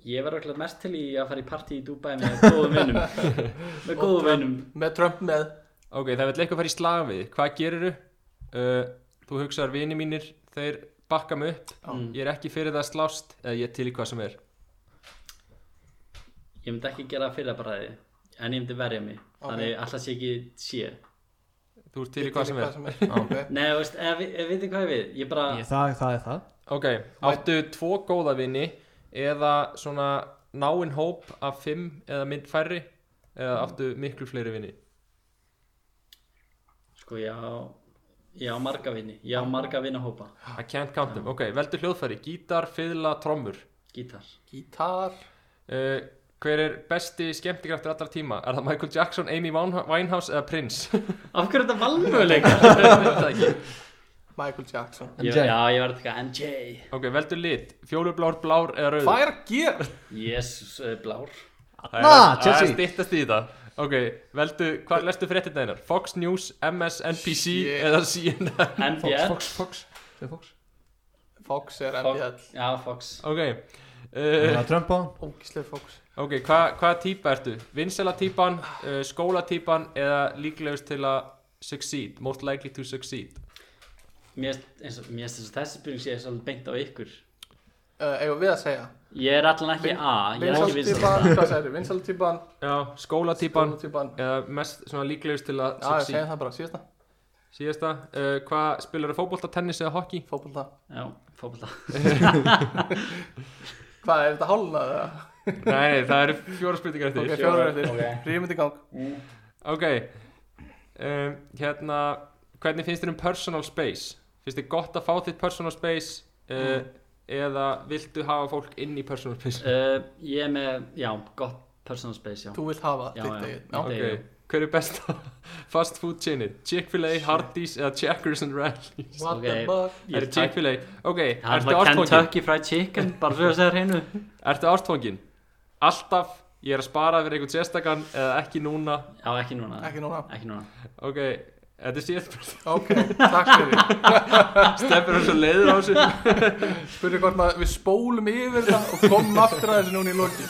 B: Ég verður okkur mest til í að fara í partí í Dubai með góðum vinnum Með góðum vinnum
C: Með Trump með
D: ok, það vil eitthvað fara í slag við þig. hvað gerir þú? Uh, þú hugsaðar vini mínir þeir bakka mig upp
B: Mm.
D: ég er ekki fyrir það að slást eða ég er til í hvað sem er
B: Ég myndi ekki gera fyrir að bara En ég myndi verja mig Þannig alltaf sé ekki sé
D: þú ert til í hvað sem er
C: Ok.
B: Nei, þú veist, ef, ef við þið hvað ég við Ég bara,
A: það, það er það
D: ok, áttu tvo góða vini eða svona náinn hóp af fimm eða mynd færri eða áttu miklu fleiri vini
B: sko, ég á Ég á marga vini, ég á marga vinahópa
D: I can't count them, ok, veldu hljóðfæri gítar, fiðla, trommur
B: Gítar
C: Gítar
D: uh, hver er besti skemmtikraftur allra tíma, er það Michael Jackson, Amy Wineha- Winehouse eða Prince
B: Af hverju er þetta valmöguleika?
C: Michael Jackson
B: Ég-
A: MJ.
B: Já, ég var eitthvað MJ
D: ok, veldu lit, fjólublár, blár eða rauður
C: Hvað er að gera?
B: Jesus, uh, blár
D: Það er-
A: Na,
D: Það er
A: Chelsea.
D: stýttast í það Ok, veldu, hvað lestu fréttir dænar? Fox News, MSNBC
C: Shit.
D: eða CNN
B: MBL
A: Fox, Fox, Fox, Fox.
C: Fox er
B: Fox.
C: MBL
B: Já, Fox
D: Ok
A: Það
D: uh,
A: er Trump á hann
C: Ógislega Fox
D: Ok, hva, hvaða típa ertu? Vinsela típan, uh, skóla típan eða líklegust til að succeed, most likely to succeed
B: Mér finnst eins og mér finnst eins og þessi spurning sé svolítið beint á ykkur
C: uh, Eigum við að segja
B: Ég er allan ekki
C: Vin-
B: A, ég er ekki um vinsæll
C: Vinsaltýpan Hvað segir? Vinsaltýpan
D: Já, skóla típan
C: Vinsaltýpan
D: eða mest svona líklegust til að
C: Já, segjum
D: succeed
C: það bara Síðasta
D: Síðasta, uh, hvað spilar þú fótbolta, tennis eða hockey?
C: Fótbolta
B: Já, fótbolta
C: Hvað er þetta hálnað? eða?
D: Nei, nei, það eru fjóra spurningar eftir
C: Ok, fjórar eftir Rýmund í gang
D: Ok um, Hérna Hvernig finnst þér um personal space? Finnst þér gott að fá þitt personal space uh,
C: Mm.
D: Eða viltu hafa fólk inn í personal space?
B: uh, Ég er með, já, gott personal space, já
C: Þú vilt hafa
B: Já,
C: þitt
B: já.
C: eigið
B: Já.
C: Já,
D: Ok,
B: Nei,
D: hver er besta fast food chainið? Chick-fil-A, Hardee's eða Checkers and Rallies?
C: What the
B: Ok.
C: fuck
B: Ég
D: Er
B: takk-
D: Chick-fil-A? Ok,
B: Það er
D: ertu
B: alltaf
D: ástfóngin?
B: Kentucky Fried Chicken, bara svo að segja hreinu
D: Ertu ástfóngin? Alltaf, ég er að spara fyrir einhvern sérstakann eða ekki núna
B: Já, ekki núna
C: Ekki núna
B: Ekki núna
D: Ok, þetta er síðast
C: Ok, takk fyrir
D: Stefnir er svo leiður á þessu
C: Spurðu hvort maður Við spólum yfir þetta Og komum aftur að þessu núna í loki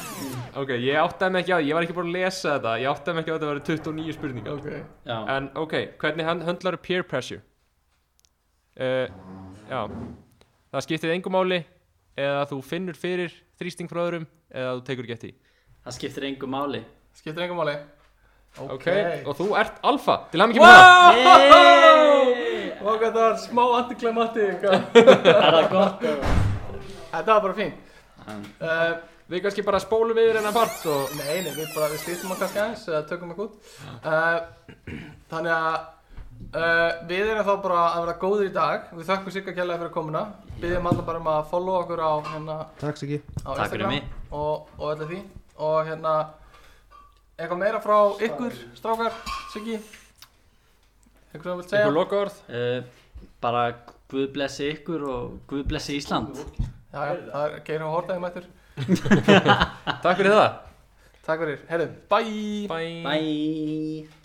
D: Ok, ég áttaði mig ekki á því, ég var ekki búin að lesa þetta Ég áttaði mig ekki á þetta að vera 29 spurningar
C: Ok
B: Já,
D: En ok, hvernig hann höndlar peer pressure? Uh, já Það skiptir engu máli eða þú finnur fyrir þrýsting frá öðrum eða þú tekur ekki eftir því.
B: það skiptir engu máli
C: Skiptir engum máli
D: Ok,
C: Ok
D: og þú ert alfa Til hann ekki með það
C: Og hvað það var smá antiklimati
B: Er það gott?
C: Þetta var bara fín uh,
D: Við kannski bara spólum yfir hennar part og
C: hérna Nei, nei, við bara, við stýttum hann kannski aðeins eða tökum eitthvað út uh, Þannig að uh, við erum þá bara að vera góðir í dag Við þökkum Sigga kjærlega fyrir komuna Byggjum alltaf bara um að followa okkur á, hérna,
A: Takk Siggi
C: á
B: Takk fyrir
C: Instagram
B: mig.
C: og, og öllu því Og hérna, eitthvað meira frá ykkur, strákar, Siggi Eitthvað sem þú vilt
D: einhver
C: segja?
D: lokaorð
B: Uh, Bara Guð blessi ykkur og Guð blessi Ísland
C: Já, já, það er Geir og Hortæði mættur
D: Takk fyrir það
C: Takk fyrir, herðu, bye
D: Bye,
B: Bye